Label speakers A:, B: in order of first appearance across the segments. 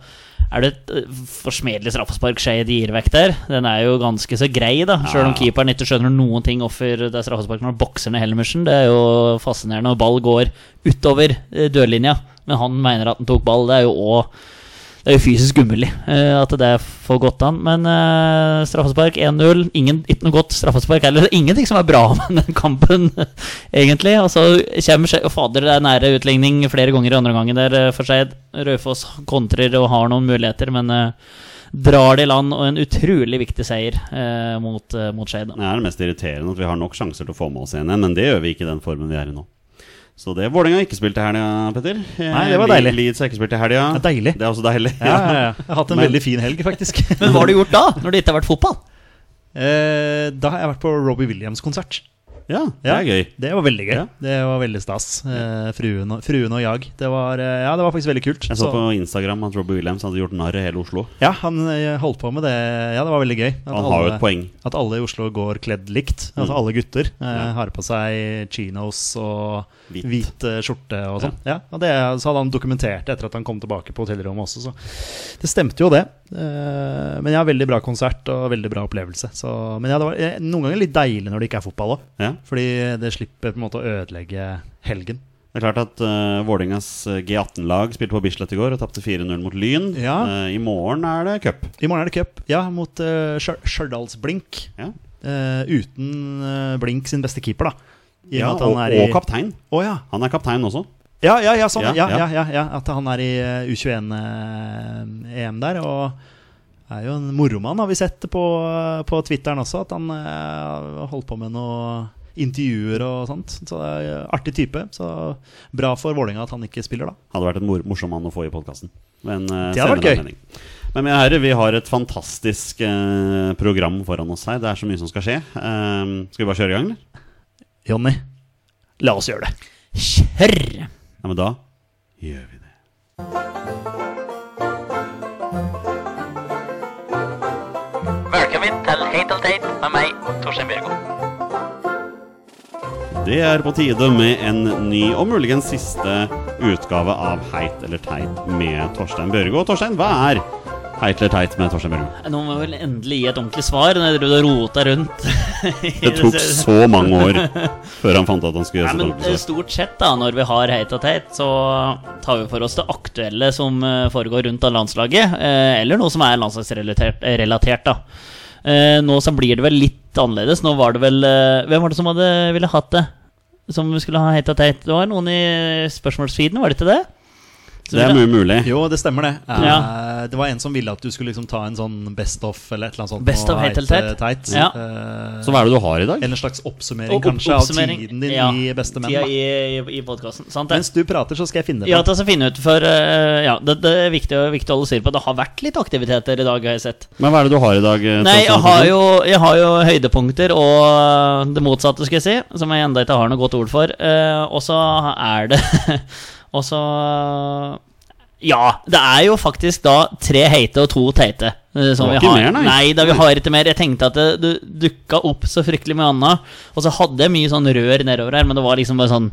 A: er det et eh, forsmedelig straffespark Skeid gir vekk der. Den er jo ganske så grei, da. Sjøl om
B: Ja.
A: keeperen ikke skjønner noen ting offer det straffesparket når han bokser ned Helmersen. Det er jo fascinerende. Og ball går utover eh, dørlinja, men han mener at han tok ball. Det er jo òg det er jo fysisk umulig eh, at det får gått an, men eh, straffespark 1-0. ingen- Ikke noe godt straffespark heller. Det er Ingenting som er bra med den kampen, egentlig. Og så kommer Skei- og Fader, det er nære utligning flere ganger i andre gangen der eh, for Skeid. Raufoss kontrer og har noen muligheter, men eh, drar det i land. Og en utrolig viktig seier eh, mot, eh, mot Skeid. da.
B: Det er det mest irriterende at vi har nok sjanser til å få med oss 1-1, men det gjør vi ikke i den formen vi er i nå. Så det Vålerenga ikke spilte i helga, Petter. Eh,
C: Nei, det var
B: Li-
C: deilig.
B: Leeds har ikke spilt i helga.
C: Det er deilig.
B: Det er også deilig.
C: Ja, ja, ja. Jeg har hatt en
B: Men-
C: veldig fin helg, faktisk.
A: Men hva har du gjort da, når det ikke har vært fotball?
C: Eh, da har jeg vært på Robbie Williams-konsert.
B: Ja, det er gøy.
C: Det var veldig gøy.
B: Ja.
C: Det var veldig stas. Eh, fruen, og, fruen og jag. Det var, eh, ja, det var faktisk veldig kult.
B: Jeg så på Instagram at Robbie Williams hadde gjort narr i hele Oslo.
C: ja, han eh, holdt på med det. Ja, det var veldig gøy. At
B: Han har jo
C: alle-
B: et poeng. Mm.
C: At alle i Oslo går kledd likt. Altså alle gutter eh, har på seg chinos og
B: Hvit.
C: hvit, eh, skjorte og sånn. Ja. og det så hadde han dokumentert det etter at han kom tilbake på hotellrommet også, så det stemte jo det. Eh, men ja, veldig bra konsert og veldig bra opplevelse. Så, men ja, det var eh, noen ganger litt deilig når det ikke er fotball òg,
B: Ja.
C: fordi det slipper på en måte å ødelegge helgen.
B: Det er klart at uh, Vålerengas eh, G18-lag spilte på Bislett i går og tapte 4-0 mot Lyn.
C: Ja.
B: Eh, I morgen er det cup.
C: I morgen er det cup, ja, mot eh, Stjør- Stjørdalsblink.
B: Ja.
C: Eh, uten eh, Blink sin beste keeper, da. I og
B: Ja,
C: med at
B: og,
C: han er i
B: og kaptein.
C: Å, ja.
B: Han er kaptein også.
C: Ja, ja, ja, sånn.
B: Ja,
C: ja, ja,
B: ja.
C: ja, ja, At han er i eh, U21-EM der. Og er jo en moromann, har vi sett på, på Twitteren også. At han eh, holdt på med noe intervjuer og sånt. Så det er eh, artig type. Så bra for Vålerenga at han ikke spiller, da.
B: Hadde vært en mor morsom mann å få i podkasten. Men eh,
C: Det hadde vært
B: senere
C: gøy.
B: anledning. Men mine herrer, vi har et fantastisk eh, program foran oss her. Det er så mye som skal skje. Eh, skal vi bare kjøre i gang, eller?
C: Jonny, la oss gjøre det.
A: Kjør!
B: Ja, men da gjør vi det.
D: Velkommen til Heit og teit med meg, Torstein Bjørgo.
B: Det er på tide med en ny og muligens siste utgave av Heit eller teit med Torstein Bjørgo. Torstein, hva er Heit eller teit med Torstein Bjørgo?
A: Nå må jeg vel endelig gi et ordentlig svar. Når jeg drev og rota rundt.
B: Det tok så mange år før han fant at han skulle
A: Nei,
B: gjøre
A: men
B: sånn.
A: eh,
B: episode.
A: Stort sett, da, når vi har Heit og teit, så tar vi for oss det aktuelle som eh, foregår rundt av landslaget. eh, Eller noe som er landslagsrelatert, eh, relatert, da. Eh, Eh, nå så blir det vel litt annerledes. Nå var det vel eh, Hvem var det som hadde ville hatt det? Som skulle ha hate Tate? Det var noen i spørsmålsfeeden, var det ikke det? Som
B: Det er
A: ville-
B: mye mulig.
C: Jo, det stemmer det. Eh,
A: Ja.
C: Det var en som ville at du skulle liksom ta en sånn best of eller et eller annet sånt.
A: Best
C: og
A: of Hate eller
C: heite
A: Teit? Ja.
C: Eh,
B: Så hva er det du har i dag?
C: Eller en slags oppsummering,
A: Og opp-
C: kanskje,
A: oppsummering.
C: av tiden din
A: Ja,
C: i Beste menn.
A: Tida
C: da.
A: i, i, i podcasten, Sant det?
C: Mens du prater, så skal jeg finne det.
A: Ja,
C: fram.
A: ta oss og finne ut for eh, Ja, det, det er viktig, viktig å holde styr på. Det har vært litt aktiviteter i dag, har jeg sett.
B: Men hva er det du har i dag? eh,
A: Nei,
B: Torstein
A: jeg har,
B: Torstensen?
A: jo, jeg har jo høydepunkter og eh, det motsatte, skal jeg si. Som jeg enda ikke har noe godt ord for. Eh, og så er det Og så Ja, det er jo faktisk da tre heite og to teite. eh, Som
B: Det
A: vi
B: var
A: har.
B: ikke mer, nei.
A: nei da, vi har ikke mer. Jeg tenkte at det, det dukka opp så fryktelig mye annet. Og så hadde jeg mye sånn rør nedover her, men det var liksom bare sånn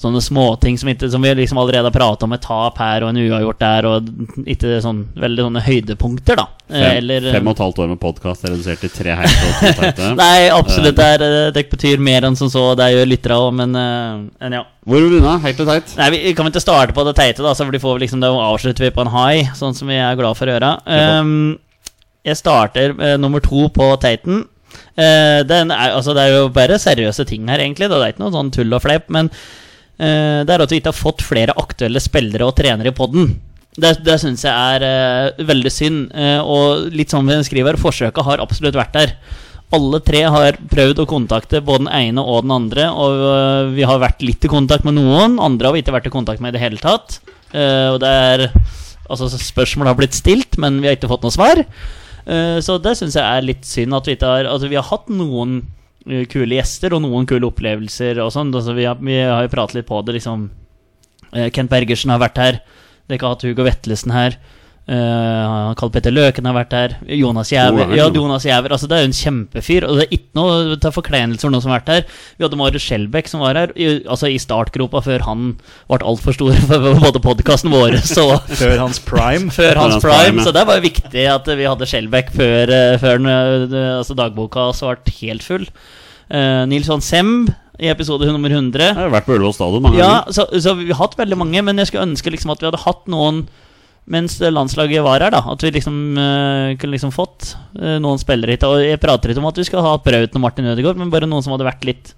A: Sånne småting som, ikke- som vi liksom allerede har prata om, et tap her og en uavgjort der, og ikke sånn veldig sånne høydepunkter, da. Eh,
B: Fem,
A: eller-
B: fem og et halvt år med podkast er redusert til tre heite og to teite.
A: Nei, absolutt. Det, er, eh, det betyr mer enn som så. Det gjør lyttere òg, men eh, enn ja.
B: Hvor vil du unna? Helt eller teit?
A: Nei, vi vi kan vel ikke starte på det teite, da, så vi får vi liksom, da avslutter vi på en high, sånn som vi er glad for å gjøre. Ehm, jeg starter eh, nummer to på teiten. Eh, den er, altså, det er jo bare seriøse ting her, egentlig. da. Det er ikke noe sånn tull og fleip. Men eh, det er at vi ikke har fått flere aktuelle spillere og trenere i podden. Det, det syns jeg er eh, veldig synd. eh, og litt som vi skriver, forsøket har absolutt vært der. Alle tre har prøvd å kontakte både den ene og den andre. Og eh, vi har vært litt i kontakt med noen, andre har vi ikke vært i kontakt med i det hele tatt. Eh, og det er Altså, spørsmål har blitt stilt, men vi har ikke fått noe svar. Eh, Så det syns jeg er litt synd at vi ikke har Altså, vi har hatt noen eh, kule gjester og noen kule opplevelser og sånn. Altså, vi, har- vi har jo pratet litt på det, liksom. Eh, Kent Bergersen har vært her. Dere har hatt Hugo Vetlesen her. Eh, Karl Petter Løken har vært her. Jonas
B: To
A: Jæver.
B: ganger,
A: Ja,
B: jo.
A: Jonas Jæver. Altså, det er jo en kjempefyr. Og det er ikke noe til forkleinelse for noen som har vært her. Vi hadde Marius Skjelbæk som var her, i, altså i startgropa før han ble altfor stor for både podkasten vår og
C: Før hans prime.
A: før hans
B: hans
A: prime,
B: prime, ja.
A: så det var jo viktig at vi hadde Skjelbæk før, eh, før den, eh, altså dagboka hans ble helt full. Eh, Nils Johan Semb i episode nummer 100.
B: Jeg har vært på Ullevål stadion mange
A: Ja,
B: ganger.
A: så, så vi har hatt veldig mange, men jeg skulle ønske liksom at vi hadde hatt noen mens landslaget var her, da. At vi liksom eh, kunne liksom fått eh, noen spillere hit. Og jeg prater ikke om at vi skal ha Brauten og Martin Ødegaard, men bare noen som hadde vært litt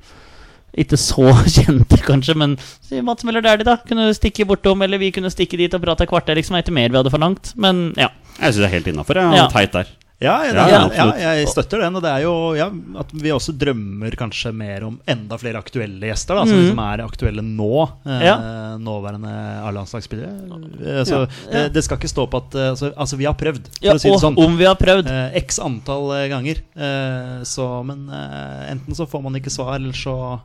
A: ikke så kjente, kanskje, men si Mats Møller Dæhlie, da. Kunne stikke bortom, eller vi kunne stikke dit og prate et kvarter. Liksom, er ikke mer vi hadde forlangt. Men ja.
B: Jeg syns det er helt innafor.
A: Ja.
B: Ja. Teit der.
C: Ja, det,
B: Ja,
C: ja,
B: ja, absolutt.
C: jeg støtter den. Og det er jo ja, at vi også drømmer kanskje mer om enda flere aktuelle gjester, da, som
A: Mhm.
C: liksom er aktuelle nå. Eh,
A: Ja.
C: Nåværende A-landslagsspillere. Eh, så
B: Ja,
A: ja.
C: Det, det skal ikke stå på at eh, altså, altså, vi har prøvd, for
A: ja
C: å si det
A: og
C: sånn.
A: om vi har prøvd.
C: Eh, X antall eh, ganger. Eh, så, men eh, enten så får man ikke svar, eller så,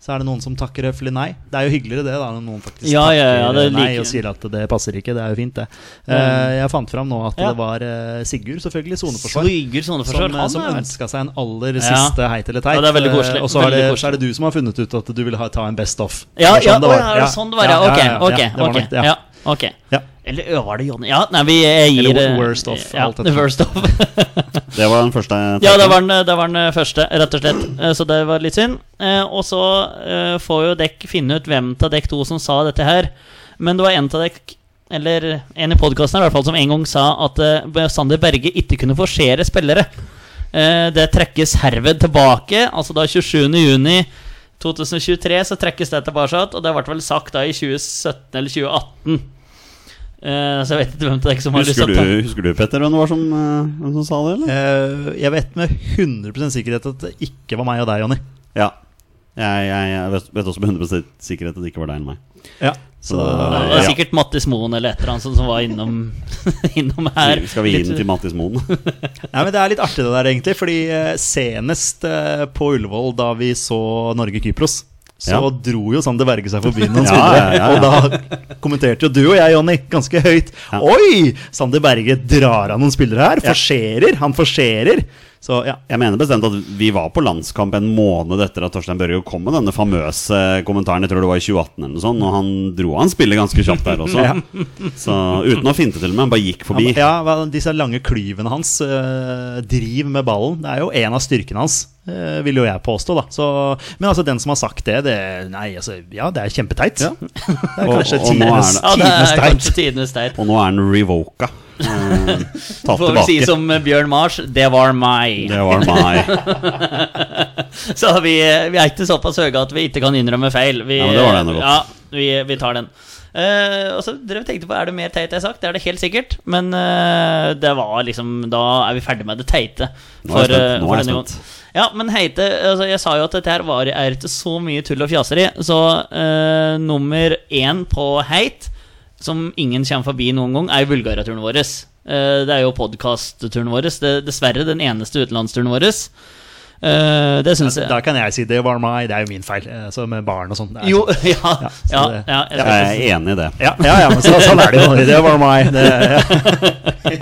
C: så er det noen som takker høflig nei. Det er jo hyggeligere det, da, når noen faktisk
A: Ja,
C: takker
A: ja, ja, det
C: eh, nei
A: liker jeg.
C: og sier at det passer ikke. Det er jo fint, det. Eh,
A: Mm.
C: jeg fant fram nå at
A: Ja.
C: det var eh, Sigurd, selvfølgelig, soneforsvar.
A: Slyger soneforsvar.
C: Som, eh,
A: Han
C: som
A: er vel
C: ønska seg en aller
A: Ja.
C: siste heit eller teit.
A: Ja, det er veldig koselig.
C: Eh, Og så er,
A: Veldig
C: det,
A: koselig.
C: så er det du som har funnet ut at du vil ha, ta en best of.
A: Ja,
C: Det var
A: ja,
C: sånn
A: å,
C: det var.
A: ja, er det sånn det var, ja.
C: Ja,
A: Ok,
C: ja, ja, ja,
A: ok.
C: det var
A: ok,
C: nok det, ja.
A: ja, ok.
C: Ja.
A: Eller ø, var det Johnny Ja, nei, vi jeg gir
C: Eller
A: eh,
C: worst of,
A: Ja,
C: alt etter.
A: worst of.
B: Det var den første teiten.
A: ja, det var, den, eh, det var den første, rett og slett. Eh, Så det var litt synd. Eh, Og så eh, får jo dekk finne ut hvem av dekk to som sa dette her. Men det var en av dekk eller en i podkasten i hvert fall som en gang sa at eh, Sander Berge ikke kunne forsere spillere. Eh, Det trekkes herved tilbake. Altså da 27. juni 2023 så trekkes det tilbake, og det ble vel sagt da i 2017 eller 2018. Eh, så jeg vet ikke hvem av dere som har lyst
B: Husker
A: til
B: du,
A: å ta
B: husker du, Petter, hvem det var som, eh, hvem som sa det, eller?
C: Eh, jeg vet med 100 sikkerhet at det ikke var meg og deg, Jonny.
B: Ja. Jeg, jeg, jeg vet, vet også med 100 sikkerhet at det ikke var deg enn meg.
C: Ja,
B: Så,
A: Det
B: ja.
A: var sikkert Mattis Moen eller et eller annet sånt som var innom, innom her.
B: Skal vi gi
A: Litt-
B: den til Mattis Moen?
C: Nei, men Det er litt artig, det der, egentlig. Fordi eh, senest eh, på Ullevål, da vi så Norge-Kypros, så
B: Ja.
C: dro jo Sander Berge seg forbi noen
B: Ja,
C: spillere.
B: ja, ja, ja.
C: Og da kommenterte jo du og jeg, Jonny, ganske høyt.
B: Ja.
C: Oi! Sander Berge drar av noen spillere her. Forserer! Han forserer! Så ja.
B: Jeg mener bestemt at vi var på landskamp en måned etter at Torstein Børge kom med denne famøse kommentaren, jeg tror det var i 2018 eller noe sånt, og han dro han spillet ganske kjapt der også. Så uten å finte til meg, han bare gikk
C: Han,
B: forbi.
C: ja, hva- disse lange klyvene hans. eh, driv med ballen. Det er jo en av styrkene hans, eh, vil jo jeg påstå. da så, Men altså, den som har sagt det, det Nei, altså, ja, det er kjempeteit. Det er
B: Og-
C: kanskje
B: og nå er
C: tidenes
B: det-
A: Ja, det
C: tidenes
A: er
C: teit.
A: kanskje tidenes teit.
B: Og nå er han revoka Eh, tatt
A: Får vel si
B: tilbake.
A: som Bjørn Mars det var meg.
B: Det var meg.
A: Så vi, vi er ikke såpass høye at vi ikke kan innrømme feil. Vi,
B: Ja, men det var det enda godt.
A: Ja, vi, vi tar den. Eh, og så drev jeg og tenkte på Er det mer teit jeg har sagt. Det er det helt sikkert. Men eh, det var liksom da er vi ferdig med det teite.
B: Nå er jeg spent.
A: eh,
B: Nå er jeg
A: denne
B: spent.
A: gangen. Ja, men heite altså, Jeg sa jo at dette her var, er ikke så mye tull og fjaseri. Så eh, nummer én på heit, som ingen kommer forbi noen gang, er Bulgaria-turen vår. Eh, det er jo podkast-turen vår. Det, dessverre den eneste utenlandsturen vår. Eh, det syns jeg
C: Da kan jeg si det var meg, det er jo min feil. eh, Så med barn og sånn. det er
A: Jo,
C: sånn.
A: ja.
C: så
A: ja,
C: det-
A: ja, jeg skal
B: Jeg er enig i det.
C: Ja, ja, ja men så, sånn er det jo. Det var meg. Det,
B: Det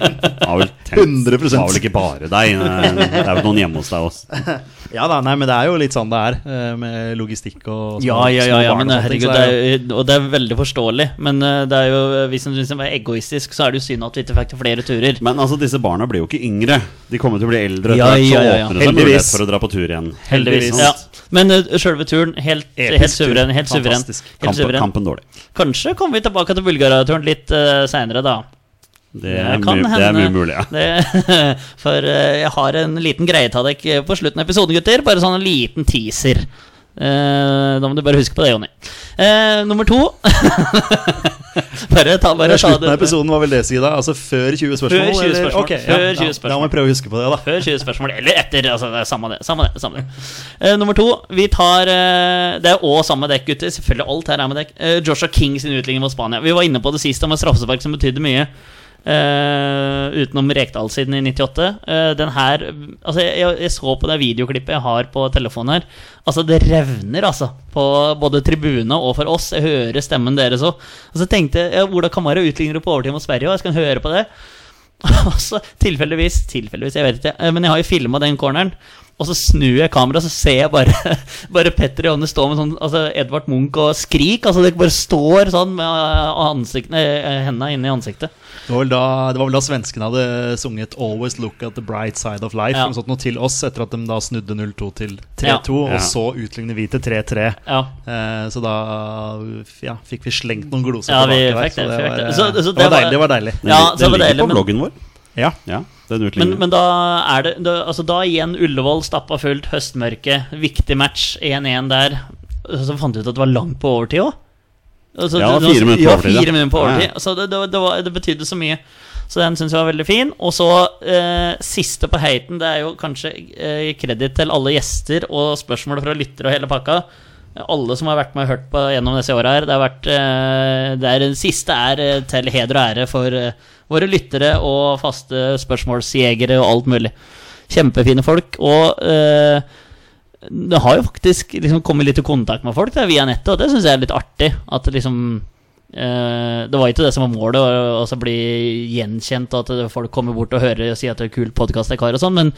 B: var vel, tenkt,
C: 100%.
B: det var vel ikke bare deg. Det er vel noen hjemme hos deg også.
C: ja da, nei, men det er jo litt sånn det er eh, med logistikk og små,
A: Ja, ja, ja,
C: små
A: ja
C: barn
A: men eh,
C: og sånne ting,
A: herregud,
C: så
A: det
C: er jo-
A: er, jo- og det er veldig forståelig. Men eh, det er jo, hvis en synes det var egoistisk, så er det jo synd at vi ikke fikk til flere turer.
B: Men altså, disse barna blir jo ikke yngre. De kommer til å bli eldre. etter
A: Ja,
B: hvert,
A: ja, ja, ja.
B: Så åpner det seg mulighet
C: Heldigvis.
B: for å dra på tur igjen.
A: Heldigvis.
B: Sant?
A: Ja. Men uh, sjølve turen, helt, helt
C: Episk tur.
A: suveren. Helt suveren.
C: Fantastisk.
A: Helt
B: Kampen,
A: suveren.
B: kampen dårlig.
A: Kanskje kommer vi tilbake til Bulgaria-turen litt uh, seinere, da.
B: Det er, mu det er mye mulig, ja.
A: Det, for eh, jeg har en liten greie til dere på slutten av episoden, gutter. Bare sånn en liten teaser. Eh, da må du bare huske på det, Jonny. Eh, nummer to Bare ta
C: Men
A: bare ta
C: Slutten av episoden var vel det, Sida? Altså før 20 spørsmål?
A: Før 20
C: eller?
A: spørsmål.
C: Ok,
A: Før
C: ja, da,
A: 20
C: da må
A: spørsmål.
C: vi prøve å huske på det, da.
A: Før 20 spørsmål, eller etter. Altså, det er samme det. Samme det, samme det. Eh, nummer to. Vi tar eh, Det er òg samme dekk, gutter. Selvfølgelig alt her er med dekk. Eh, Joshua King sin utligning mot Spania. Vi var inne på det sist om et straffespark som betydde mye. eh, utenom Rekdal siden i 98. Eh, den her Altså, jeg, jeg, jeg så på det videoklippet jeg har på telefonen her. Altså, det revner, altså. På både tribune og for oss. Jeg hører stemmen deres òg. Og så tenkte jeg ja, Ola Kamara utligner jo på overtid mot Sverige, og jeg skal høre på det. Og så tilfeldigvis, tilfeldigvis, jeg vet ikke, eh, men jeg har jo filma den corneren. Og så snur jeg kameraet, så ser jeg bare, bare Petter og Jonne stå med sånn altså Edvard Munch og skrik. Altså Dere bare står sånn med eh, ansiktene, eh, hendene inni ansiktet.
C: Det var vel da, det var vel da svenskene hadde sunget 'Always Look at the Bright Side of Life'
A: Ja.
C: eller noe sånt noe til oss, etter at de da snudde 0-2 til 3-2,
B: Ja.
C: og så utligner vi til 3-3.
A: Ja,
C: Eh, så da ja, fikk vi slengt noen gloser
A: Ja, vi
C: tilbake
A: fikk det,
C: der.
A: vi fikk det.
C: Så
A: Så-
C: det var, eh,
A: så
C: det
A: det
C: var
A: var-
C: deilig. Det var deilig.
B: Den,
A: Ja,
B: ja,
A: så
B: den
A: var det
B: ligger
A: deilig,
B: på
A: men-
B: bloggen vår.
C: Ja.
B: Ja, den
A: men,
B: utligningen.
A: men da er det da, Altså da igjen Ullevål, stappa fullt, høstmørke, viktig match, 1-1 der. Og Så fant vi ut at det var langt på overtid òg. Altså,
B: Ja,
A: det-
B: fire minutter på
A: ja,
B: overtid, ja.
A: Fire minutter på
B: Ja, ja.
A: overtid. Så det, det, det, var, det betydde så mye. Så den syns jeg var veldig fin. Og så eh, siste på heiten, det er jo kanskje eh, kreditt til alle gjester og spørsmål fra lyttere og hele pakka. Alle som har vært med og hørt på gjennom disse åra her. Det har vært eh, det er, Den siste er eh, til heder og ære for eh, våre lyttere og faste spørsmålsjegere og alt mulig. Kjempefine folk. Og eh, det har jo faktisk liksom kommet litt i kontakt med folk da, via nettet, og det syns jeg er litt artig. At det liksom eh, Det var ikke det som var målet, å- å så bli gjenkjent, og at folk kommer bort og hører og sier at det er kul podkast jeg har, og sånn, men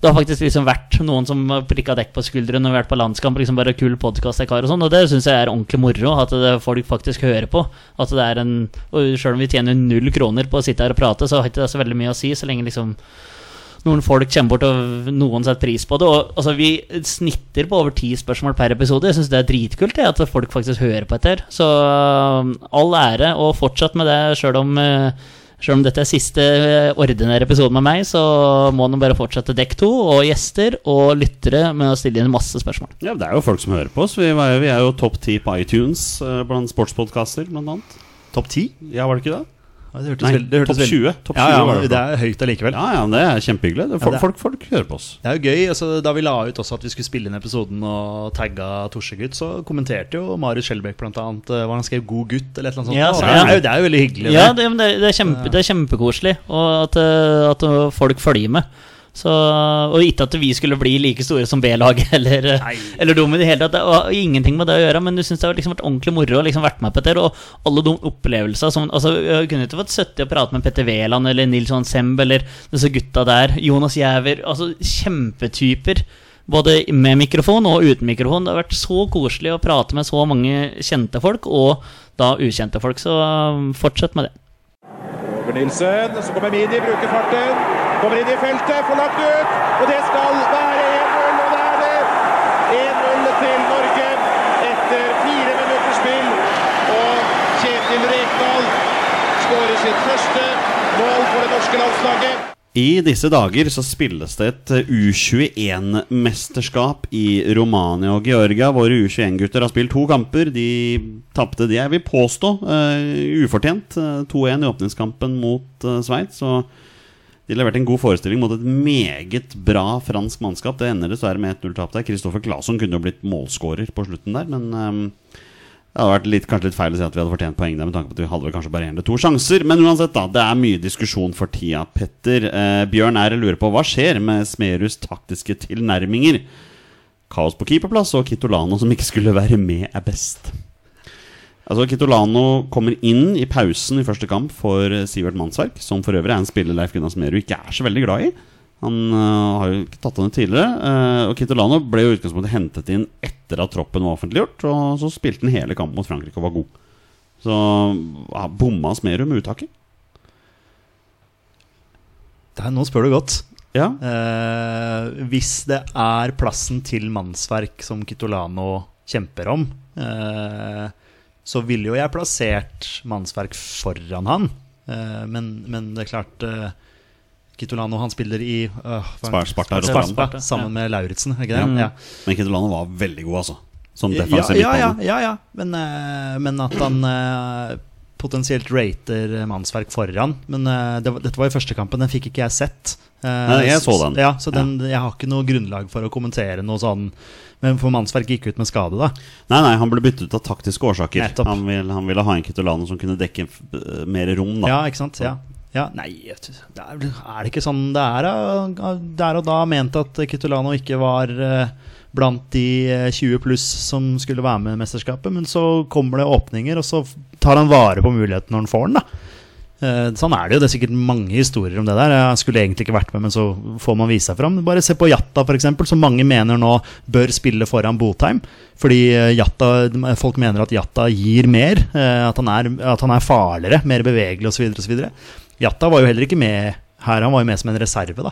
A: det har faktisk liksom vært noen som har prikka dekk på skuldrene og vært på landskamp. liksom bare kul podcast jeg har Og sånn, og det syns jeg er ordentlig moro, at det folk faktisk hører på. At det er en, og Selv om vi tjener null kroner på å sitte her og prate, så har ikke det så veldig mye å si. så lenge liksom noen folk kommer bort og noen setter pris på det. Og, altså, vi snitter på over ti spørsmål per episode. Jeg syns det er dritkult det, at folk faktisk hører på etter. Så um, all ære, og fortsatt med det sjøl om eh, selv om dette er siste eh, ordinære episode med meg, så må den bare fortsette dekk to, og gjester og lyttere med å stille inn masse spørsmål.
B: Ja, Det er jo folk som hører på oss. Vi, var, vi er jo topp ti på iTunes eh, blant sportspodkaster, blant annet.
C: Topp 10?
B: Ja, var det ikke det?
C: Ja, Det hørtes
B: Nei,
C: veldig- det hørtes
B: topp
C: veldig-
B: 20. Topp 20
C: ja, ja,
B: var det.
C: men det er høyt allikevel.
B: Ja, ja, men det er kjempehyggelig. Det er folk,
C: det er-
B: folk, folk hører på oss.
C: Det er jo gøy, altså, Da vi la ut også at vi skulle spille inn episoden og tagga Torsegutt, så kommenterte jo Marius Skjelbæk bl.a. hva han skrev 'god gutt' eller et eller annet sånt.
A: Ja,
C: Og
A: så-
C: det, er jo, det er jo veldig hyggelig.
A: Ja, det, men det, det, er kjempe, det er kjempekoselig og at, eh, at eh, folk følger med. Så, og ikke at vi skulle bli like store som B-laget eller, eh, eller dumme i det hele tatt. Det har ingenting med det å gjøre, men du syns det har liksom vært ordentlig moro å liksom vært med på dette. Og alle de opplevelsene som altså, Jeg kunne ikke fått 70 og prate med Petter Wæland eller Nils Johan Semb eller disse gutta der. Jonas Giæver. Altså kjempetyper. Både med mikrofon og uten mikrofon. Det har vært så koselig å prate med så mange kjente folk, og da ukjente folk. Så eh, fortsett med det.
E: Over Nilsen, så kommer Mini, bruker farten. Kommer inn i feltet, får lagt ut, og det skal være 1-0. Og det er det! 1-0 til Norge etter fire minutters spill. Og Kjetil Rekdal skårer sitt første mål for det norske landslaget.
B: I disse dager så spilles det et U21-mesterskap i Romania og Georgia. Våre U21-gutter har spilt to kamper. De tapte de jeg vil påstå eh, ufortjent. eh, 2-1 i åpningskampen mot uh, Sveits. Og de leverte en god forestilling mot et meget bra fransk mannskap. Det ender dessverre med 1-0-tap der. Kristoffer Claesson kunne jo blitt målskårer på slutten der, men eh, det hadde vært litt, kanskje litt feil å si at vi hadde fortjent poeng der, med tanke på at vi hadde vel kanskje bare én eller to sjanser. Men uansett, da. Det er mye diskusjon for tida, Petter. Eh, Bjørn R. lurer på hva skjer med Smerus taktiske tilnærminger? Kaos på keeperplass og Kitolano som ikke skulle være med, er best. Altså, Kitolano kommer inn i pausen i første kamp for eh, Sivert Mannsverk, som for øvrig er en spiller Leif Gunnar Smerud ikke er så veldig glad i. Han eh, har jo ikke tatt han ut tidligere. eh, og Kitolano ble jo i utgangspunktet hentet inn etter at troppen var offentliggjort, og så spilte han hele kampen mot Frankrike og var god. Så ja, bomma Smerud med uttaket.
C: Det er, nå spør du godt.
B: Ja.
C: Eh, hvis det er plassen til mannsverk som Kitolano kjemper om, eh, så ville jo jeg plassert mannsverk foran han. Eh, men, men det er klart eh, Kitolano han spiller i øh, hva er det?
B: Spar- Sparta
C: Sparta,
B: Rotterdam.
C: sammen med Lauritzen, er ikke det?
B: Ja.
C: Ja.
B: Men Kitolano var veldig god, altså. Som
C: Ja,
B: defensiv
C: ja, ja,
B: midtbane.
C: ja, ja. Men, eh, men at han eh, potensielt rater eh, mannsverk foran. Men eh, det, var- dette var i første kampen, den fikk ikke jeg sett. Eh,
B: Nei, jeg så den.
C: Ja, så den, jeg har ikke noe grunnlag for å kommentere noe sånn. Men for mannsverk gikk ut med skade, da.
B: Nei, nei, han ble byttet ut av taktiske årsaker.
C: Nettopp.
B: Han, vil, han ville ha en Kitolano som kunne dekke eh, mer rom, da.
C: Ja, ikke sant? Ja. Ja, nei, jeg t- det er, vel- er det ikke sånn det er? da? Der og da mente at Kitolano ikke var eh, blant de eh, 20 pluss som skulle være med i mesterskapet, men så kommer det åpninger, og så f- tar han vare på muligheten når han får den. da. Eh, Sånn er det jo. Det er sikkert mange historier om det der. Jeg skulle egentlig ikke vært med, men så får man vise seg fram. Bare se på Jatta, f.eks., som mange mener nå bør spille foran Botheim. Fordi eh, Jatta, folk mener at Jatta gir mer. eh, At han er, at han er farligere, mer bevegelig osv. osv. Jatta var jo heller ikke med her, han var jo med som en reserve, da.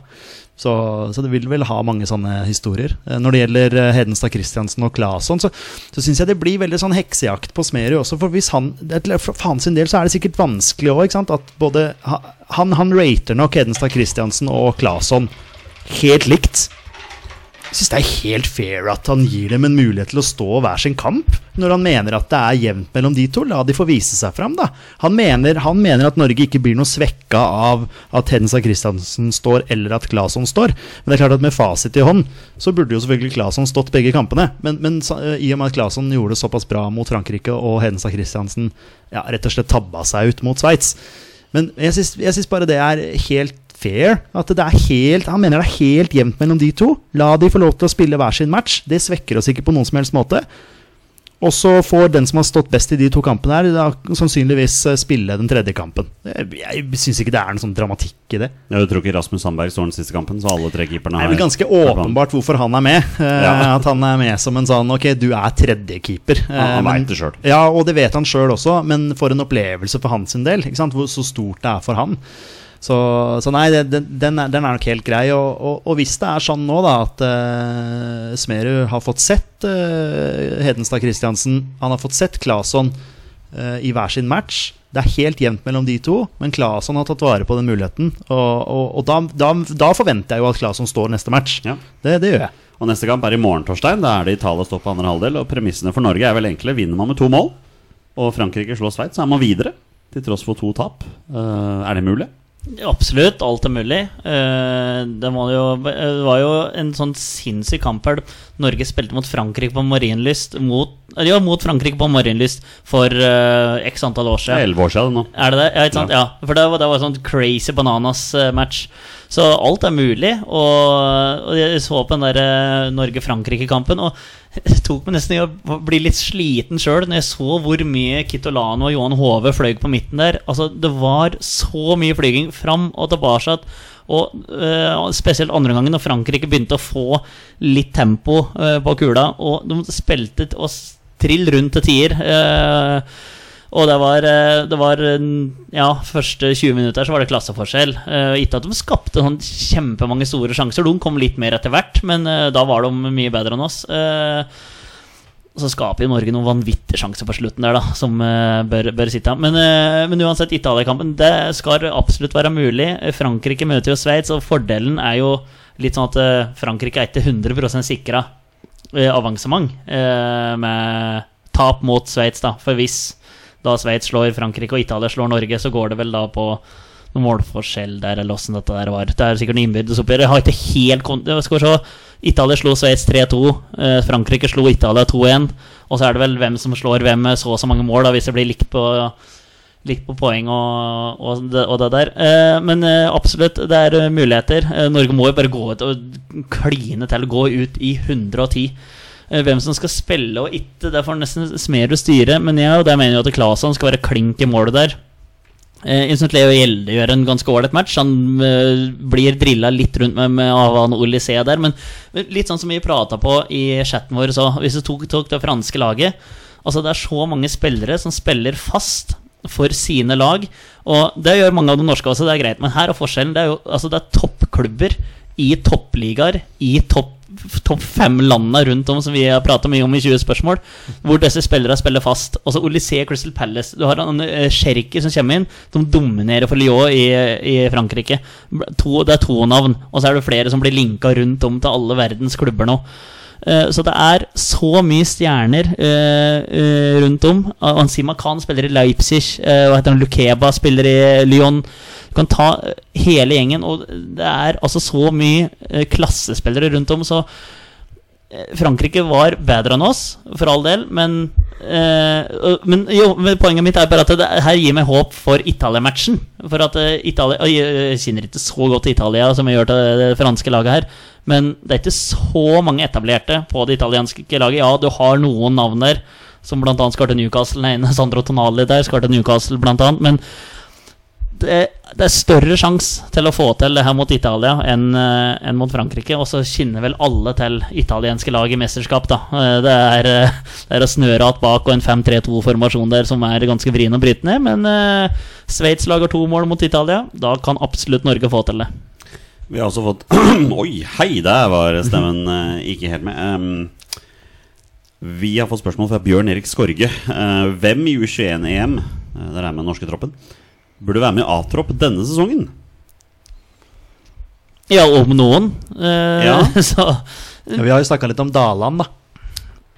C: Så, så det vil vel ha mange sånne historier. Eh, Når det gjelder eh, Hedenstad Christiansen og Claesson, så, så syns jeg det blir veldig sånn heksejakt på Smerud også. For hvis han, det er- for faen sin del så er det sikkert vanskelig òg, ikke sant. At både ha- han, han rater nok Hedenstad Christiansen og Claesson helt likt. Jeg syns det er helt fair at han gir dem en mulighet til å stå hver sin kamp, når han mener at det er jevnt mellom de to. La de få vise seg fram, da. Han mener, han mener at Norge ikke blir noe svekka av at Hedensa Christiansen står, eller at Claesson står. Men det er klart at med fasit i hånd, så burde jo selvfølgelig Claesson stått begge kampene. Men, men sa- eh, i og med at Claesson gjorde det såpass bra mot Frankrike, og Hedensa Christiansen ja, rett og slett tabba seg ut mot Sveits, men jeg syns, jeg syns bare det er helt fair. At det er helt, han mener det er helt jevnt mellom de to. La de få lov til å spille hver sin match. Det svekker oss ikke på noen som helst måte. Og så får den som har stått best i de to kampene, her, da sannsynligvis eh, spille den tredje kampen. Jeg, jeg syns ikke det er noen sånn dramatikk i det.
B: Jeg tror ikke Rasmus Sandberg står den siste kampen, så alle tre keeperne
C: Det er
B: har
C: vel ganske
B: vært på han.
C: åpenbart hvorfor han er med. Eh,
B: Ja.
C: At han er med som en sånn Ok, du er tredjekeeper. Eh,
B: han
C: men-
B: vet det selv.
C: Ja, og det vet han sjøl også, men for en opplevelse for hans sin del. Ikke sant? Hvor så stort det er for han. Så, så nei, det, den, den, er, den er nok helt grei. Og, og, og hvis det er sånn nå da at eh, Smerud har fått sett eh, Hedenstad Christiansen, han har fått sett Claesson eh, i hver sin match. Det er helt jevnt mellom de to, men Claesson har tatt vare på den muligheten. Og, og, og da, da, da forventer jeg jo at Claesson står neste match.
B: Ja.
C: Det, det gjør jeg.
B: Og neste kamp er i morgen, Torstein. Da er det Italia står på andre halvdel. Og premissene for Norge er vel enkle. Vinner man med to mål, og Frankrike slår Sveits, så er man videre. Til tross for to tap. Eh, er det mulig?
A: Absolutt, alt er mulig. Eh, Det var jo, det var jo en sånn sinnssyk kamp her. Norge spilte mot Frankrike på Marienlyst mot, Ja, mot Frankrike på Marienlyst for eh, x antall år
B: Det er
A: siden.
B: elleve år siden nå.
A: Er det det? Ja, ikke sant? Ja. For det var, det var sånn crazy bananas-match. Så alt er mulig. Og, og jeg så på den der eh, Norge-Frankrike-kampen, og det tok meg nesten i å bli litt sliten sjøl når jeg så hvor mye Kitolano og Johan Hove fløy på midten der. Altså, det var så mye flyging fram og tilbake. at- Og eh, spesielt andre gangen, når Frankrike begynte å få litt tempo eh, på kula, og de spilte t- og s- trill rundt til tier. eh, og det var, eh, det var eh, Ja, første 20 minutter så var det klasseforskjell. Eh, Ikke at de skapte sånn kjempemange store sjanser, de kom litt mer etter hvert, men eh, da var de mye bedre enn oss. Eh, så skaper jo Norge noen vanvittige sjanser på slutten der, da, som eh, bør, bør sitte av. Men, eh, men uansett, Italia-kampen det skal absolutt være mulig. Frankrike møter jo Sveits, og fordelen er jo litt sånn at eh, Frankrike er ikke 100 sikra avansement eh, med tap mot Sveits, da. For hvis da Sveits slår Frankrike og Italia slår Norge, så går det vel da på noen målforskjell der, eller åssen dette der var. Det er sikkert noen innbyrdes oppgjør. Jeg har ikke helt kont Skal vi se. Italia slo Sveits 3-2. eh, Frankrike slo Italia 2-1. Og så er det vel hvem som slår hvem med så og så mange mål, da, hvis det blir likt på Likt på poeng og, og, det, og det der. Eh, men eh, absolutt, det er eh, muligheter. Eh, Norge må jo bare gå ut og kline til. Gå ut i 110. Eh, hvem som skal spille og ikke, det får nesten Smerud styre. Men jeg og der mener jo at Claesson skal være klink i målet der. Eh, jeg synes Leo Gjelde gjør en ganske ålreit match. Han eh, blir drilla litt rundt med, med Avan Olysé der, men, men litt sånn som vi prata på i chatten vår så, Hvis du tok, tok det franske laget Altså Det er så mange spillere som spiller fast for sine lag. Og Det gjør mange av de norske også, det er greit, men her er forskjellen. Det er jo altså det er toppklubber i toppligaer i topp topp fem landene rundt om som vi har prata mye om i 20 spørsmål, hvor disse spillerne spiller fast. Også Olysée Crystal Palace. Du har en eh, Cherky som kommer inn. De dominerer for Lyon i, i Frankrike. To, det er to navn, og så er det flere som blir linka rundt om til alle verdens klubber nå. Eh, Så det er så mye stjerner eh, eh, rundt om. Ansima Khan spiller i Leipzig. eh, Hva heter han? Lukeba spiller i eh, Lyon. Du kan ta eh, hele gjengen, og det er altså så mye eh, klassespillere rundt om, så eh, Frankrike var bedre enn oss, for all del, men eh, og- Men jo, men poenget mitt er bare at det her gir meg håp for Italia-matchen. For at eh, Italia og Jeg jeg kjenner ikke så godt til Italia som jeg gjør til det franske laget her, men det er ikke så mange etablerte på det italienske laget. Ja, du har noen navn der, som bl.a. skal til Newcastle. Nei, Sandro Tonali der skal til Newcastle, blant annet. Men det, eh, det er større sjanse til å få til det her mot Italia enn eh, enn mot Frankrike. Og så kjenner vel alle til italienske lag i mesterskap, da. Eh, Det er, eh, det er å snøre att bak og en 5-3-2-formasjon der som er ganske vrien å bryte ned. Men eh, Sveits lager to mål mot Italia. Da kan absolutt Norge få til det.
B: Vi har også fått Oi, hei, der var stemmen eh, ikke helt med. Em, vi har fått spørsmål fra Bjørn Erik Skorge. Eh, hvem i U21-EM, uh, der er med den norske troppen, burde være med i A-tropp denne sesongen?
A: Ja, om noen. Eh,
B: Ja.
A: Så
C: Ja, vi har jo snakka litt om Daland, da.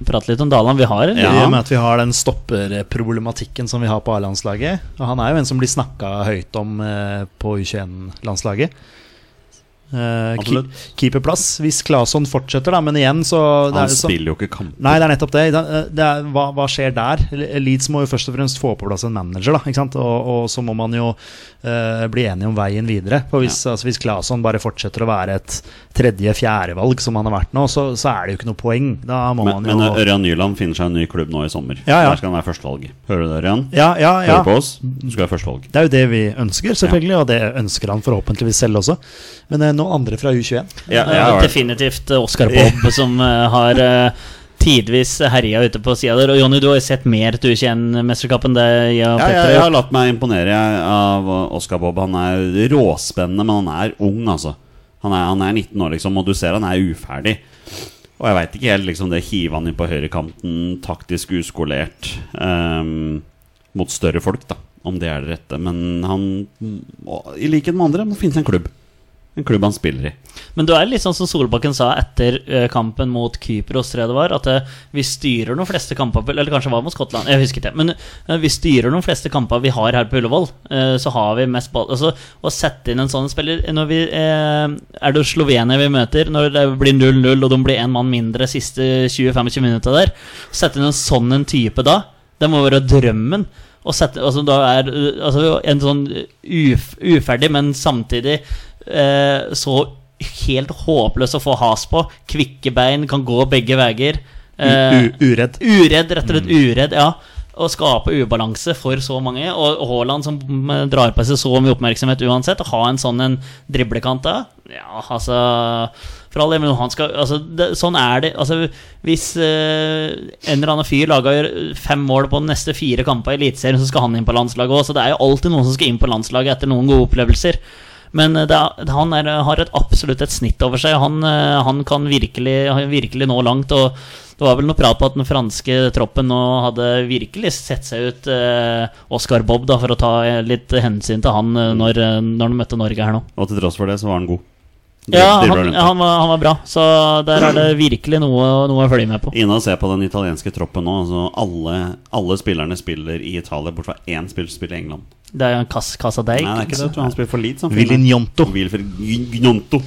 A: prate litt om Daland. Vi har
B: Ja.
C: I og med at vi har den stopperproblematikken som vi har på A-landslaget. Og han er jo en som blir snakka høyt om eh, på U21-landslaget. Eh,
B: Absolutt.
C: keep- keeperplass, hvis Claesson fortsetter, da. Men igjen, så det
B: Han
C: er jo sånn- så-
B: spiller jo ikke kamp.
C: Nei, det er nettopp det. Det er- det er, hva, hva skjer der? Leeds må jo først og fremst få på plass en manager, da. Ikke sant? Og, og så må man jo eh, bli enige om veien videre. For hvis, altså, hvis Claesson bare fortsetter å være et tredje-fjerdevalg, som han har vært nå, så, så er det jo ikke noe poeng. Da må
B: Men,
C: man jo
B: men eh, Ørjan Nyland finner seg en ny klubb nå i sommer.
C: Ja, ja.
B: Der skal han være førstevalg. Hører du det, Ørjan?
C: Ja, ja, ja.
B: Hører du på oss? Du skal være førstevalg.
C: Det er jo det vi ønsker, selvfølgelig, og det ønsker han forhåpentligvis selv også. Men eh, noen andre fra U21
B: Ja,
A: Eh,
B: jeg har-
A: definitivt eh, Oscar Bob som eh, har eh, tidvis herja ute på sida der. Og Jonny, du har jo sett mer til U21-mesterskapet enn det jeg
B: Ja,
A: og Petter
B: jeg,
A: har
B: jeg
A: gjort.
B: har latt meg imponere jeg, av Oscar Bob. Han er råspennende, men han er ung, altså. Han er, han er 19 år, liksom, og du ser han er uferdig. Og jeg veit ikke helt, liksom, det hive han inn på høyrekanten, taktisk uskolert, ehm, mot større folk, da. Om det er det rette. Men han, må- i likhet med andre, må finne seg en klubb. En klubb han spiller i.
A: Men du er litt sånn som Solbakken sa etter eh, kampen mot Kypros, tror jeg det var, at eh, vi styrer de fleste kamper Eller kanskje det var mot Skottland, jeg husker ikke. Men eh, vi styrer de fleste kamper vi har her på Ullevål. eh, så har vi mest ball altså, Å sette inn en sånn spiller når vi, eh, Er det Slovenia vi møter, når det blir 0-0 og de blir én mann mindre siste 20-25 minutta der, å sette inn en sånn en type da, det må være drømmen. Å sette, altså, da er, eh, altså, en sånn uf, uferdig, men samtidig eh, så helt håpløs å få has på. Kvikke bein, kan gå begge veier. Eh,
C: U- Uredd.
A: uredd, rett og slett uredd, ja. Å skape ubalanse for så mange. Og Haaland som mm, drar på seg så mye oppmerksomhet uansett. Å ha en sånn en driblekant da, ja, altså For all del, men han skal altså, det, Sånn er det. Altså, hvis eh, en eller annen fyr lager fem mål på de neste fire kampene i Eliteserien, så skal han inn på landslaget òg. Så det er jo alltid noen som skal inn på landslaget etter noen gode opplevelser. Men eh, det, er- han er, har et, absolutt et snitt over seg. Han, eh, han kan virkelig, han virkelig nå langt. Og Det var vel noe prat på at den franske troppen nå hadde virkelig sett seg ut eh, Oscar Bob, da, for å ta eh, litt hensyn til han eh, når, eh, når de møtte Norge her nå.
B: Og til tross for det, så var han god.
A: Ja,
B: Dribbler
A: han,
B: rundt.
A: han, var, han var bra, så der er det virkelig noe, noe å følge med på.
B: Inne og se på den italienske troppen nå. Altså alle, alle spillerne spiller i Italia, bortsett fra én spiller spiller i England.
A: Det er jo en Cas Casadei.
B: Nei, det er ikke det. Jeg tror han spiller for Leeds. han fyren der.
C: Villinjonto.
B: Wilfred Gn- Gnonto.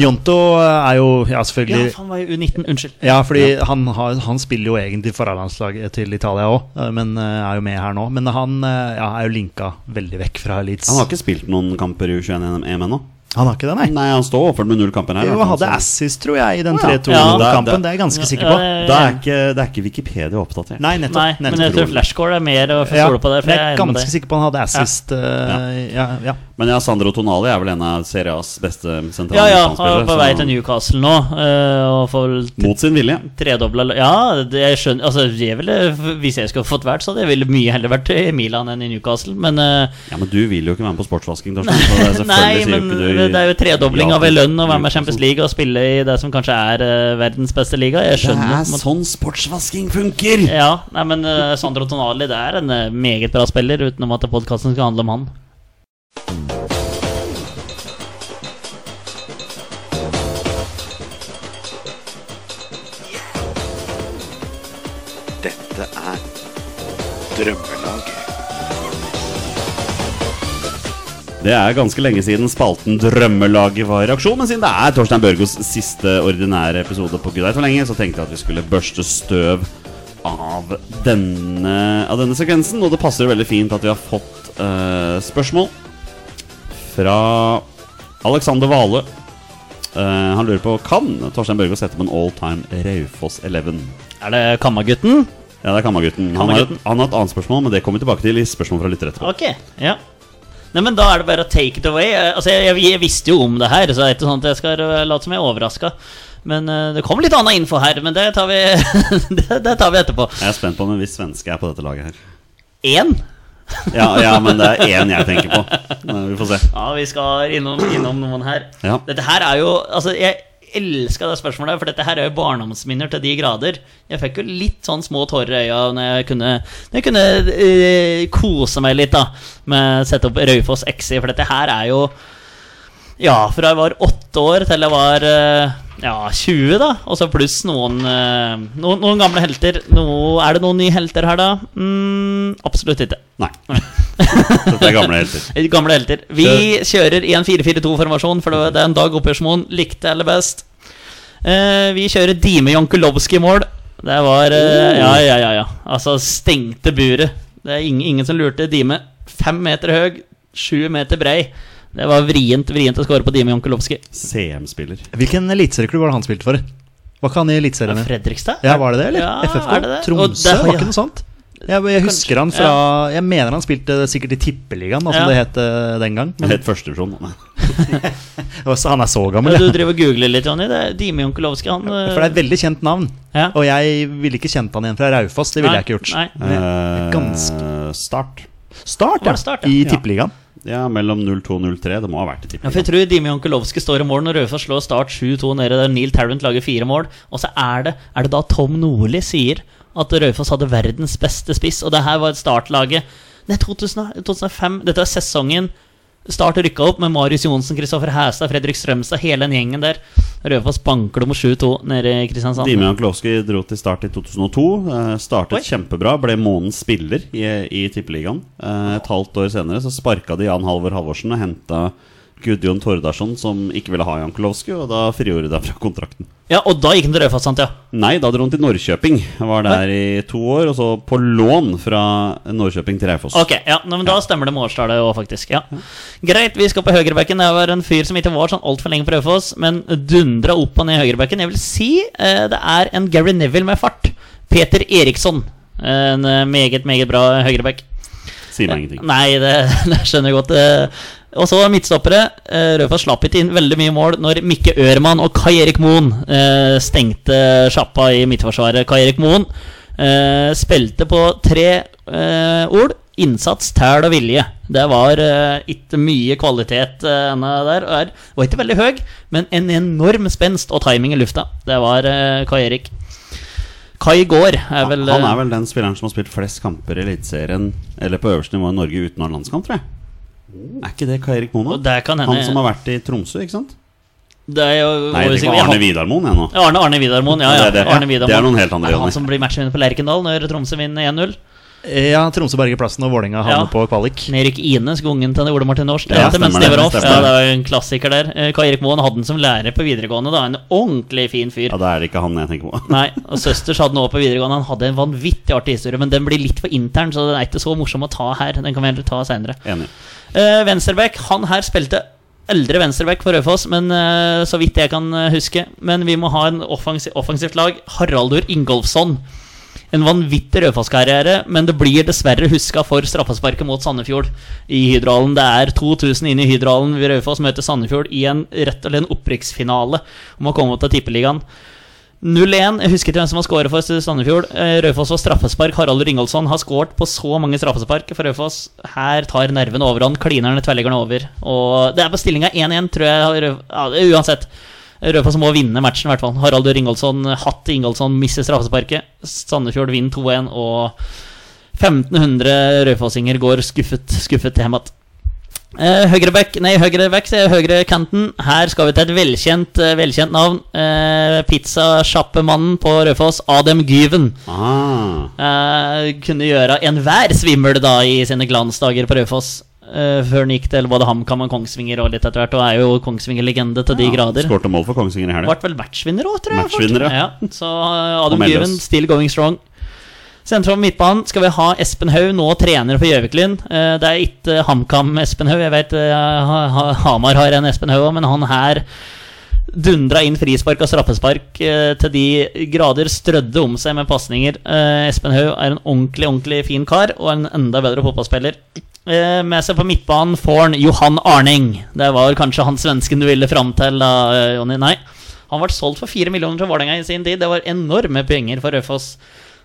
C: Njonto er jo ja,
A: Ja,
C: selvfølgelig
A: han var jo U19. Unnskyld.
C: Ja, fordi Han, har, han spiller jo egentlig for A-landslaget til Italia òg, men eh, er jo med her nå. Men han eh, ja, er jo linka veldig vekk fra Leeds.
B: Han har ikke spilt noen kamper i U21-EM ennå.
C: Han har ikke det, nei.
B: Nei, han står overført med null kamper her. i
C: Jo,
B: hvert fall,
C: hadde
B: så-
C: assist, tror jeg, i den
A: Ja.
C: 3-2-kampen.
B: Ja.
C: Det er jeg ganske sikker
A: Ja,
C: på.
A: ja, ja.
B: Da er ikke, det er ikke Wikipedia oppdatert.
C: Nei, nettopp.
A: Nei, men jeg tror flashcore er mer å stole på der. For
C: men jeg er
A: jeg er enig med
C: ganske
A: deg.
C: sikker på han hadde assist. eh, ja, ja.
B: Men ja, Sandro Tonali er vel en av Serie A's beste sentrale
A: Ja, ja, han
B: midtbanespillere,
A: er på
B: så-
A: vei til Newcastle nå. eh, Og får vel t-
B: Mot sin vilje.
A: tredobla lø- Ja, det, jeg skjønner altså, jeg ville, Hvis jeg skulle fått vært, så hadde jeg ville mye heller vært i Milan enn i Newcastle, men eh,
B: Ja, Men du vil jo ikke være med på sportsvasking. Torstein, så det er selvfølgelig
A: Nei,
B: sier
A: men
B: ikke du-
A: det det er jo tredobling
B: Ja,
A: av en lønn å være med i
B: Newcastle.
A: Champions League og spille i det som kanskje er eh, verdens beste liga. Jeg
B: Det
A: skjønner
B: er
A: at man-
B: sånn sportsvasking funker!
A: ja, nei, men eh, Sandro Tonali det er en eh, meget bra spiller, utenom at podkasten skal handle om han.
F: Dette er Drømmelaget.
B: Det er ganske lenge siden spalten Drømmelaget var i aksjon, men siden det er Torstein Børgos siste ordinære episode på Gud veit hvor lenge, så tenkte jeg at vi skulle børste støv av denne, av denne sekvensen. Og det passer jo veldig fint at vi har fått eh, spørsmål fra Alexander Vale. Eh, han lurer på kan Torstein Børgo sette opp en all time Raufoss 11.
A: Er det Kammagutten?
B: Ja, det er Kammagutten. Han, har et- han har et annet spørsmål, men det kommer vi tilbake til i spørsmål fra lytter etterpå.
A: Ok, ja Nei, men da er det bare å take it away Eh, Altså, jeg, jeg, jeg visste jo om det her Så det er ikke sånn at jeg skal eh, late som jeg er overrasket Men eh, det kom litt annen info her Men det tar vi, det, det tar vi etterpå
B: Jeg er spent på om en viss svenske er på dette laget her.
A: En?
B: Ja, ja, men det er én jeg tenker på. Nei, Vi får se.
A: Ja, vi skal innom, innom noen her
B: Ja.
A: Dette her er jo, altså jeg elsker det spørsmålet For dette her er jo barndomsminner til de grader Jeg fikk jo litt sånn små tårer i øya Når jeg kunne, når jeg kunne eh, kose meg litt da Med å sette opp Raufoss XI For dette her er jo Ja, fra jeg var åtte år til jeg var eh, ja, 20, da. Og så pluss noen, eh, noen, noen gamle helter. Noe, er det noen nye helter her, da? Mm, absolutt ikke.
B: Nei. Dette er gamle helter.
A: Eh, Gamle helter. Vi kjører i en 4-4-2-formasjon, for det- det er en Dag Oppersmoen likte aller best. Eh, vi kjører Dime Jankulovskij i mål. Det var
C: Oh.
A: eh, Ja, ja, ja. ja Altså, stengte buret. Det er ingen, ingen som lurte. Dime fem meter høy, sju meter brei. Det var vrient vrient å score på Dime Jankulovskij.
B: CM-spiller.
C: Hvilken eliteserieklubb var det han spilte for? Var ikke han i Eliteserien? igjen?
A: Fredrikstad?
C: Ja, var det det, eller?
A: Ja,
C: FFK?
A: er det det? Og
C: Tromsø?
A: det-
C: var ikke noe sånt? Jeg, jeg husker han fra Jeg mener han spilte sikkert i Tippeligaen, da, som
A: Ja.
C: det het eh, den gang. Men,
B: Het førstevisjon. Nei.
C: Og så han er så gammel,
A: Ja,
C: ja.
A: Du driver og googler litt, Jonny. Det er Dime Jankulovskij, han eh,
C: For det er et veldig kjent navn.
A: ja.
C: Og jeg ville ikke kjent han igjen fra Raufoss. Det ville jeg ikke gjort.
A: Nei, nei.
B: Eh,
C: ganske-
B: Start.
C: Start,
A: Var
C: ja.
A: det Start, ja?
C: I
B: Ja.
C: Tippeligaen.
B: Ja, mellom 02-03. Det må ha vært i
A: Ja, for jeg
B: tippeligaen.
A: tror Dimi Jankulovskij står i mål når Raufoss slår Start 7-2 nede der Neil Tarrant lager fire mål. Og så er det, er det da Tom Nordli sier at Raufoss hadde verdens beste spiss, og det her var startlaget Nei, 2000, 2005. Dette var sesongen Start rykka opp med Marius Johnsen, Kristoffer Hæstad, Fredrik Strømstad, hele den gjengen der. Raufoss banker dem 7-2 nede i Kristiansand.
B: Dime Jankulovskij dro til start i 2002. eh, Startet
A: Oi.
B: kjempebra, ble månedens spiller i, i tippeligaen. Eh, Et halvt år senere så sparka de Jan Halvor Halvorsen og henta Gudjon Tordarsson, som ikke ville ha Jankulovskij, og da frigjorde de fra kontrakten.
A: Ja, og da gikk han til Raufoss, sant? Ja.
B: Nei, da dro han til Norrköping. Han Var der i to år, og så på lån fra Norrköping til Raufoss.
A: Ok, ja, nei, men Da stemmer det med årstallet òg, faktisk. ja Greit, vi skal på høyrebekken. Det var en fyr som ikke var sånn altfor lenge på Raufoss, men dundra opp og ned i høyrebekken. Jeg vil si eh, det er en Gary Neville med fart. Peter Eriksson. En eh, meget, meget bra høyrebekk.
B: Sier meg ingenting.
A: Nei, det, det skjønner jeg godt. eh. Og så midtstoppere. Eh, Raufoss slapp ikke inn veldig mye mål når Mikke Ørman og Kai Erik Moen eh, stengte sjappa i midtforsvaret. Kai Erik Moen eh, spilte på tre eh, ord. Innsats, tæl og vilje. Det var eh, ikke mye kvalitet eh, ennå der. Og er, var ikke veldig høy, men en enorm spenst og timing i lufta. Det var eh, Kai Erik. Kai Gaard er vel eh,
B: Han er vel den spilleren som har spilt flest kamper i Eliteserien eller på øverste nivå i Norge uten å ha landskamp, tror jeg. Er ikke det Kai Erik Mono?
A: Oh. Og det kan hende-
B: Han som har vært i Tromsø, ikke sant?
A: det er jo,
B: Nei, det er ikke Arne Vidarmoen, jeg nå.
A: Ja, Arne, Arne Vidarmoen, ja, ja.
B: Det er det.
A: Arne
B: Ja, det er
A: Vidarmoen.
B: noen helt andre,
A: Det er
B: Jonny.
A: Han som blir matchvinner på Lerkendal når Tromsø vinner 1-0.
C: Ja, Tromsø berger plassen, og Vålerenga havner
A: Ja.
C: på kvalik.
A: Erik Ines, gungen til Ole Martin Årst.
B: Ja,
A: Ja, mens
B: stemmer
A: de
B: det,
A: var off.
B: stemmer
A: Ja,
B: det.
A: det er jo en klassiker der. Eh, Kai Erik Moen hadde den som lærer på videregående. Da. En ordentlig fin fyr.
B: Ja, det er det ikke han jeg tenker på.
A: Nei, og Søsters hadde den også på videregående. Han hadde en vanvittig artig historie, men den blir litt for intern, så den er ikke så morsom å ta her. Den kan vi heller ta seinere.
B: Enig.
A: Eh, Venstrebekk, han her spilte eldre venstrebekk for Raufoss, men eh, så vidt jeg kan eh, huske. Men vi må ha en offensi offensivt lag. Haraldur Ingolfsson. En vanvittig Raufoss-karriere, men det blir dessverre huska for straffesparket mot Sandefjord i Hydrohallen. Det er 2000 inne i Hydrohallen. Raufoss møter Sandefjord i en rett og slett en opprykksfinale om å komme opp til Tippeligaen. 0-1. Jeg husker ikke hvem som har skåret for Sandefjord. Eh, Raufoss får straffespark. Harald Ringoldsson har skåret på så mange straffespark for Raufoss. Her tar nervene overhånd. Klinerne tverrleggerne over. Og det er på stillinga 1-1, tror jeg. Rau- Ja, det er uansett. Raufoss må vinne matchen, i hvert fall. Harald Ringoldsson, hatt Ingoldsson, mister straffesparket. Sandefjord vinner 2-1, og 1500 Raufossinger går skuffet, skuffet hjem igjen. Eh, høyre back, nei, høyre back, sier jeg, høyre kanten. Her skal vi til et velkjent, eh, velkjent navn. Eh, Pizzasjappemannen på Raufoss, Adem Gyven.
B: Ah,
A: Eh, kunne gjøre enhver svimmel da i sine glansdager på Raufoss. Eh, før han gikk til både HamKam og Kongsvinger og litt etter hvert, og er jo Kongsvinger-legende til de grader.
B: Skårte mål for Kongsvinger i helga.
A: Vart vel matchvinner òg, tror jeg.
B: Matchvinner,
A: faktisk.
B: ja.
A: ja. Så eh,
B: Og
A: Adam
B: Melløs.
A: Gyven, still going strong. Sentrum midtbanen skal vi ha Espen Haug, nå trener for Gjøviklyn. Eh, Det er ikke HamKam Espen Haug. Jeg vet eh, Ha- Ha- Hamar har en Espen Haug òg, men han her dundra inn frispark og straffespark eh, til de grader strødde om seg med pasninger. Eh, Espen Haug er en ordentlig, ordentlig fin kar, og en enda bedre fotballspiller. Eh, med seg på midtbanen får han Johan Arning. Det var kanskje han svensken du ville fram til, da, eh, Jonny? Nei. Han ble solgt for fire millioner til Vålerenga i sin tid. Det var enorme penger for Raufoss,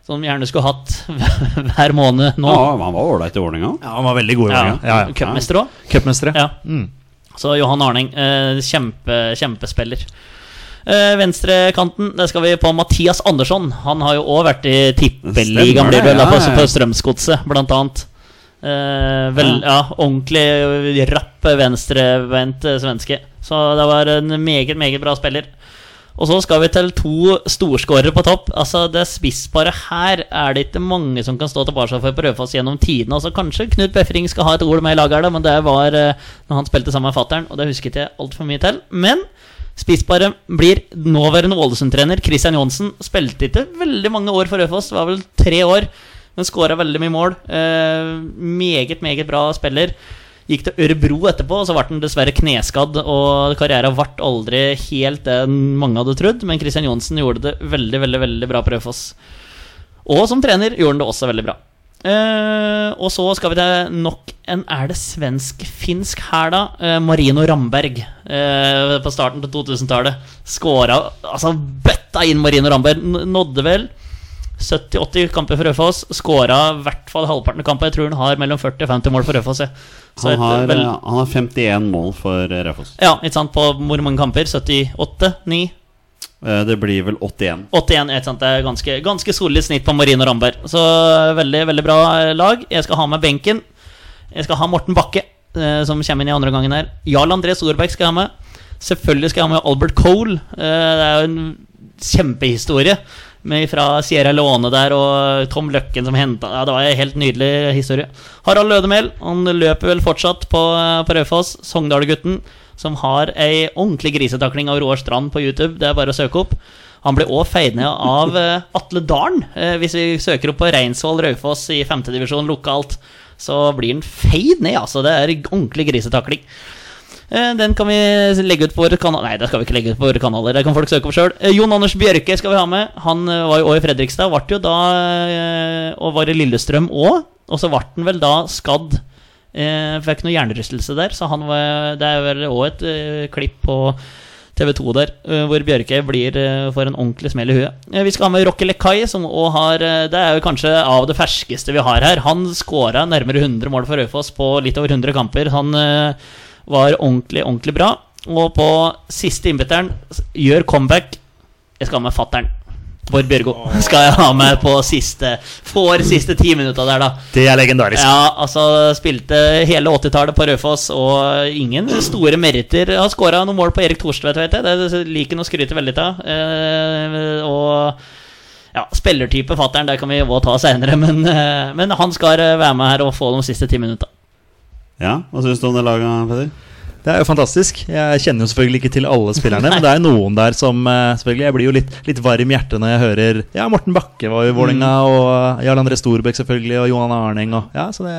A: som gjerne skulle hatt hver måned nå.
B: Ja, han var ålreit i Vålerenga.
C: Ja, han var veldig god i
A: Ja,
C: Vålerenga. Ja, ja.
A: Cupmester òg.
C: Cupmestere.
A: Ja.
C: Mm.
A: Så Johan Arning, eh, kjempe, kjempespiller. Eh, Venstrekanten, der skal vi på Mathias Andersson. Han har jo òg vært i tippeligaen,
B: Stemmer det,
A: blir det vel, da,
B: ja,
A: på,
B: ja.
A: på Strømsgodset, blant annet. Eh, vel, ja. ordentlig eh, rapp venstrevendt eh, svenske. Så det var en meget, meget bra spiller. Og så skal vi til to storskårere på topp. Altså Det spissparet her er det ikke mange som kan stå tilbake for på Raufoss gjennom tidene. Altså, kanskje Knut Befring skal ha et ord med i laget, her da, men det var eh, når han spilte sammen med fattern, og det husket jeg altfor mye til. Men spissparet blir nåværende Ålesund-trener Christian Johnsen. Spilte ikke veldig mange år for Raufoss, det var vel tre år, men skåra veldig mye mål. Eh, meget, meget bra spiller. Gikk til Ørebro etterpå, og så ble han dessverre kneskadd. Og karrieren ble aldri helt det mange hadde trodd, men Christian Johnsen gjorde det veldig veldig, veldig bra på Raufoss. Og som trener gjorde han det også veldig bra. Eh, og så skal vi til nok en Er det svensk-finsk her, da? Eh, Marino Ramberg eh, på starten på 2000-tallet. Skåra Altså, bøtta inn Marino Ramberg. N- Nådde vel 70-80 kamper for Raufoss. Skåra i hvert fall halvparten av kampene. Jeg tror han har mellom 40 og 50 mål for Raufoss. jeg. Så et
B: Han har,
A: vel-
B: eh, han har 51 mål for eh, Raufoss.
A: ja, ikke sant, på hvor mange kamper? 78? 9?
B: Eh, Det blir vel 81.
A: 81, ikke sant, det er ganske, ganske solid snitt på Marino Ramberg. Så veldig, veldig bra eh, lag. Jeg skal ha med benken. Jeg skal ha Morten Bakke, eh, som kommer inn i andre gangen her. Jarl André Storberg skal jeg ha med. Selvfølgelig skal jeg ha med Albert Cole. Eh, det er jo en kjempehistorie med fra Sierra Leone der, og Tom Løkken som henta ja, Det var en helt nydelig historie. Harald Lødemel, han løper vel fortsatt på, eh, på Raufoss. Sogndal-gutten, som har ei ordentlig grisetakling av Roar Strand på YouTube. Det er bare å søke opp. Han ble òg feid ned av eh, Atle Dalen. Eh, hvis vi søker opp på Reinsvoll Raufoss i femtedivisjon lokalt, så blir han feid ned, altså. Det er ordentlig grisetakling. Eh, Den kan vi legge ut på våre kanaler Nei, det skal vi ikke legge ut på våre kanaler. Det kan folk søke opp sjøl. Jon Anders Bjørke skal vi ha med. Han eh, var jo også i Fredrikstad. Vart jo da eh, Og var i Lillestrøm òg. Og så ble han vel da skadd. Eh, Fikk noe hjernerystelse der, så han var Det er vel òg et eh, klipp på TV2 der, eh, hvor Bjørke blir eh, får en ordentlig smell i huet. Eh, Vi skal ha med Rocky Lekai, som også har eh, Det er jo kanskje av det ferskeste vi har her. Han skåra nærmere 100 mål for Raufoss på litt over 100 kamper. Han eh, var ordentlig, ordentlig bra. Og på siste innbytteren s- gjør comeback. Jeg skal ha med fattern. Bård Bjørgo skal jeg ha med på siste Får siste ti minutta der, da.
C: Det er legendarisk.
A: Ja, altså Spilte hele 80-tallet på Raufoss, og ingen store meritter. Har skåra noen mål på Erik Thorstvedt, vet jeg. Det liker han å skryte veldig av. Eh, og ja, spillertype, fatter'n, det kan vi òg ta seinere. Men, eh, men han skal eh, være med her og få de siste ti minutta.
B: Ja, Hva syns du om det laget, Peder?
C: Det er jo fantastisk. Jeg kjenner jo selvfølgelig ikke til alle spillerne, men det er jo noen der som eh, selvfølgelig Jeg blir jo litt, litt varm i hjertet når jeg hører Ja, Morten Bakke var jo i Vålerenga,
A: Mm.
C: og Jarl André Storbekk selvfølgelig, og Johan Arning og Ja, så det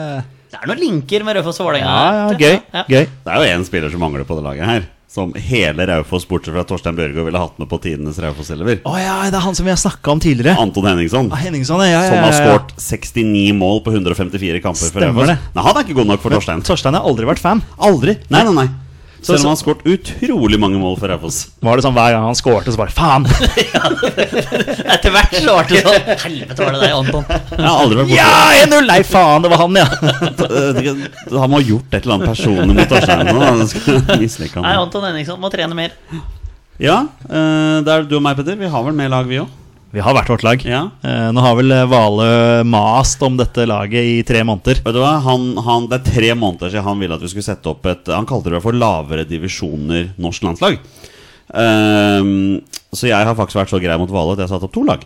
A: Det er noen linker med Raufoss og Vålerenga.
C: Ja, ja,
A: her.
C: gøy.
A: Ja.
C: Gøy.
B: Det er jo én spiller som mangler på det laget her. Som hele Raufoss, bortsett fra Torstein Bjørgo, ville hatt med på tidenes Raufoss-elever.
C: Å ja, det er han som vi har snakka om tidligere.
B: Anton Henningson.
C: Ah, Henningson, ja, ja, ja,
B: Som har
C: ja, ja.
B: skåret 69 mål på 154 kamper for
C: Stemmer
B: Raufoss.
C: det.
B: Nei, han er ikke god nok for Torstein.
C: Men Torstein har aldri vært fan.
B: Aldri. Nei, nei, nei.
C: Så-
B: Selv om han har skåret utrolig mange mål for Raufoss.
C: Var det sånn hver gang han skårte, så bare faen!
A: Etter hvert så ble det sånn. Helvete, var det deg, Anton?
B: Jeg har aldri vært borte.
C: Ja, 1-0! Nei, faen, det var han, ja!
B: Eh, Han må ha gjort et eller annet personlig mot Torstein. nå, da. Jeg skal mislike
A: Nei,
B: han.
A: Anton Henningson må trene mer.
B: Ja, eh, det er du og meg, Petter. Vi har vel med lag, vi òg?
C: Vi har hvert vårt lag.
B: Ja.
C: Eh, nå har vel eh, Vale mast om dette laget i tre måneder.
B: Vet du hva? Han, han, det er tre måneder siden han ville at vi skulle sette opp et Han kalte det for lavere divisjoner norsk landslag. Ehm, så jeg har faktisk vært så grei mot Hvale at jeg har satt opp to lag.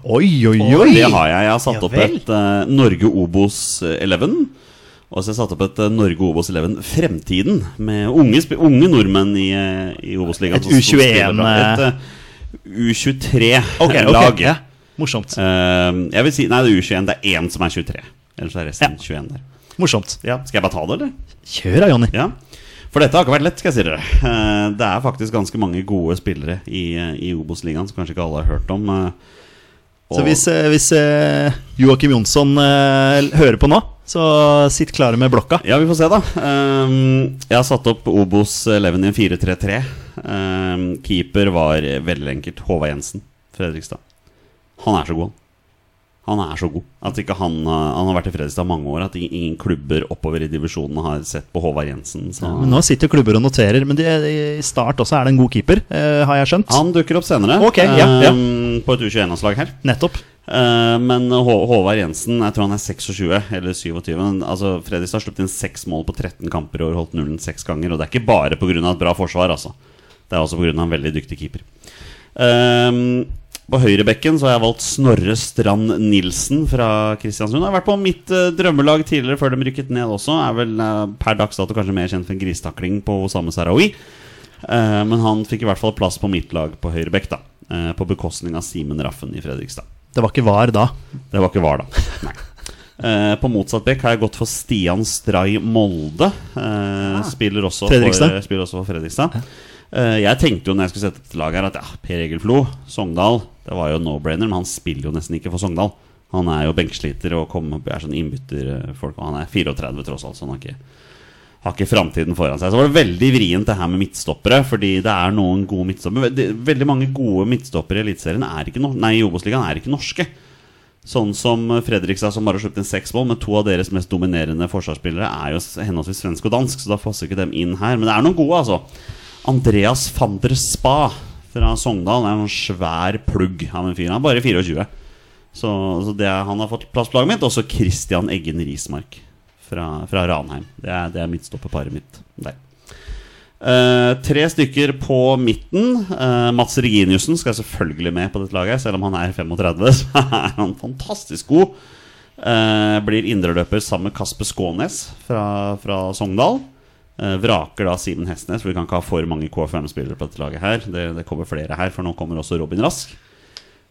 C: Oi, oi,
B: Og Det har jeg. Jeg har satt
A: Ja
B: opp
A: vel.
B: et eh, Norge Obos 11. Og så har jeg satt opp et eh, Norge Obos 11 Fremtiden, med unge, sp- unge nordmenn i, eh, i
C: Et
B: Obos-ligaen. som- som spiller
C: U21,
B: bra. Et eh,
C: Ok, ok,
B: U23-lag.
C: ja. Morsomt.
B: Ehm, jeg vil si Nei, det er U21. Det er én som er 23. Ellers er resten 21 der.
C: Morsomt.
B: Skal jeg bare ta det, eller?
C: Kjør da, Jonny.
B: Ja. For dette har ikke vært lett, skal jeg si dere. Eh, Det er faktisk ganske mange gode spillere i, eh, i Obos-ligaen som kanskje ikke alle har hørt om. eh,
C: Så
B: og-
C: hvis, eh, hvis eh, Joakim Jonsson eh, hører på nå, så sitt klare med blokka.
B: Ja, vi får se, da. Ehm, jeg har satt opp Obos 11 i en 4-3-3. Ehm, keeper var veldig enkelt Håvard Jensen Fredrikstad. Han er så god, han. Han er så god. At ikke han, eh, han har vært i Fredrikstad mange år. At ingen- ingen klubber oppover i divisjonen har sett på Håvard Jensen. Så.
C: Men nå sitter klubber og noterer, men de, i start også er det en god keeper, eh, har jeg skjønt.
B: han dukker opp senere,
C: Ok, ja, ja.
B: ehm, på et U21-landslag her.
C: Nettopp.
B: Eh, men Hå Håvard Jensen, jeg tror han er 26 eller 27. Men, altså, Fredrikstad har sluppet inn seks mål på 13 kamper i år, holdt nullen seks ganger. Og det er ikke bare pga. et bra forsvar, altså. Det er også pga. en veldig dyktig keeper. Ehm, på høyrebekken så har jeg valgt Snorre Strand Nilsen fra Kristiansund. Jeg har vært på mitt eh, drømmelag tidligere, før de rykket ned også. Er vel eh, per dags dato kanskje mer kjent for en gristakling på Osame Sarawi. Eh, men han fikk i hvert fall plass på mitt lag på høyrebekk, da. eh, på bekostning av Simen Raffen i Fredrikstad.
C: Det var ikke var da.
B: Det var ikke VAR, da. Nei. Eh, på motsatt bekk har jeg gått for Stian Stray Molde. Eh, spiller, også for,
C: Fredrikstad.
B: spiller også for Fredrikstad. Eh, jeg tenkte jo når jeg skulle sette et lag her, at ja, Per Egil Flo, Sogndal Det var jo no-brainer, men han spiller jo nesten ikke for Sogndal. Han er jo benkesliter og kommer, er sånn innbytterfolk. Og han er 34 tross alt, så han har ikke har ikke framtiden foran seg. Så var det veldig vrient det her med midtstoppere, fordi det er noen gode midtstoppere. Veldig, veldig mange gode midtstoppere i Eliteserien er ikke no Nei, i Obos-ligaen er ikke norske. Sånn som Fredrikstad, som bare har sluppet inn seks mål, men to av deres mest dominerende forsvarsspillere er jo s- henholdsvis svensk og dansk, så da passer ikke dem inn her. Men det er noen gode, altså. Andreas van der Spa fra Sogndal er en svær plugg av en fyr. Han er bare 24. Så, så det er, han har fått plass på laget mitt. Også Christian Eggen Rismark fra, fra Ranheim. Det er, det er midtstopperparet mitt der. Eh, tre stykker på midten. Eh, Mats Reginiussen skal selvfølgelig med på dette laget. Selv om han er 35, så er han fantastisk god. Eh, blir indreløper sammen med Kasper Skånes fra, fra Sogndal. Eh, vraker da Simen Hestnes, for vi kan ikke ha for mange KFM-spillere på dette laget her. Det, det kommer flere her, for nå kommer også Robin Rask.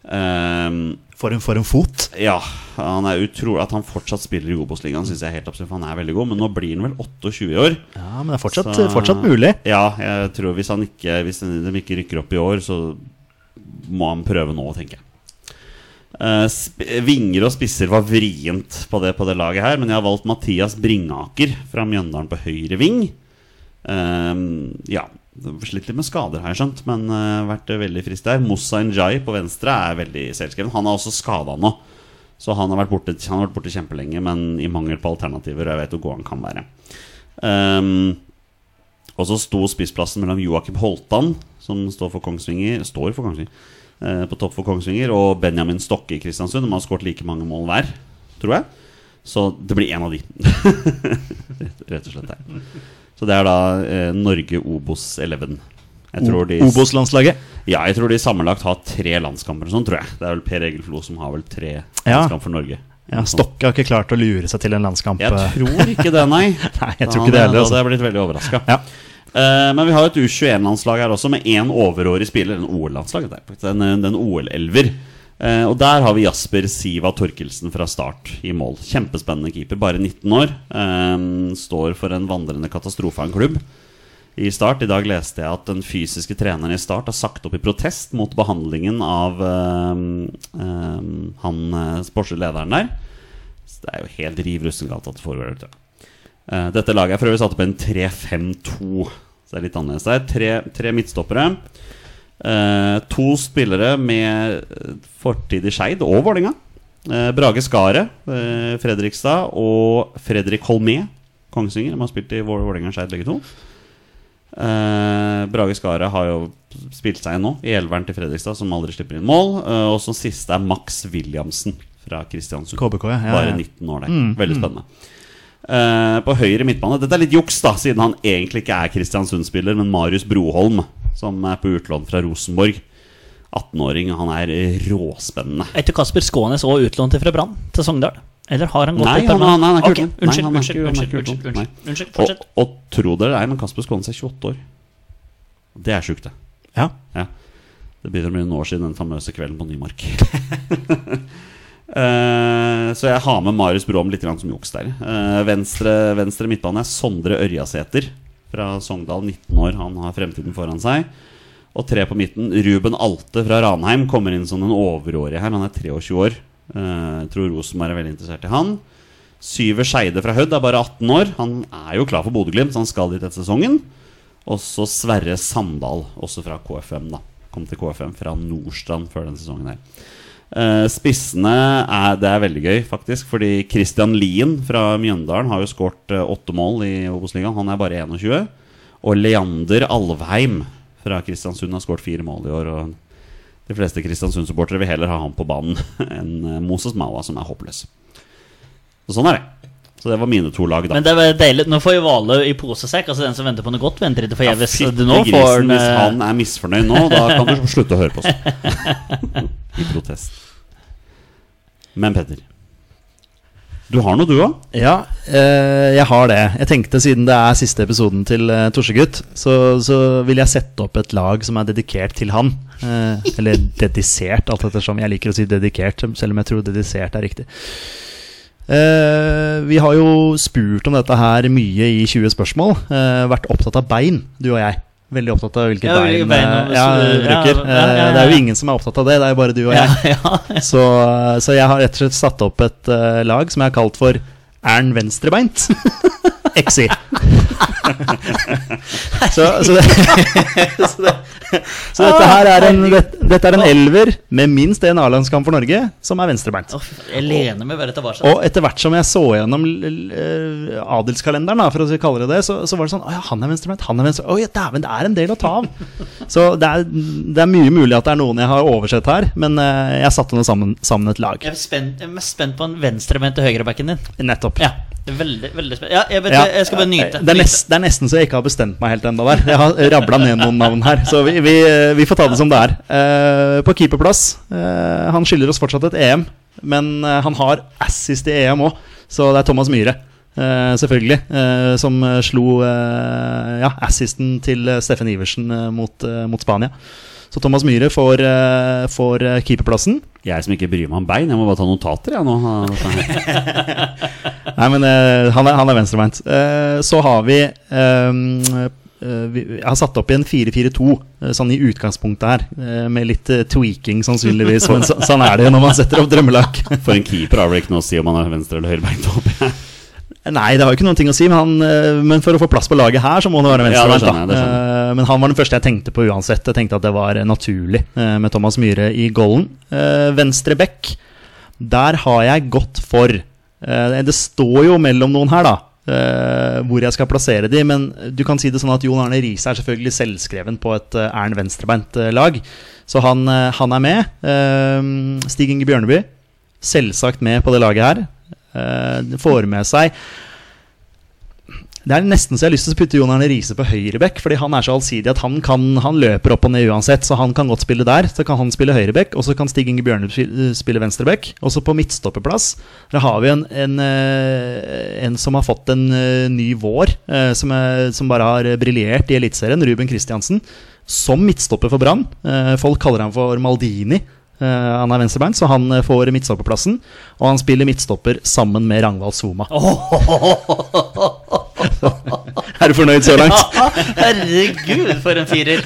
B: Eh,
C: For en, for en fot.
B: ja, han er utrolig At han fortsatt spiller i Obos-ligaen, syns jeg er helt absurd. For han er veldig god, men nå blir han vel 28 i år.
C: Ja, men det er fortsatt,
B: Så-
C: fortsatt mulig.
B: Ja, jeg tror hvis, han ikke, hvis de ikke rykker opp i år, så må han prøve nå, tenker jeg. Eh, sp vinger og spisser var vrient på det, på det laget her, men jeg har valgt Mathias Bringaker fra Mjøndalen på høyre ving. Ehm, ja, slitt litt med skader, har jeg skjønt, men eh, vært eh, veldig frisk der. Moussa Njay på venstre er veldig selvskreven. Han er også skada nå, så han har vært borte, han har vært borte kjempelenge, men i mangel på alternativer, og jeg vet hvor god han kan være. Ehm, og så sto spissplassen mellom Joakim Holtan, som står for Kongsvinger Står for Kongsvinger eh, på topp for Kongsvinger. Og Benjamin Stokke i Kristiansund. De har skåret like mange mål hver, tror jeg. Så det blir én av de. rett, rett og slett. Der. Så det er da eh, Norge Obos 11. Jeg tror de
C: Obos-landslaget.
B: ja, jeg tror de sammenlagt har tre landskamper. og Sånn, tror jeg. Det er vel Per Egil Flo som har vel tre
C: Ja.
B: landskamper for Norge.
C: Ja, Stokke har ikke klart å lure seg til en landskamp.
B: Jeg
C: eh.
B: tror ikke det, nei.
C: Nei, jeg tror ikke det heller.
B: Da
C: Altså.
B: hadde jeg blitt veldig overraska.
C: Ja.
B: men vi har et U21-landslag her også, med én overårig spiller. En OL-landslag, det er faktisk en, en OL-elver. Eh, og der har vi Jasper Siva Torkelsen fra start i mål. Kjempespennende keeper, bare 19 år. Eh, står for en vandrende katastrofe av en klubb i Start. I dag leste jeg at den fysiske treneren i Start har sagt opp i protest mot behandlingen av øhm, øhm, han eh, sportslige lederen der. Så det er jo helt riv russengalt at det foregår der ute. Eh, dette laget er for øvrig satt opp en 3-5-2, så det er litt annerledes der. Tre, tre midtstoppere. eh, to spillere med eh, fortid i Skeid og Vålerenga. Eh, Brage Skaret, eh, Fredrikstad, og Fredrik Holmé, Kongsvinger. De har spilt i Vå- Vålerenga og Skeid begge to. Eh, Brage Skaret har jo spilt seg inn nå, i elveren til Fredrikstad, som aldri slipper inn mål. Eh, og som siste er Max Williamsen fra Kristiansund.
C: KBK, ja, ja, ja. Mm,
B: Bare 19 år der. Veldig spennende. Eh, på høyre midtbane Dette er litt juks, da, siden han egentlig ikke er Kristiansund-spiller, men Marius Broholm, som er på utlån fra Rosenborg. 18-åring, han er råspennende.
A: Er ikke Kasper Skånes òg utlånt fra Brann til Sogndal? Eller har han gått
B: Nei,
A: til
B: han- han- han er ikke
A: Ok,
B: utlånt. Nei,
A: Unnskyld,
B: han er ikke-
A: unnskyld,
B: han er
A: unnskyld,
B: ikke
A: unnskyld,
B: utlånt. Nei.
A: unnskyld, unnskyld.
B: Og,
A: Fortsett.
B: og tro dere det er, men Kasper Skånes er 28 år. Det er sjukt, det.
C: Ja.
B: Ja. Det begynner å bli noen år siden den famøse kvelden på Nymark. Eh, så jeg har med Marius Bråm litt grann som juks der. Eh, venstre, venstre midtbane er Sondre Ørjasæter fra Sogndal, 19 år. Han har fremtiden foran seg. Og tre på midten. Ruben Alte fra Ranheim kommer inn som den overårige her. Han er 23 år. Eh, tror Rosenborg er veldig interessert i han. Syver Skeide fra Hødd er bare 18 år. Han er jo klar for Bodø-Glimt, så han skal dit etter sesongen. Og så Sverre Sandal, også fra KFM, da. Kom til KFM fra Nordstrand før denne sesongen her. Eh, spissene er, det er veldig gøy, faktisk. Fordi Christian Lien fra Mjøndalen har jo skåret eh, åtte mål i Obos-ligaen. Han er bare 21. Og Leander Alvheim fra Kristiansund har skåret fire mål i år. Og de fleste Kristiansund-supportere vil heller ha han på banen enn eh, Moses Mawa, som er håpløs. Så sånn er det. Så det var mine to lag, da.
A: Men det er vel deilig. Nå får jo Hvale i posesekk. Altså Den som venter på noe godt, venter
B: Ja,
A: ikke forgjeves.
B: fytti
A: Du nå
B: grisen,
A: får han,
B: Hvis
A: eh,
B: han er misfornøyd nå, da kan du slutte å høre på oss. I protest. Men Petter, du har noe du òg?
C: Ja, eh, jeg har det. Jeg tenkte Siden det er siste episoden til eh, Torsegutt, så, så vil jeg sette opp et lag som er dedikert til han. Eh, eller dedisert, alt ettersom. Jeg liker å si dedikert, selv om jeg tror dedisert er riktig. Eh, vi har jo spurt om dette her mye i 20 spørsmål. Eh, vært opptatt av bein, du og jeg. Veldig opptatt av hvilke
A: Ja,
C: bein,
A: hvilke bein
C: eh,
A: og-
C: ja,
A: ja,
C: bruker.
A: ja, ja, ja,
C: Eh, det er
A: ja.
C: jo ingen som er opptatt av det, det er jo bare du og jeg.
A: ja, ja.
C: Så, så jeg har rett og slett satt opp et eh, lag som jeg har kalt for Ern venstrebeint. Exi. så, så, det, så, det, så dette her er en, det, dette er en elver med minst en A-landskamp for Norge, som er venstrebeint.
A: Å, fy faen, Jeg lener meg bare tilbake.
C: Og etter hvert som jeg så gjennom l- l- eh, adelskalenderen, da, for å kalle det det, så, så var det sånn Å ja, han er venstrebeint, han er venstre... Oi, dæven, det er en del å ta av. Så det er, det er mye mulig at det er noen jeg har oversett her, men eh, jeg satte nå sammen, sammen et lag.
A: Jeg er, spent, jeg er mest spent på en venstrebeint til høyrebacken din.
C: Nettopp.
A: Ja, veldig, veldig spent. Ja, jeg, vet,
C: Ja.
A: det, jeg skal bare nyte.
C: Det er, nest, det er nesten så jeg ikke har bestemt meg helt ennå der. Jeg har rabla ned noen navn her, så vi, vi, vi får ta det som det er. Eh, på keeperplass eh, Han skylder oss fortsatt et EM, men eh, han har assist i EM òg, så det er Thomas Myhre. eh, selvfølgelig. eh, som eh, slo eh, ja, assisten til eh, Steffen Iversen eh, mot, eh, mot Spania. Så Thomas Myhre får, eh, får eh, keeperplassen.
B: Jeg som ikke bryr meg om bein. Jeg må bare ta notater, jeg nå.
C: Nei, men eh, han er, han er venstrebeint. Eh, så har vi eh, eh, vi- Jeg har satt opp i en 4-4-2, eh, sånn i utgangspunktet her. eh, med litt eh, tweaking, sannsynligvis. Men så, sånn er det jo når man setter opp drømmelag.
B: For en keeper har vel ikke noe å si om han er venstre- eller høyrebeint. håper jeg.
C: Nei, det har jo ikke noen ting å si, men, han, eh, men for å få plass på laget her, så må han være
B: Ja, det
C: venstrebeint.
B: skjønner jeg, det
C: da. Eh, men han var den første jeg tenkte på uansett. Jeg tenkte at det var eh, naturlig eh, med Thomas Myhre i golden. Eh, venstre back, der har jeg gått for eh, Det står jo mellom noen her, da. eh, hvor jeg skal plassere de, men du kan si det sånn at Jon Arne Riise er selvfølgelig selvskreven på et eh, Ern venstrebeint eh, lag. Så han, eh, han er med. Eh, Stig Inge Bjørneby, selvsagt med på det laget her. Eh, får med seg det er nesten så jeg har lyst til å putte Jon Arne Riise på høyrebekk, fordi han er så allsidig at han, kan, han løper opp og ned uansett, så han kan godt spille der. Så kan han spille høyrebekk, og så kan Stig Inge Bjørnum eh, spille venstrebekk. Og så på midtstopperplass der har vi en, en, eh, en som har fått en eh, ny vår, eh, som, er, som bare har briljert i Eliteserien, Ruben Kristiansen. Som midtstopper for Brann. Eh, Folk kaller ham for Maldini. Eh, Han er venstrebeint, så han eh, får midtstopperplassen. Og han spiller midtstopper sammen med Ragnvald Soma. Er du fornøyd så langt?
A: Herregud, for en firer!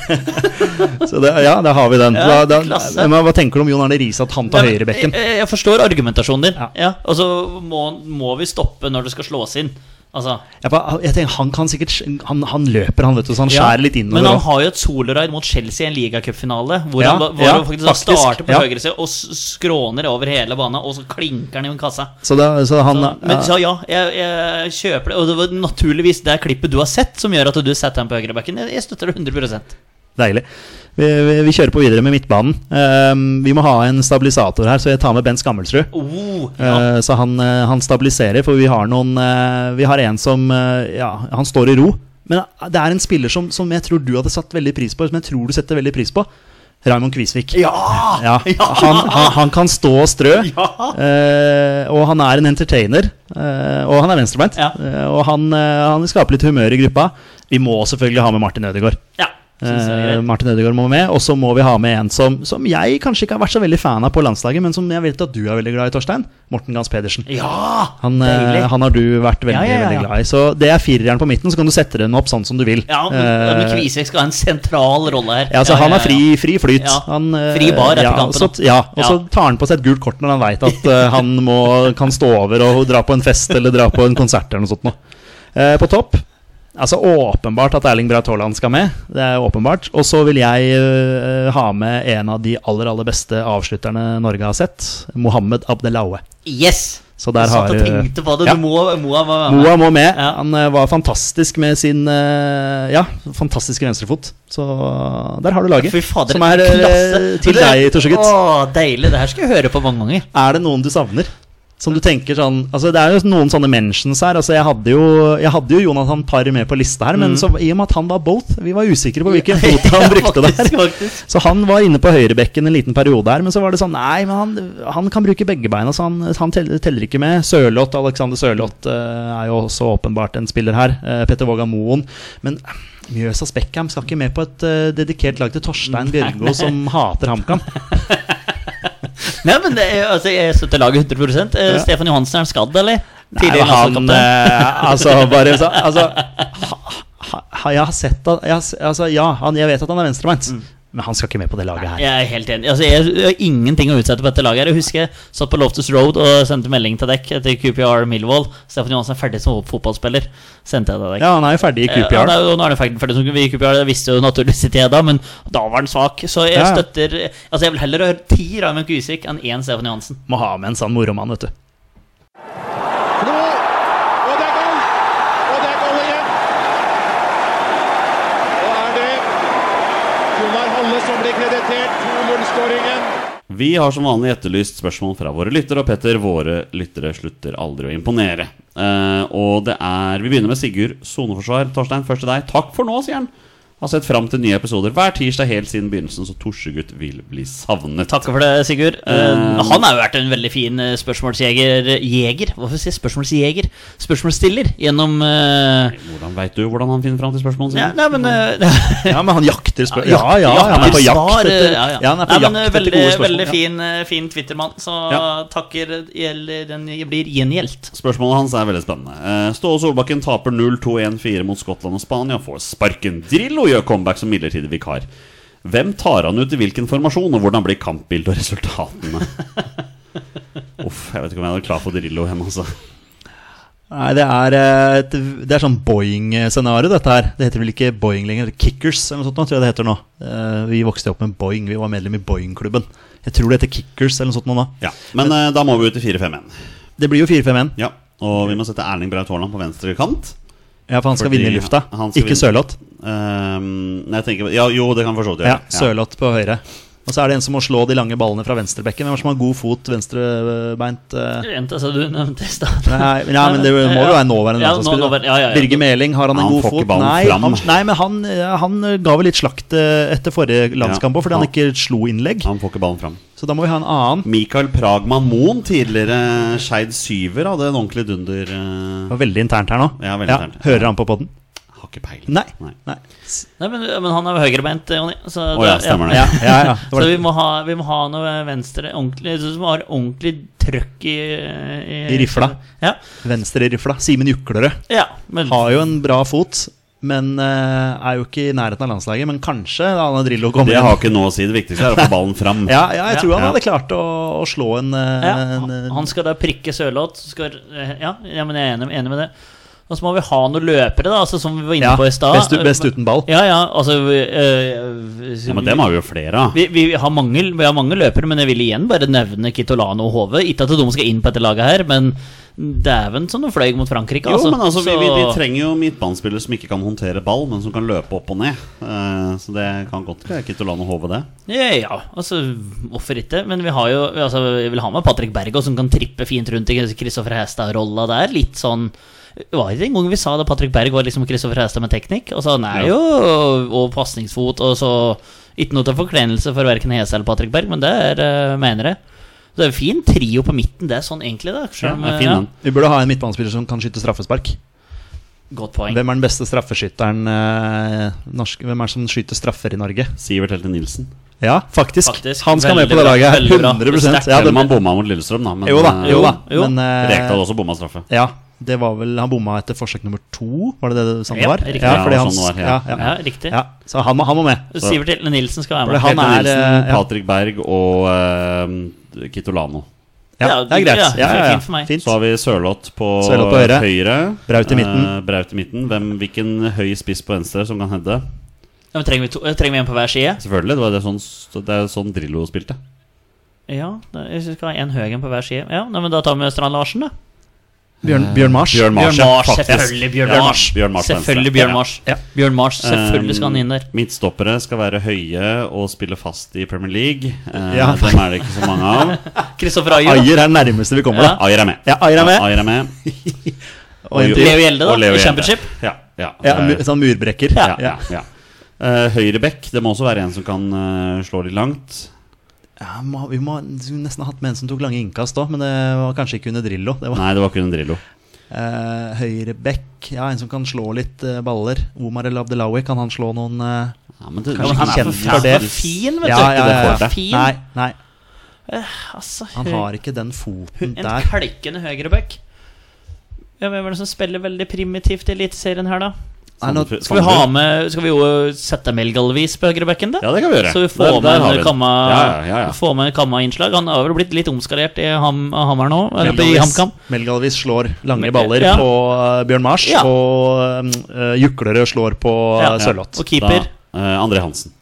C: Så det, ja, da har vi den.
A: Ja,
C: da, da,
A: klasse.
C: men hva tenker du om Jon Arne Riise, at han tar
A: Nei, men
C: høyrebekken?
A: Jeg, jeg forstår argumentasjonen din.
C: Ja.
A: Ja. og så må, må vi stoppe når det skal slås inn. Altså,
C: Jeg, bare- jeg tenker, han kan sikkert sk- Han, han løper, han, vet du, så han
A: ja,
C: skjærer litt
A: Men
C: innover.
A: han
C: også.
A: har jo et soloride mot Chelsea i en ligacupfinale. Hvor
C: Ja,
A: han, ba- hvor
C: ja,
A: han faktisk, da
C: faktisk,
A: starter på
C: ja.
A: høyresiden og s- skråner over hele banen, og så klinker han i en kassa.
C: Så, da, så han
A: Så, men
C: ja,
A: så ja, jeg, jeg kjøper det. Og det var naturligvis det klippet du har sett, som gjør at du setter ham på høyrebacken. Jeg, jeg støtter det 100
C: Deilig. Vi, vi, vi kjører på videre med midtbanen. Ehm, vi må ha en stabilisator her, så jeg tar med Bent Skammelsrud.
A: oh, ja.
C: Eh, Så han, eh, han stabiliserer, for vi har noen eh, Vi har en som eh, Ja, han står i ro. Men eh, det er en spiller som, som jeg tror du hadde satt veldig pris på, som jeg tror du setter veldig pris på. Raymond Kvisvik. Ja, han, han, han kan stå og strø. Eh, og han er en entertainer. eh, og han er venstrebeint.
A: Ja.
C: Eh, og han, eh, han skaper litt humør i gruppa. Vi må selvfølgelig ha med Martin Ødegaard.
A: ja. Synes jeg er
C: Eh,
A: greit.
C: Martin Ødegaard må med. Og så må vi ha med en som, som jeg kanskje ikke har vært så veldig fan av på landslaget, men som jeg vet at du er veldig glad i, Torstein. Morten Gans Pedersen.
A: ja!
C: Han, eh,
A: Deilig.
C: han har du vært veldig,
A: Ja, ja, ja, ja.
C: veldig glad i. Så det er fireren på midten, så kan du sette den opp sånn som du vil.
A: Ja, men, ja, men
C: Eh,
A: Kvisek skal ha en sentral rolle her.
C: ja, så han har fri, fri flyt.
A: Ja.
C: Han, eh,
A: Fri bar etter
C: ja,
A: kampen,
C: Så,
A: da.
C: ja, og så
A: Ja.
C: tar han på seg et gult kort når han veit at eh, han må, kan stå over og dra på en fest eller dra på en konsert eller noe sånt. Nå. Eh, på topp Altså Åpenbart at Erling Braut Haaland skal med. Det er åpenbart Og så vil jeg eh, ha med en av de aller aller beste avslutterne Norge har sett. Mohammed Abdelaue.
A: Yes!
C: Så der
A: du satt
C: har eh,
A: og tenkte på det.
C: Ja.
A: Du må, må, må,
C: Moa må med.
A: Ja.
C: Han eh, var fantastisk med sin eh, Ja, fantastiske venstrefot. Så der har du laget.
A: Fy fader,
C: som er eh,
A: klasse.
C: til deg, Torsegutt.
A: Å, deilig. Det her skal jeg høre på mange ganger.
C: Er det noen du savner? Som du tenker sånn Altså Det er jo noen sånne mentions her. Altså Jeg hadde jo, jeg hadde jo Jonathan Parr med på lista her,
A: Mm.
C: men så, i og med at han var both Vi var usikre på hvilken fot han brukte
A: Faktisk,
C: der.
A: faktisk.
C: Så han var inne på høyrebekken en liten periode her, men så var det sånn Nei, men han, han kan bruke begge beina, så han, han teller, teller ikke med. Sørloth, Alexander Sørloth eh, er jo også åpenbart en spiller her. Eh, Petter Våga Moen. Men Mjøsas Beckham skal ikke med på et eh, dedikert lag til Torstein Bjørgo, som hater HamKam.
A: Nei, men det, er- altså, Jeg støtter laget 100 eh,
C: Ja.
A: Stefan Johansen, er han skadd, eller?
C: Nei,
A: Tidligere
C: han
A: landslagskaptein.
C: eh, Altså, bare så, altså, ha, ha, ha, Jeg har sett at jeg, har s- altså, Ja, han, jeg vet at han er venstrebeint, men han skal ikke med på det laget her.
A: Jeg er helt enig. Altså, jeg, jeg har ingenting å utsette på dette laget. her. Jeg husker jeg satt på Loftus Road og sendte melding til dekk etter QPR Millwall. Stefan Johansen er ferdig som fotballspiller. Sendte jeg til deg.
C: Ja, Eh, han er jo ferdig i
A: Eh, Ja, det
C: QPR.
A: er jo- nå er det ferdig, ferdig som vi QPR, det visste jo naturligvis ikke jeg da, men da var den svak. Så jeg
C: Ja.
A: støtter Altså, jeg vil heller høre ti Raymond Kvisvik enn én Stefan Johansen.
C: Må ha med en sånn moromann, vet du.
E: Klo, og det er goal! Og det er goal igjen! Og er det Gunnar Halle som blir kreditert 2-0-skåringen.
B: Vi har som vanlig etterlyst spørsmål fra våre lyttere, og Petter, våre lyttere slutter aldri å imponere. Eh, og det er Vi begynner med Sigurd Soneforsvar. Torstein, først til deg. Takk for nå, sier han. Har sett fram til nye episoder hver tirsdag helt siden begynnelsen, så Torsegutt vil bli savnet.
A: Takk for det, Sigurd. Eh, han har jo vært en veldig fin eh, spørsmålsjeger Jeger? Hvorfor sier jeg spørsmålsjeger? Spørsmålsstiller gjennom eh,
B: Hvordan veit du hvordan han finner fram til spørsmålene
A: ja,
B: sine?
A: Nei, men eh,
C: Ja, men han jakter spør...
A: Ja,
C: Ja, ja, han er på jakt
A: svar,
C: etter,
A: ja, ja.
C: ja, han er på
A: Nei, men,
C: jakt
A: eh,
C: etter
A: veldig,
C: gode spørsmål.
A: Veldig
C: Ja.
A: fin, eh, fin Twitter-mann, så
B: Ja.
A: takker gjelder den blir gjengjeldt.
B: Spørsmålet hans er veldig spennende. Eh, Ståle Solbakken taper 0-2-1-4 mot Skottland og Spania, får sparken. Drillo gjør comeback som midlertidig vikar. Hvem tar han ut i hvilken formasjon, og hvordan blir kampbildet og resultatene? Uff, jeg vet ikke om jeg er klar for Drillo hjemme, altså.
C: Nei, det er, eh, et, det er sånn Boeing-scenario, dette her. Det heter vel ikke Boeing lenger, Kickers eller noe sånt, nå, tror jeg det heter nå. Eh, vi vokste opp med Boeing, vi var medlem i Boeing-klubben. Jeg tror det heter Kickers eller noe sånt nå. nå.
B: Ja, Men eh, da må vi ut i 4-5-1.
C: Det blir jo 4-5-1.
B: Ja. Og vi må sette Erling Braut Haaland på venstre kant.
C: Ja, for han skal
B: Fordi
C: vinne i lufta.
B: han skal
C: Ikke
B: vinne.
C: Sørloth.
B: Ehm, nei, jeg tenker, ja, jo, det kan vi for så vidt gjøre.
C: Ja, Sørloth på høyre. Og så er det en som må slå de lange ballene fra venstrebekken. Hvem er det som har god fot venstrebeint? eh?
A: Jenta som altså, du nevnte i stad.
C: Nei, men- ja, men det må jo være nåværende
A: Ja, nå-
C: landslagsspiller.
A: nåværende, ja, ja, ja.
C: Birger Meling, har han en
B: Han
C: god
B: får ikke
C: fot?
B: ballen
C: Nei,
B: fram.
C: han, nei, men han, eh, han ga vel litt slakt eh, etter forrige landskamp òg, fordi han
B: Ja.
C: ikke slo innlegg.
B: Han får ikke ballen fram.
C: Så da må vi ha en annen.
B: Mikael Pragman Moen, tidligere Skeid syver, hadde en ordentlig dunder.
C: Det
B: eh,
C: var veldig internt her nå.
B: Ja, veldig internt.
C: Hører han på podden?
B: har ikke peiling.
C: Nei.
B: Nei.
C: Nei.
A: Nei, men, men han er jo høyrebeint, Jonny. Så,
B: Å ja, stemmer det.
C: Ja, ja, ja. Det
A: så
C: var
A: vi må, ha, vi må ha noe venstre ordentlig Så vi må ha ordentlig trøkk i I,
C: I rifla.
A: Ja.
C: venstrerifla. Simen Juklerød
A: ja men,
C: har jo en bra fot, men eh, er jo ikke i nærheten av landslaget. Men kanskje da Anna Drillo kommer
B: Det
C: inn.
B: har ikke noe å si. Det viktigste er å få ballen fram.
C: Ja, ja, jeg
A: Ja.
C: tror han
B: Ja.
C: hadde klart å, å slå en, eh,
A: ja,
C: en eh,
A: han- han skal da prikke Sørloth. så skal- Ja, ja, men jeg er enig, enig med det. Og så må vi ha noen løpere, da, altså, som vi var inne
C: ja,
A: på i stad.
C: best, best uten ball.
A: Ja, ja, altså øh,
B: Ja, men dem har vi jo flere av.
A: vi, vi, har mange, vi har mange løpere, men jeg vil igjen bare nevne Kitolano og Hove. Ikke at de skal inn på dette laget her, men dæven som de fløy mot Frankrike,
B: Jo,
A: altså.
B: men altså, vi,
A: Så-
B: vi, vi trenger jo midtbanespillere som ikke kan håndtere ball, men som kan løpe opp og ned. Eh, så det kan godt være Kitolano Hove, det.
A: Ja, ja, altså hvorfor ikke? Men vi har jo altså, Jeg vil ha med Patrick Berg også, som kan trippe fint rundt i Kristoffer Hestad-rolla der. Litt sånn det var ikke engang vi sa da Patrick Berg var liksom Kristoffer Hestad med teknikk. Altså han er
B: Ja.
A: jo Og pasningsfot, og så Ikke noe til forklenelse for verken Hestad eller Patrick Berg, men det er eh, mener jeg. Så det er en fin trio på midten, det er sånn egentlig, da.
B: Ja,
A: Selv om,
B: det er
A: eh,
B: fin, den.
C: Vi burde ha en midtbanespiller som kan skyte straffespark.
A: Godt poeng.
C: Hvem er den beste straffeskytteren eh, norsk, Hvem er det som skyter straffer i Norge?
B: Sivert Helte Nilsen.
C: Ja, faktisk.
A: Faktisk.
C: Han skal
A: Veldig
C: med på det
A: bra,
C: laget. her,
A: veldig bra.
C: 100 ja,
B: Selv
C: det,
B: om han bomma mot Lillestrøm, da. Men
C: Jo da.
B: eh,
C: Jo da.
A: Jo.
C: Men, eh,
B: Rekdal også bomma straffe.
C: Ja, det var vel Han bomma etter forsøk nummer to, var det det det sånn det
A: Ja,
C: var?
A: riktig.
B: Ja,
C: fordi
B: sånn
C: hans-
B: det var,
C: ja,
B: ja.
A: Ja,
C: ja,
A: riktig.
C: ja. Så han må, han må med.
A: Sivert Elne Nilsen skal
C: For det
A: være med.
C: han
B: Helte
C: er,
B: Nilsen,
C: eh, ja.
B: Patrick Berg og eh, Kitolano.
C: Ja, det er greit.
A: Ja,
C: Ja, ja, ja.
A: Fint for meg.
C: Fint.
B: Så har vi Sørloth på,
C: Sørloth på høyre. Braut
B: Braut
C: i midten.
B: Braut i midten. Hvem, hvilken høy spiss på venstre som kan hende?
A: Ja, men trenger, vi to, trenger vi en på hver side?
B: Selvfølgelig. Det var det sånn, det er sånn Drillo spilte.
A: Ja, da, jeg synes vi skal ha en Høgen på hver side. Ja, nei, men Da tar vi Strand Larsen, da.
C: Bjørn, Bjørn Mars.
B: Bjørn Mars,
A: Bjørn Mars,
B: ja, faktisk.
A: selvfølgelig Bjørn
B: Bjørn
A: Mars.
B: Mars, Bjørn Mars på venstre.
A: selvfølgelig Bjørn
B: Ja.
A: Mars. Bjørn Mars, selvfølgelig skal han
B: Eh,
A: inn der.
B: Midtstoppere skal være høye og spille fast i Premier League. Eh,
C: Ja.
B: Dem er det ikke så mange av.
A: Kristoffer Ayer. da.
C: Ayer er den nærmeste vi kommer,
A: Ja.
C: da.
B: Ayer er med.
C: Ja, Ayer er med.
B: Ja, Ayer er med.
C: Og en
B: Jo-
C: til.
A: Leo Gjelde, da,
B: og Leo
A: i
B: Gjelde.
A: Championship.
B: Ja, ja,
C: Ja,
B: det
C: mu-
B: er-
C: sånn murbrekker.
B: ja,
C: Ja.
B: ja, ja. Eh, høyre bekk, det må også være en som kan eh, slå litt langt.
C: Ja, må, vi må skulle nesten ha hatt med en som tok lange innkast òg, men det var kanskje ikke under Drillo. Det var
B: Nei, det var kun en Drillo.
C: eh, høyre back. Ja, en som kan slå litt eh, baller. Omar El Abdelawi, kan han slå noen eh,
B: Ja, men det,
C: Kanskje
B: men han
C: ikke
B: er for
C: kjent
B: fin.
C: for det.
A: Han er Fin, vet
C: ja,
A: du.
C: ja, ja, ja.
A: Fin.
C: Nei, nei,
A: Altså,
C: han har ikke den foten
A: en
C: der.
A: klikkende høyreback. Ja, Hvem er det som spiller veldig primitivt i Eliteserien her, da?
C: Nei, nå,
B: Sandefjord-
A: Skal vi, ha
B: Sandefjord.
A: med, skal vi jo eh, sette Melgalvis på høyrebacken, da?
B: Ja, det kan vi gjøre.
A: Så vi
B: Der- der
A: får med
B: har
A: en
B: vi den.
A: kamma,
B: Ja, ja, ja, ja.
A: Få med en kamma-innslag. Han har vel blitt litt omskalert i ham, Hamar nå? Eller i
C: Melgalvis,
A: HamKam?
C: Melgalvis slår lange
A: Men-
C: baller
A: ja.
C: på eh, Bjørn Mars,
A: Ja.
C: og um, eh, Juklerød slår på
A: Ja.
C: eh, Sørloth.
A: Og keeper.
B: Da, eh, André Hansen.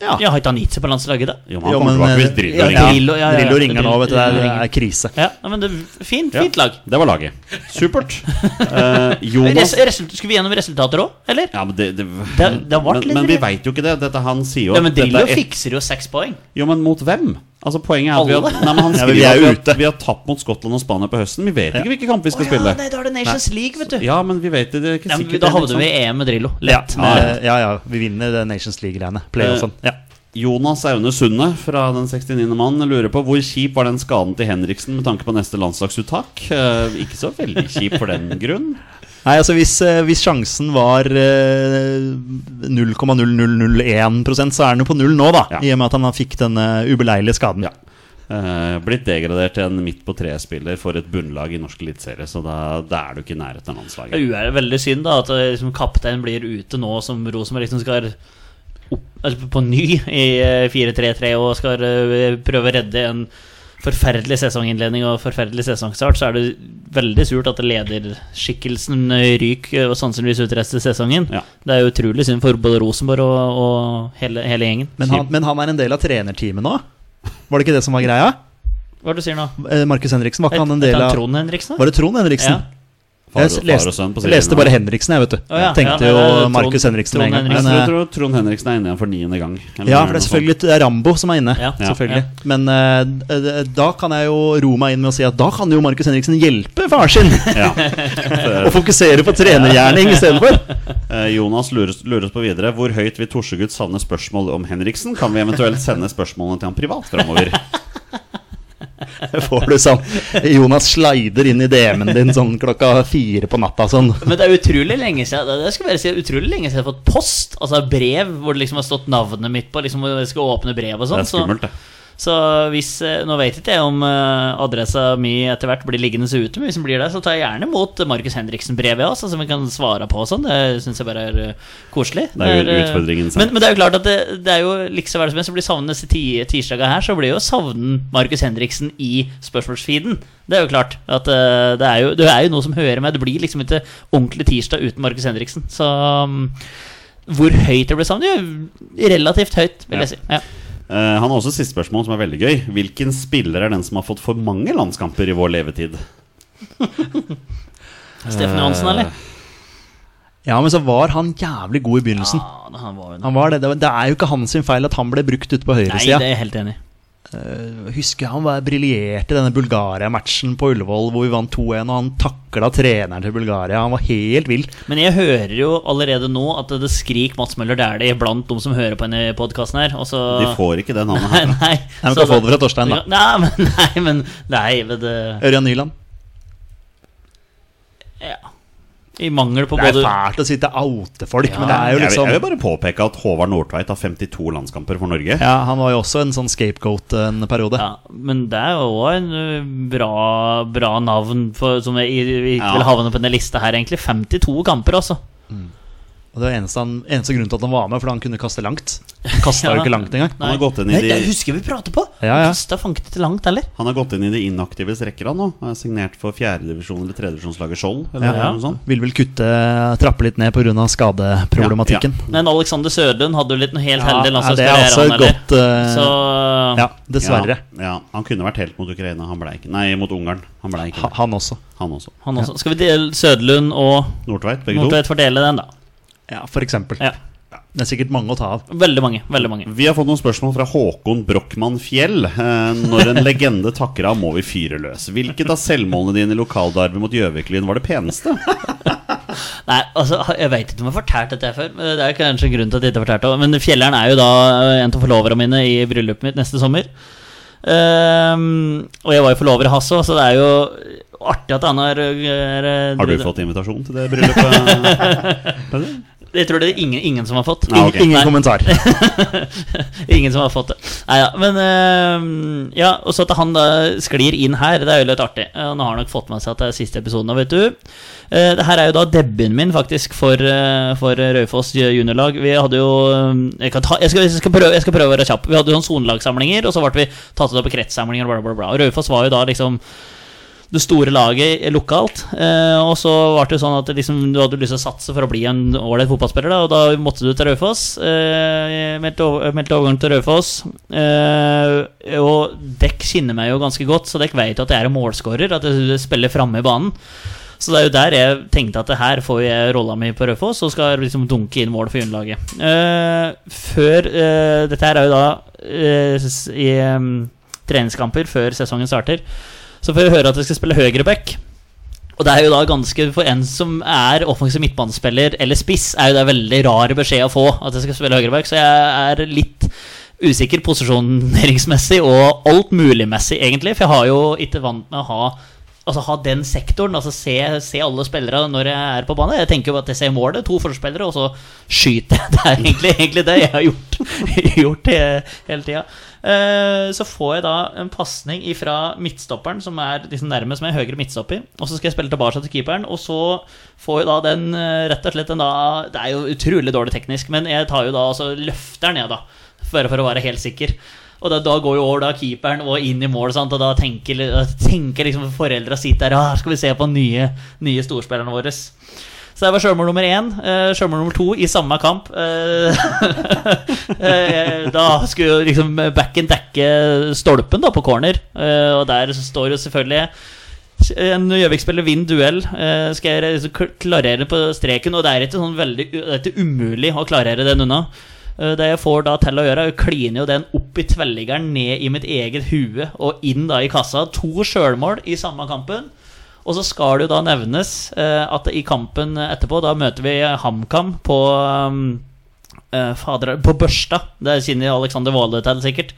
C: Ja.
A: Ja, har ikke han gitt seg på landslaget, da?
B: Jo, men han
C: Jo,
B: kommer
C: men,
B: tilbake
C: eh,
B: hvis Drillo
C: ja,
B: ringer.
A: Drillo, ja, ja, ja.
C: Drillo ringer nå, vet du. Det er, det
A: Drillo ringer.
C: er krise.
A: Ja, nei, men det Fint, fint lag.
B: Det var laget. Supert. Eh, Jonas
A: Res, result, skulle vi gjennom resultater òg, eller?
B: ja, men, det, det,
A: Det- det ble
B: men,
A: litt
B: men vi
A: dritt.
B: veit jo ikke det. Dette Han sier jo
A: Ja, men
B: dette
A: Drillo
B: er et-
A: fikser jo seks poeng.
B: Jo, men mot hvem? Altså Poenget er at vi har,
A: Alle.
B: nei, men han
C: Ja, men
B: skriver
C: vi er
B: at
C: jo
B: vi, har, vi har tapt mot Skottland og Spania på høsten. Vi vet ikke hvilke kamper vi skal
A: Ja,
B: spille.
A: nei, da er det Nations League, vet du.
B: Ja, men vi vet det. Det er ikke
A: Ja, men,
B: sikkert.
A: da
B: det,
A: havner
B: liksom.
A: vi i EM med Drillo.
C: Ja,
A: Lett.
C: men, eh, ja, ja, vi vinner det Nations League-greiene. Playoffen. Ja.
B: Jonas Aune Sunde fra Den 69. mann lurer på hvor kjip var den skaden til Henriksen med tanke på neste landslagsuttak? Eh, ikke så veldig kjip for den grunn.
C: Nei, altså hvis, eh, hvis sjansen var eh, 0,0001 så er den jo på null nå, da.
B: Ja.
C: I og med at han fikk denne ubeleilige skaden.
B: Ja. Eh, blitt degradert til en midt på tre-spiller for et bunnlag i norsk eliteserie, så da, da er du ikke i nærheten av landslaget.
A: Det er jo veldig synd da at eh, liksom, kapteinen blir ute nå som Rosenborg liksom skal opp, altså, på ny i eh, 4-3-3 og skal eh, prøve å redde en forferdelig sesonginnledning og forferdelig sesongstart, så er det veldig surt at lederskikkelsen eh, ryker og sannsynligvis ut resten av sesongen.
B: Ja.
A: Det er jo utrolig synd for både Rosenborg og, og hele, hele gjengen.
C: Men, han, men han er en del av trenerteamet nå? Var det ikke det som var greia?
A: Hva er det du sier nå?
C: Eh, Markus Henriksen, var ikke han en del av
A: Trond Henriksen? da?
C: Var det Trond Henriksen?
A: Ja.
B: Far,
C: jeg,
B: og-
C: leste,
B: far og sønn på
C: jeg leste
B: sidelinja.
C: bare Henriksen, jeg, vet du.
A: Å ja,
C: Tenkte
A: ja, det er
C: jo
A: Trond-
C: Markus Henriksen
A: Trond
C: med en gang.
B: Jeg
A: Henriksen.
C: Men,
B: tror,
C: eh,
B: tror Trond Henriksen er inne igjen for niende gang. eller
C: ja, for det
B: noe
C: er
B: sånt.
C: selvfølgelig det er Rambo som er inne.
A: Ja,
B: ja.
C: selvfølgelig Men eh, d- d- da kan jeg jo roe meg inn med å si at da kan jo Markus Henriksen hjelpe far sin!
B: Ja.
C: Og fokusere på trenergjerning istedenfor!
B: Eh, Jonas lurer, lurer oss på videre Hvor høyt vil Torsegutt savne spørsmål om Henriksen? Kan vi eventuelt sende spørsmålene til han privat framover?
C: Sånn, Får du sånn Jonas slider inn i DM-en din sånn klokka fire på natta sånn.
A: Men det er utrolig lenge siden det- Det skal bare si det er utrolig lenge siden jeg har fått post, altså brev, hvor det liksom har stått navnet mitt på. Liksom hvor jeg skal åpne brev og
B: Det
A: sånn.
B: er skummelt, det.
A: Så hvis, eh, Nå vet ikke jeg om eh, adressa mi etter hvert blir liggende så ute, men hvis den blir der, så tar jeg gjerne imot Markus Henriksen-brevet også, som vi kan svare på og sånn. Det syns jeg bare er eh, koselig.
B: Det er jo
A: eh,
B: utfordringen selv.
A: men, men det er jo klart at det, det er jo liksom hva som helst, så blir savnet disse ti, tirsdaga her, så blir jo savnen Markus Henriksen i spørsmålsfeeden. Det er jo klart. At eh, det, er jo, det er jo noe som hører med. Det blir liksom ikke ordentlig tirsdag uten Markus Henriksen. Så mm, hvor høyt det blir savnet? Jo, relativt høyt, vil
B: Ja.
A: jeg si. Ja.
B: Eh, han har også et siste spørsmål som er veldig gøy. Hvilken spiller er den som har fått for mange landskamper i vår levetid?
A: Steffen Johansen, eller?
C: Ja, men så var han jævlig god i begynnelsen.
A: Ja, da, han var jo
C: Han var det. Det var- det er jo ikke hans sin feil at han ble brukt ute på
A: Nei, det
C: høyresida.
A: er jeg helt enig i.
C: Husker jeg han var briljerte i denne Bulgaria-matchen på Ullevål hvor vi vant 2-1, og han takla treneren til Bulgaria. Han var helt vill.
A: Men jeg hører jo allerede nå at det skrik Mats Møller Dæhlie blant de som hører på denne podkasten her. Og så
B: De får ikke det navnet
A: Nei,
B: her.
A: nei.
C: Nei, men kan
A: Så
C: få
A: da-
C: det fra Torstein, da.
A: Nei, men, nei, men, nei, men eh, det,
C: Ørjan Nyland.
A: I mangel på
C: Det er
A: både
C: fælt å sitte oute folk, men det er
B: Jeg
C: jo
B: vil,
C: liksom
B: jeg vil bare påpeke at Håvard Nordtveit har 52 landskamper for Norge.
C: ja, Han var jo også en sånn scapegoat en periode.
A: ja, Men det er jo òg en ø, bra, bra navn for, som jeg i- ikke vil
B: Ja.
A: havne på denne lista her, egentlig. 52 kamper, altså.
C: Og Det var eneste, han, eneste grunnen til at han var med, for han kunne kaste langt. Han kasta jo
A: Ja.
C: ikke langt engang.
B: Han har gått inn i
A: Nei,
B: de-
A: det husker jeg vi prater på!
C: Ja, ja.
A: Kasta fanget ikke langt heller.
B: Han har gått inn i de inaktives rekker han nå. Han Er signert for fjerdedivisjon eller tredjedivisjonslaget Skjold. Eller
A: Ja.
B: noe sånt.
C: Vil vel kutte, eh, trappe litt ned pga. skadeproblematikken.
A: Men Alexander Sørlund hadde jo litt noe helt
C: ja,
A: heldig
C: det er
A: landslagskarriere,
C: altså
A: han
C: et
A: heller.
C: godt eh,
A: Så
C: Ja, dessverre.
B: Ja, ja, Han kunne vært helt mot Ukraina. Han ble ikke Nei, mot Ungarn. Han ble ikke
C: Ha,
B: det.
C: han også.
B: Han også.
A: han også. Skal vi dele Sødlund og
B: Nordtveit, begge to.
A: Nordtvedt fordele den, da?
C: Ja, for eksempel.
A: Ja.
C: Det er sikkert mange å ta av.
A: Veldig mange. veldig
C: Mm.
A: mange
B: Vi har fått noen spørsmål fra Håkon Brochmann Fjell. Eh, Når en legende takker av, må vi fyre løs. Hvilket av selvmålene dine i lokaldarven mot Gjøviklyn var det peneste?
A: Nei, altså, Jeg vet ikke om jeg har fortalt dette her før. men Det er kanskje en grunn til at jeg ikke har fortalt det Men Fjelleren er jo da eh, en av forloverne mine i bryllupet mitt neste sommer. Ehm, og jeg var jo forlover i Hasso, så det er jo artig at han har eh, er-
B: Har du fått invitasjon til det bryllupet?
A: Jeg tror det er ingen, ingen som har fått.
B: Ja, Ah, ok.
C: Ingen
A: Nei.
C: kommentar.
A: Ingen som har fått det. Nei da. Men eh, Ja, og så at han da sklir inn her, det er jo litt artig. Eh, Han har nok fått med seg at det er siste episoden nå, vet du. Uh, det her er jo da debuten min, faktisk, for, eh, for Raufoss juniorlag. Vi hadde jo eh, jeg, kan ta, jeg, skal, jeg, skal prøve, jeg skal prøve å være kjapp. Vi hadde jo sånn sonelagssamlinger, og så ble vi tatt ut av på kretssamlinger, bla, bla, bla. Og Raufoss var jo da liksom det store laget lokalt. Eh, og så var det jo sånn at det liksom, du hadde lyst til å satse for å bli en ålreit fotballspiller, da, og da måtte du til Raufoss. Eh, jeg meldte, over, meldte overgang til Raufoss. Eh, og Dekk kjenner meg jo ganske godt, så Dekk vet jo at jeg er en målskårer, at jeg spiller framme i banen. Så det er jo der jeg tenkte at det her får jeg rolla mi på Raufoss og skal liksom dunke inn mål for juniorlaget. Eh, før eh, Dette her er jo da eh, s- i em, treningskamper før sesongen starter. Så får jeg høre at jeg skal spille høyreback. Og det er jo da ganske For en som er offensiv midtbanespiller eller spiss, er jo det veldig rar beskjed å få at jeg skal spille høyreback, så jeg er litt usikker posisjoneringsmessig og alt mulig-messig, egentlig. For jeg har jo ikke vant med å ha Altså ha den sektoren, altså se, se alle spillere når jeg er på banen. Jeg tenker jo at jeg ser målet, to forspillere, og så skyter jeg. Det er egentlig, egentlig det jeg har gjort, gjort he- hele tida. Eh, Så får jeg da en pasning fra midtstopperen, som er liksom nærmest meg, høyre midtstopper. Og så skal jeg spille tilbake til keeperen, og så får jeg da den eh, rett og slett en da Det er jo utrolig dårlig teknisk, men jeg tar jo da altså løfter den, jeg, da. Bare for å være helt sikker. Og da, da går jo over da keeperen og inn i mål, sant? og da tenker, da tenker liksom foreldra sitt der ah, Skal vi se på nye, nye storspillerne våre? Så det var sjølmål nummer én. Uh, sjølmål nummer to i samme kamp. Eh, eh, da skulle jo liksom backen dekke stolpen da på corner, eh, og der så står jo selvfølgelig en Gjøvik-spiller vinner duell. eh, skal jeg liksom kl- klarere på streken, og det er ikke sånn veldig u- det er ikke umulig å klarere den unna. Eh, Det jeg får da til å gjøre, er å kline jo den opp i tvelliggeren, ned i mitt eget hue og inn da i kassa. To sjølmål i samme kampen. Og så skal det jo da nevnes eh, at i kampen etterpå, da møter vi HamKam på um, eh, fader, På Børsta. Det kjenner Alexander Wahle til, sikkert.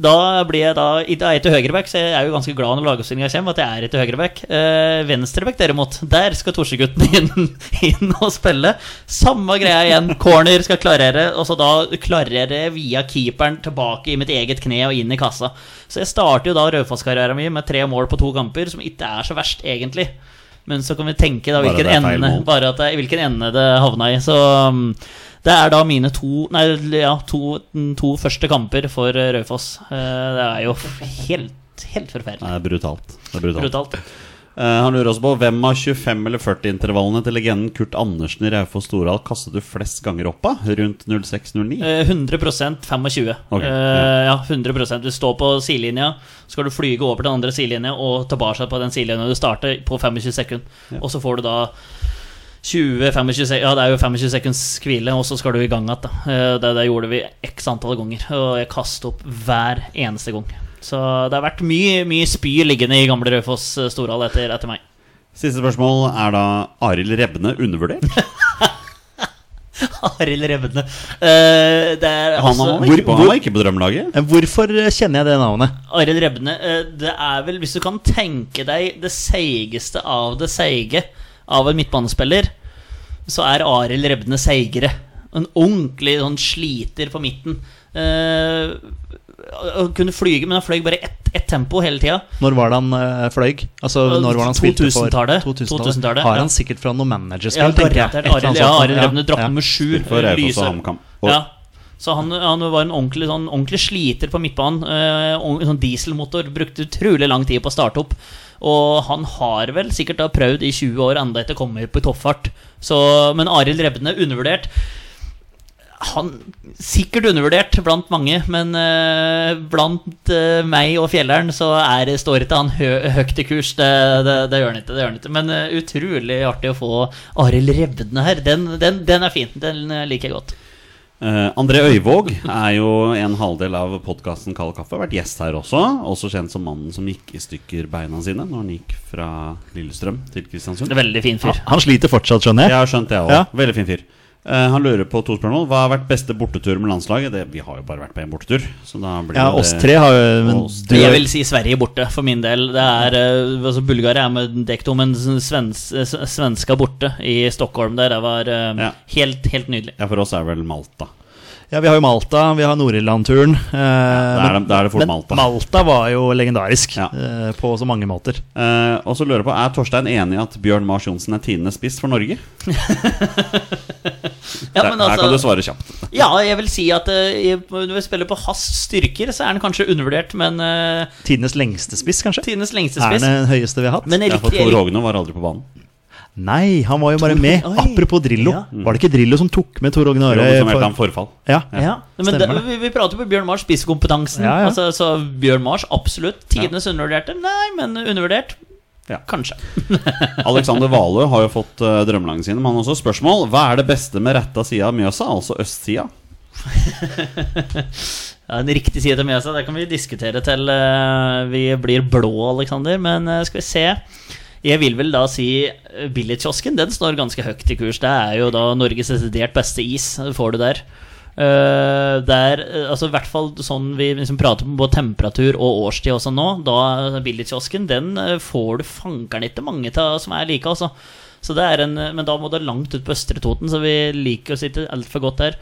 A: Da blir jeg da Da er jeg til høyreback, så jeg er jo ganske glad når lagoppstillinga kommer. At jeg er til høyreback. Eh, venstreback, derimot, der skal Torseguttene inn, inn og spille. Samme greia igjen. Corner skal klarere, og så da klarerer jeg via keeperen tilbake i mitt eget kne og inn i kassa. Så jeg starter jo da Raufoss-karrieren min med tre mål på to kamper, som ikke er så verst, egentlig. Men så kan vi tenke da
B: Bare
A: hvilken
B: det er feil
A: ende,
B: mål.
A: bare at det, i hvilken ende det havna i. Så um, det er da mine to Nei, ja, to, mm, to første kamper for eh, Raufoss. Eh, Det er jo helt, helt
B: Det
A: forferdelig.
B: er brutalt. Det er brutalt.
A: Brutalt.
B: Eh, han lurer også på hvem av 25 eller 40-intervallene til legenden Kurt Andersen i Raufoss Stordal kastet du flest ganger opp av? Rundt 06-09?
A: Eh, 100 25.
B: Ok,
A: Eh,
B: ja.
A: ja, 100 Du står på sidelinja, så skal du flyge over til den andre sidelinja og tilbake på den sidelinja du starter, på 25 sekunder. Og så får du da 20, 25, sek- ja, det er jo 25 sekunds hvile, og så skal du i gang igjen. da. Eh, Det, det gjorde vi x antall ganger, og jeg kastet opp hver eneste gang. Så det har vært mye, mye spy liggende i gamle Raufoss eh, Stordal etter, etter meg.
B: Siste spørsmål er da Arild Rebne undervurdert?
A: Arild Rebne. Eh, det er
B: Han,
A: også-
B: han, var ikke på, han var ikke på drømmelaget.
C: Eh, Hvorfor kjenner jeg det navnet?
A: Arild Rebne, eh, det er vel Hvis du kan tenke deg det seigeste av det seige av en midtbanespiller, så er Arild Rebne seigere. En ordentlig sånn sliter på midten. Eh, han kunne flyge, men han fløy bare ett ett tempo hele tida.
C: Når var det han eh, fløy? Altså,
A: Eh,
C: når var det han spilte for
A: 2000-tallet.
C: 2000-tallet?
A: 2000-tallet,
C: Har
A: ja.
C: han sikkert fra noe managerspill,
A: Ja,
C: tenker jeg.
A: garantert.
C: Et eller
A: Arild
C: annet
A: ja,
C: sånt.
A: Arild Rebne
C: Ja,
A: dropp
C: ja.
A: nummer sju.
B: For Raufoss og
A: lyser.
B: HamKam. Og-
A: Ja. Så han, han var en ordentlig, sånn, ordentlig sliter på midtbanen. eh, og en sånn dieselmotor. Brukte utrolig lang tid på å starte opp. Og han har vel sikkert da prøvd i 20 år enda ikke kommet på toppfart. Så, men Arild Rebne, undervurdert. Han Sikkert undervurdert blant mange, men eh, blant eh, meg og Fjelleren så er, står ikke han hø høyt i kurs. Det, det, det gjør han ikke. det gjør han ikke Men eh, utrolig artig å få Arild Rebne her. Den, den, den er fin. Den eh, liker jeg godt.
B: Eh, André Øyvåg er jo en halvdel av podkasten Kald kaffe. Har vært gjest her også. Også kjent som mannen som gikk i stykker beina sine når han gikk fra Lillestrøm til Kristiansund.
A: Veldig fin fyr.
C: Han sliter fortsatt, skjønner
B: Jeg
C: jeg.
B: har skjønt det òg.
C: Ja.
B: Veldig fin fyr. Eh, han lurer på to spørsmål. Hva har vært beste bortetur med landslaget? Det, vi har jo bare vært på én bortetur. Så da blir
C: Ja,
B: jo
C: oss
B: det-
C: tre har jo men
B: Oss
C: du,
A: Jeg vil si Sverige borte, for min del. Det er, eh, altså Bulgaria er med dekto, men svens, eh, svenska borte i Stockholm der. Det var eh,
B: Ja.
A: helt, helt nydelig.
B: Ja, for oss er vel Malta.
C: Ja, vi har jo Malta, vi har Nord-Irland-turen. eh,
B: Da er det,
C: men-
B: da er det fort
C: men
B: Malta.
C: Malta var jo legendarisk
B: Ja.
C: eh, på så mange måter.
B: Eh, og så lurer jeg på, Er Torstein enig i at Bjørn Mars Johnsen er tiendes spiss for Norge?
A: Ja,
B: der,
A: men
B: der kan du
A: altså,
B: svare kjapt.
A: ja, jeg vil si at eh, i- når vi spiller på hans styrker, så er han kanskje undervurdert, men uh,
C: Tidenes lengste spiss, kanskje?
A: tidenes lengste
C: Er
A: spiss.
C: den høyeste vi har hatt?
A: Men jeg
B: Ja, for
A: likte, jeg
B: Tor
A: likte
B: Hogne var aldri på banen.
C: Nei, han var jo bare med.
A: Oi.
C: Apropos Drillo.
A: Ja.
C: Var det ikke Drillo som tok med Tor Ogne
B: Tor
C: Aare?
B: Hogne som
C: for-
B: meldte ham forfall.
C: Ja.
A: ja, men
C: Stemmer
A: det,
C: det.
A: vi, vi prater på Bjørn Mars spisekompetansen.
C: Ja, ja.
A: Altså, så Bjørn Mars, absolutt. Tidenes undervurderte? Nei, men undervurdert?
B: Ja.
A: Kanskje.
B: Alexander Valø har jo fått uh, drømmelangene sine, men han har også spørsmål. Hva er det beste med retta sida av Mjøsa, altså østsida?
A: Ja, En riktig side til Mjøsa, det kan vi diskutere til eh, vi blir blå, Aleksander. Men eh, skal vi se. Jeg vil vel da si eh, Billigkiosken. Den står ganske høyt i kurs. Det er jo da Norges desidert beste is, eh, får du der. Eh, der, eh, altså I hvert fall sånn vi liksom prater om både temperatur og årstid også nå. Da eh, Billigkiosken, den eh, får du fankeren ikke mange av som er like, altså. Så det er en, eh, men da må du langt ut på Østre Toten, så vi liker oss ikke altfor godt der.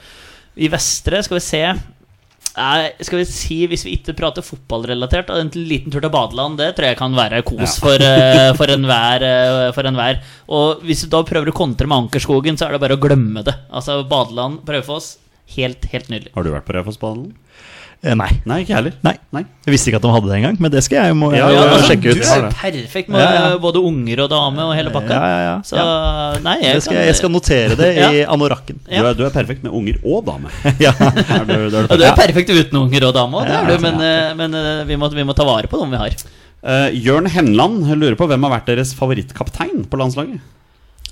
A: I Vestre skal vi se. Nei, skal vi si, Hvis vi ikke prater fotballrelatert, da, en liten tur til badeland, det tror jeg kan være kos for, eh, for enhver. eh, for enhver. Og hvis du da prøver å kontre med Ankerskogen, så er det bare å glemme det. Altså, Badeland, Prøvefoss, helt, helt nydelig.
B: Har du vært på Raufossbanen?
C: Eh, Nei.
B: Nei, ikke jeg heller.
C: Nei.
B: Nei.
C: Jeg visste ikke at de hadde det engang, men det skal jeg jo må,
B: Ja, ja,
C: må
B: altså,
C: sjekke
A: Du
C: ut.
B: Ja,
A: er
B: det.
A: perfekt med
C: Ja, ja.
A: både unger og dame og hele pakka.
C: Ja, ja, ja.
A: Så nei, jeg,
C: Jeg skal, jeg skal notere det i anorakken.
B: Du, er, du er perfekt med unger og dame.
C: Ja.
B: Er du, du er
A: ja,
B: det
A: Du er perfekt uten unger og dame òg,
B: Ja, ja,
A: men, eh, men eh, vi, må, vi må ta vare på dem vi har.
B: Eh, Jørn Henland lurer på hvem har vært deres favorittkaptein på landslaget?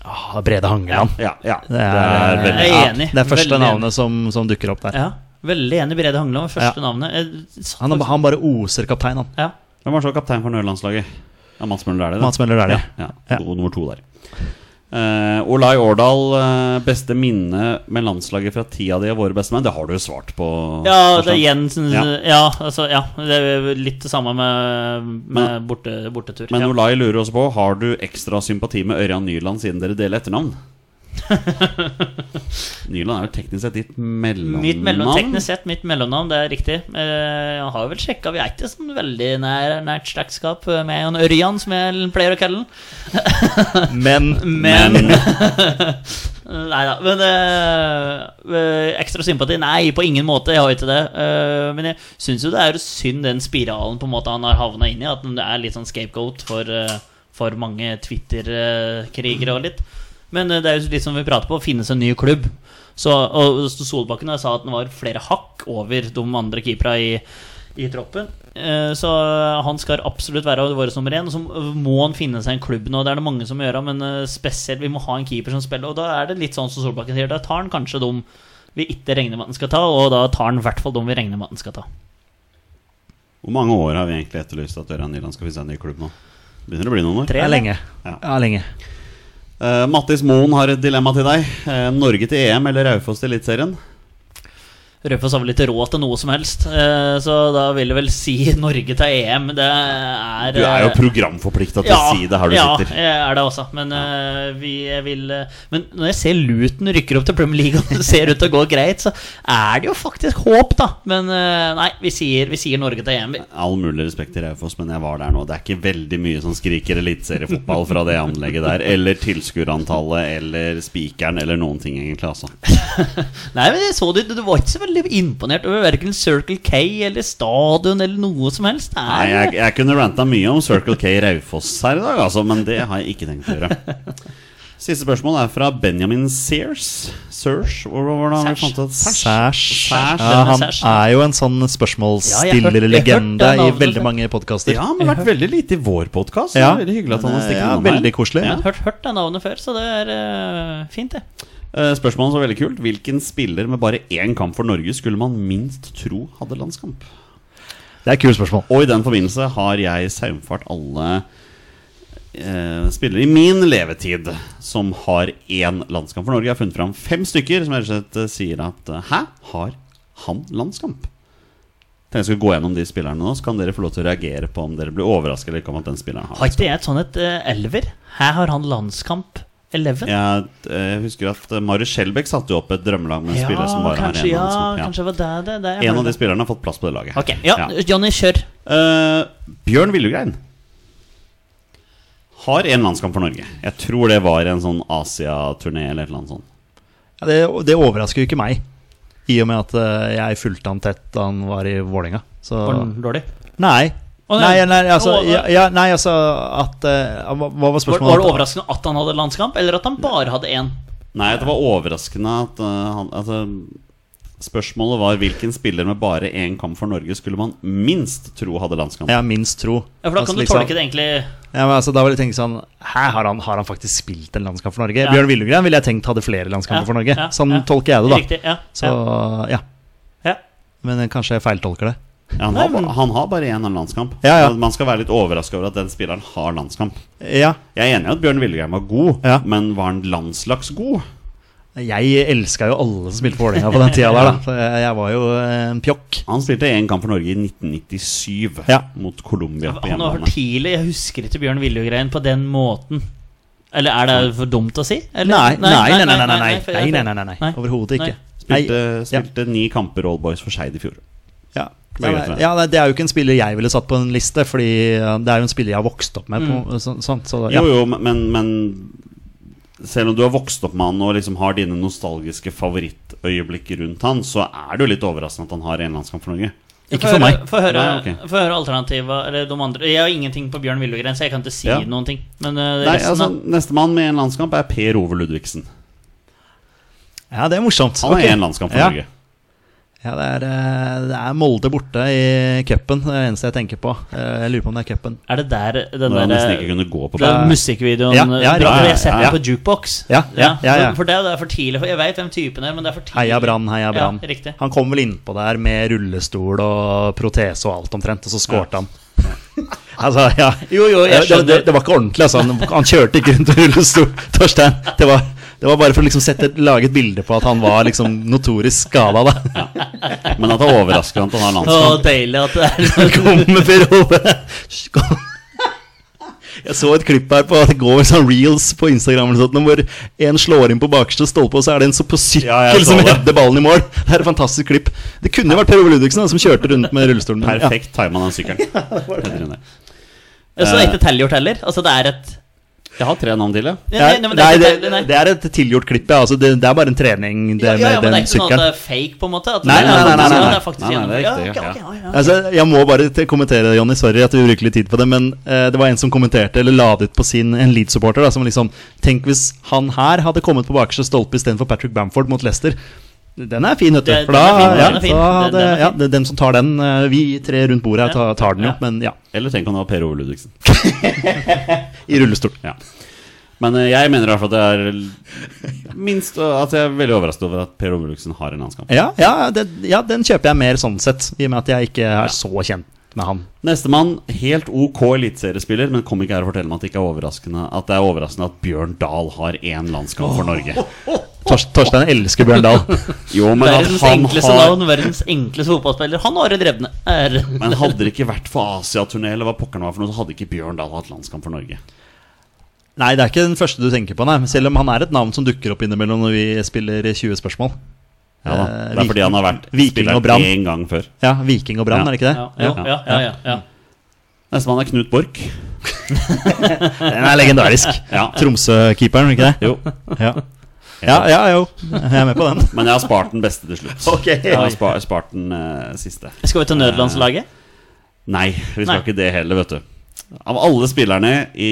C: Ah, Brede Hangeland.
B: Ja, ja
C: Det
B: det er
C: er-
B: veldig
A: Jeg er enig.
C: Det er første
A: Veldig enig.
C: navnet som, som dukker opp der.
A: Ja, Veldig enig Brede Hangeland var første
C: Ja.
A: navnet. Jeg satt
C: Han,
A: faktisk-
C: han bare oser kaptein, han.
A: ja.
B: Hvem var så kaptein for Nøylandslaget? Ja, Mats Møller er det. det.
C: Mats Møller er det.
B: Ja, ja.
C: Ja.
B: God nummer to der. Eh, Olai Årdal, eh, beste minne med landslaget fra tida di og våre bestemenn? Det har du jo svart på.
A: ja, det er
B: Torstein.
A: igjen sånn-
B: Ja.
A: ja. altså, ja, det er litt det samme med, med borte, bortetur.
B: Men
A: ja.
B: Olai lurer også på Har du ekstra sympati med Ørjan Nyland siden dere deler etternavn? Nyland er jo teknisk sett ditt mellomnavn.
A: Mitt mellom, teknisk sett mitt mellomnavn, det er riktig. Eh, jeg har vel sjekka, vi er ikke sånn veldig nær, nært slektskap med han Ørjan, som jeg pleier å kalle han.
C: Men
A: Men Nei da. Men eh, eh, ekstra sympati? Nei, på ingen måte. Jeg har ikke det. Eh, men jeg syns jo det er synd den spiralen på en måte han har havna inn i. At det er litt sånn scapegoat for, eh, for mange Twitter-krigere og litt. Men eh, det er jo litt som vi prater på, finnes en ny klubb. Så, og Solbakken sa at han var flere hakk over de andre keepera i, i troppen. Eh, Så han skal absolutt være vår nummer én. Og så må han finne seg en klubb nå. Det er det mange som må gjøre, men eh, spesielt vi må ha en keeper som spiller. Og da er det litt sånn som Solbakken sier, da tar han kanskje dem vi ikke regner med at han skal ta, og da tar han i hvert fall dem vi regner med at han skal ta.
B: Hvor mange år har vi egentlig etterlyst at Ørjan Nyland skal finne seg en ny klubb nå? Begynner det å bli noen år?
C: det er lenge.
B: Ja.
C: Ja, lenge.
B: Eh, Mattis Moen har et dilemma til deg. Eh, Norge til EM eller Raufoss til Eliteserien?
A: Raufoss har vel ikke råd til noe som helst, eh, så da vil jeg vel si Norge til EM. Det er
B: Du er jo
A: eh,
B: programforplikta til å si det her du
A: ja,
B: sitter.
A: jeg er det også. Men, eh, vi, jeg vil, eh, men når jeg ser Luton rykker opp til Premier League og det ser ut til å gå greit, så er det jo faktisk håp, da. Men eh, nei, vi sier, vi sier Norge til EM. vi.
B: All mulig respekt til Raufoss, men jeg var der nå. Det er ikke veldig mye som skriker eliteseriefotball fra det anlegget der. Eller tilskuerantallet eller spikeren eller noen ting, egentlig, altså.
A: Nei, men jeg så det, Du var ikke så veldig imponert over verken Circle K eller stadion eller noe som helst. Det
B: Nei,
A: er,
B: jeg, jeg kunne ranta mye om Circle K Raufoss her i dag, altså, men det har jeg ikke tenkt å gjøre. Siste spørsmål er fra Benjamin Sears. Sears? Hvor hvor var det han
A: Sers.
B: fant ut? Sers.
C: Sæsj.
B: Sæsj,
C: Ja,
A: denne
C: han
A: sæsj.
C: er jo en sånn
A: Ja, jeg hørte- jeg hørte
C: spørsmålsstiller-legende
A: det
C: i
A: navnet.
C: veldig mange podkaster.
B: Ja, han har vært veldig lite i vår podkast.
C: Ja.
B: Veldig hyggelig at han har stikket
C: Ja,
B: innom her.
C: veldig koselig.
B: Ja.
A: hørt, hørt det navnet før, så det er eh, fint, det.
B: Eh, Spørsmålet var veldig kult. Hvilken spiller med bare én kamp for Norge skulle man minst tro hadde landskamp?
C: Det er et kult spørsmål.
B: Og i den forbindelse har jeg saumfart alle eh, spillere i min levetid som har én landskamp for Norge. Jeg har funnet fram fem stykker som rett og slett eh, sier at eh, Hæ, har han landskamp? Tenkte jeg skulle gå gjennom de spillerne nå, så kan dere få lov til å reagere på om dere blir overrasket eller ikke om at den spilleren har
A: Har ikke jeg et sånt et eh, elver? Her har han landskamp 11.
B: Jeg eh, husker at eh, Marius Skjelbæk satte jo opp et drømmelag med en
A: Ja,
B: spiller som bare har
A: kanskje,
B: én
A: ja,
B: landskamp. Ja.
A: kanskje var det det. det er
B: En av
A: det.
B: de spillerne har fått plass på det laget. her.
A: Ok, ja,
B: Ja.
A: Johnny, kjør.
B: Eh, Bjørn Villegrein har en landskamp for Norge. Jeg tror det var en sånn Asia-turné eller et eller annet sånt.
C: Ja, Det, det overrasker jo ikke meg, i og med at eh, jeg fulgte han tett da han var i Vålerenga. Så
A: Var den dårlig?
C: Nei.
A: Å,
C: Nei,
A: nei.
C: nei, altså,
A: Å,
C: ja, ja, nei, altså at eh, hva, hva var
A: Var,
C: spørsmålet?
A: var det overraskende at han hadde landskamp, eller at han bare hadde én?
B: Nei, det var overraskende at eh, han at, eh, Spørsmålet var hvilken spiller med bare én kamp for Norge skulle man minst tro hadde landskamp.
C: Jeg har minst tro.
A: Ja, for da
C: Altså,
A: kan du
C: liksom-
A: tolke det egentlig
C: Ja, men altså, da vil jeg tenke sånn Hæ, har han, har han faktisk spilt en landskamp for Norge?
A: Ja.
C: Bjørn Willegren ville jeg tenkt hadde flere landskamper
A: Ja,
C: for Norge.
A: ja,
C: sånn
A: ja.
C: tolker jeg det, da.
A: riktig. Ja,
C: Så ja.
A: ja, ja.
C: Men jeg- kanskje jeg feiltolker det.
B: Ja, han, har, ba- han har bare én landskamp.
C: Ja, ja.
B: Men Man skal være litt overraska over at den spilleren har landskamp.
C: Ja.
B: Jeg er enig i at Bjørn Willegrein var god,
C: Ja.
B: men var han landslagsgod?
C: Jeg elska jo alle som spilte for Vålerenga på den tida der, da. Så jeg, jeg var jo eh, en pjokk.
B: Han spilte én kamp for Norge i 1997
C: Ja.
B: mot Colombia på
A: Han var for
B: hjemmebane.
A: tidlig. Jeg husker ikke Bjørn Willegrein på den måten. Eller er det for dumt å si? Eller?
C: Nei, nei, nei, nei, nei, nei, nei,
A: for
C: nei,
A: jeg-
C: nei, nei, nei, nei.
A: Nei.
C: Overhodet ikke. Nei,
B: Spilte, spilte ni kamper Old Boys for Skeid i fjor.
C: ja.
B: Det
C: Ja,
B: er greit for
C: nei,
B: deg.
C: ja, nei, det er jo ikke en spiller jeg ville satt på en liste, Fordi ja, det er jo en spiller jeg har vokst opp med. På, så, sånn, så, ja.
B: Jo, jo, men, men selv om du har vokst opp med han og liksom har dine nostalgiske favorittøyeblikk rundt han, så er det jo litt overraskende at han har en landskamp for Norge. Ikke for meg.
A: Få høre,
B: Nei, ok.
A: få høre alternativa Eller de andre Jeg har ingenting på Bjørn Willegren, så jeg kan ikke si
B: Ja.
A: noen ting. Men eh,
B: Nei,
A: resten
B: altså,
A: av
B: Nestemann med en landskamp er Per Ove Ludvigsen.
C: Ja, det er morsomt.
B: Han har
C: Ok.
B: én landskamp for
C: ja.
B: Norge.
C: Ja, det er, eh, det er Molde borte i cupen. Det er det eneste jeg tenker på. Eh, Jeg lurer på om det er cupen.
A: Er det der den
B: Når han nesten
A: der
B: ikke kunne gå på
A: den musikkvideoen
C: Ja,
A: ja,
C: ja,
A: ja,
C: riktig.
A: Jeg har sett
B: Ja, ja.
A: den på jukebox.
C: Ja, ja, ja, ja.
A: For, for det, er- det er for tidlig. For jeg veit hvem typen er, men det er for tidlig.
C: Heia Brann, heia Brann.
A: Ja, riktig.
C: han kom vel innpå der med rullestol og protese og alt omtrent, og så skårte han. altså, ja.
A: Jo, jo, jeg
C: det, det,
A: skjønner.
C: det var ikke ordentlig, altså. Han, han kjørte ikke rundt i rullestol, Torstein. Det var, det var bare for å liksom sette, lage et bilde på at han var liksom notorisk skada, da.
B: Men at det overrasker han at han har
A: Å,
B: landskamp.
A: deilig at det er
C: Han kom med Per Ove. Kom. Jeg så et klipp her på at det går sånn reels på Instagram eller sånt, nå hvor en slår inn på bakerste stolpe, og så er det en så på sykkel
B: Ja, jeg så
C: som
B: det.
C: header ballen i mål. Det er et fantastisk klipp. Det kunne jo vært Per Ove Ludvigsen da, som kjørte rundt med rullestolen. Ja.
B: Perfekt tima den sykkelen. Heter den det.
A: Så det er ikke tellgjort heller? Altså, det er et
B: Jeg har tre navn til, ja.
A: Nei,
C: Nei,
A: nei, men det er
C: det,
A: ikke tell- nei.
C: det er et tilgjort klipp, ja. Altså, det, det er bare en trening, det
A: Ja, ja,
C: med
A: ja, men det er
C: den
A: ikke sånn at
C: sykkelen.
A: det er fake, på en måte? At
C: Nei,
A: det,
C: nei,
A: er
C: nei, nei,
A: faktisk-
C: nei.
A: det er faktisk
B: Nei, nei, det er
A: gjennomført.
B: riktig,
A: Ja,
B: ja.
A: ok, ja, ja.
C: Altså, jeg må bare te- kommentere det, Jonny. Sorry at vi bruker litt tid på det. Men eh, det var en som kommenterte eller la det ut på sin en Leeds-supporter. da, Som liksom Tenk hvis han her hadde kommet på bakerste stolpe istedenfor Patrick Bamford mot Leicester. Den er fin, vet du.
A: Det-
C: For
A: den
C: da,
A: er fin,
C: ja,
A: den er fin.
C: så hadde,
A: Den- den er
C: ja,
A: fin.
C: det er dem som tar den eh, Vi tre rundt bordet her tar, tar den jo,
B: Ja.
C: men ja.
B: Eller tenk om det var Per Ove Ludvigsen.
C: I rullestol.
B: Ja. Men eh, jeg mener i hvert fall at det er minst eh, At jeg er veldig overrasket over at Per Ove Ludvigsen har en landskamp.
C: Ja, ja, det, ja, den kjøper jeg mer sånn sett, i og med at jeg ikke er så kjent med han.
B: Nestemann, helt ok eliteseriespiller, men kom ikke her og fortell meg at det ikke er overraskende At det er overraskende at Bjørn Dahl har én landskamp for Norge.
C: Tors, Torstein elsker Bjørn Dahl.
B: Jo, men at
A: Verdens
B: han
A: enkleste
B: har
A: navn, verdens enkleste fotballspiller. Han har en drevne. Er,
B: Men hadde det ikke vært for Asiaturné eller hva pokker det var for noe, så hadde ikke Bjørn Dahl hatt landskamp for Norge.
C: Nei, det er ikke den første du tenker på, nei. Selv om han er et navn som dukker opp innimellom når vi spiller 20 spørsmål.
B: Ja da,
C: Eh,
B: Det er fordi han har vært
C: Viking og
B: spiller
C: Brann.
B: én gang før.
C: Ja, Viking og Brann,
B: Ja.
C: er det ikke
A: ja,
C: det?
A: jo, ja, ja, ja, ja.
B: Nestemann er Knut Borch.
C: Den er legendarisk.
B: Ja.
C: Tromsø-keeperen, ikke det?
B: Jo.
C: Ja. ja, ja, jo. Jeg er med på den.
B: Men jeg har spart den beste til slutt.
C: Ok.
B: Jeg har spa- spart den eh, siste.
A: Skal vi til nødlandslaget?
B: Nei, vi skal
A: Nei.
B: ikke det heller, vet du. Av alle spillerne i,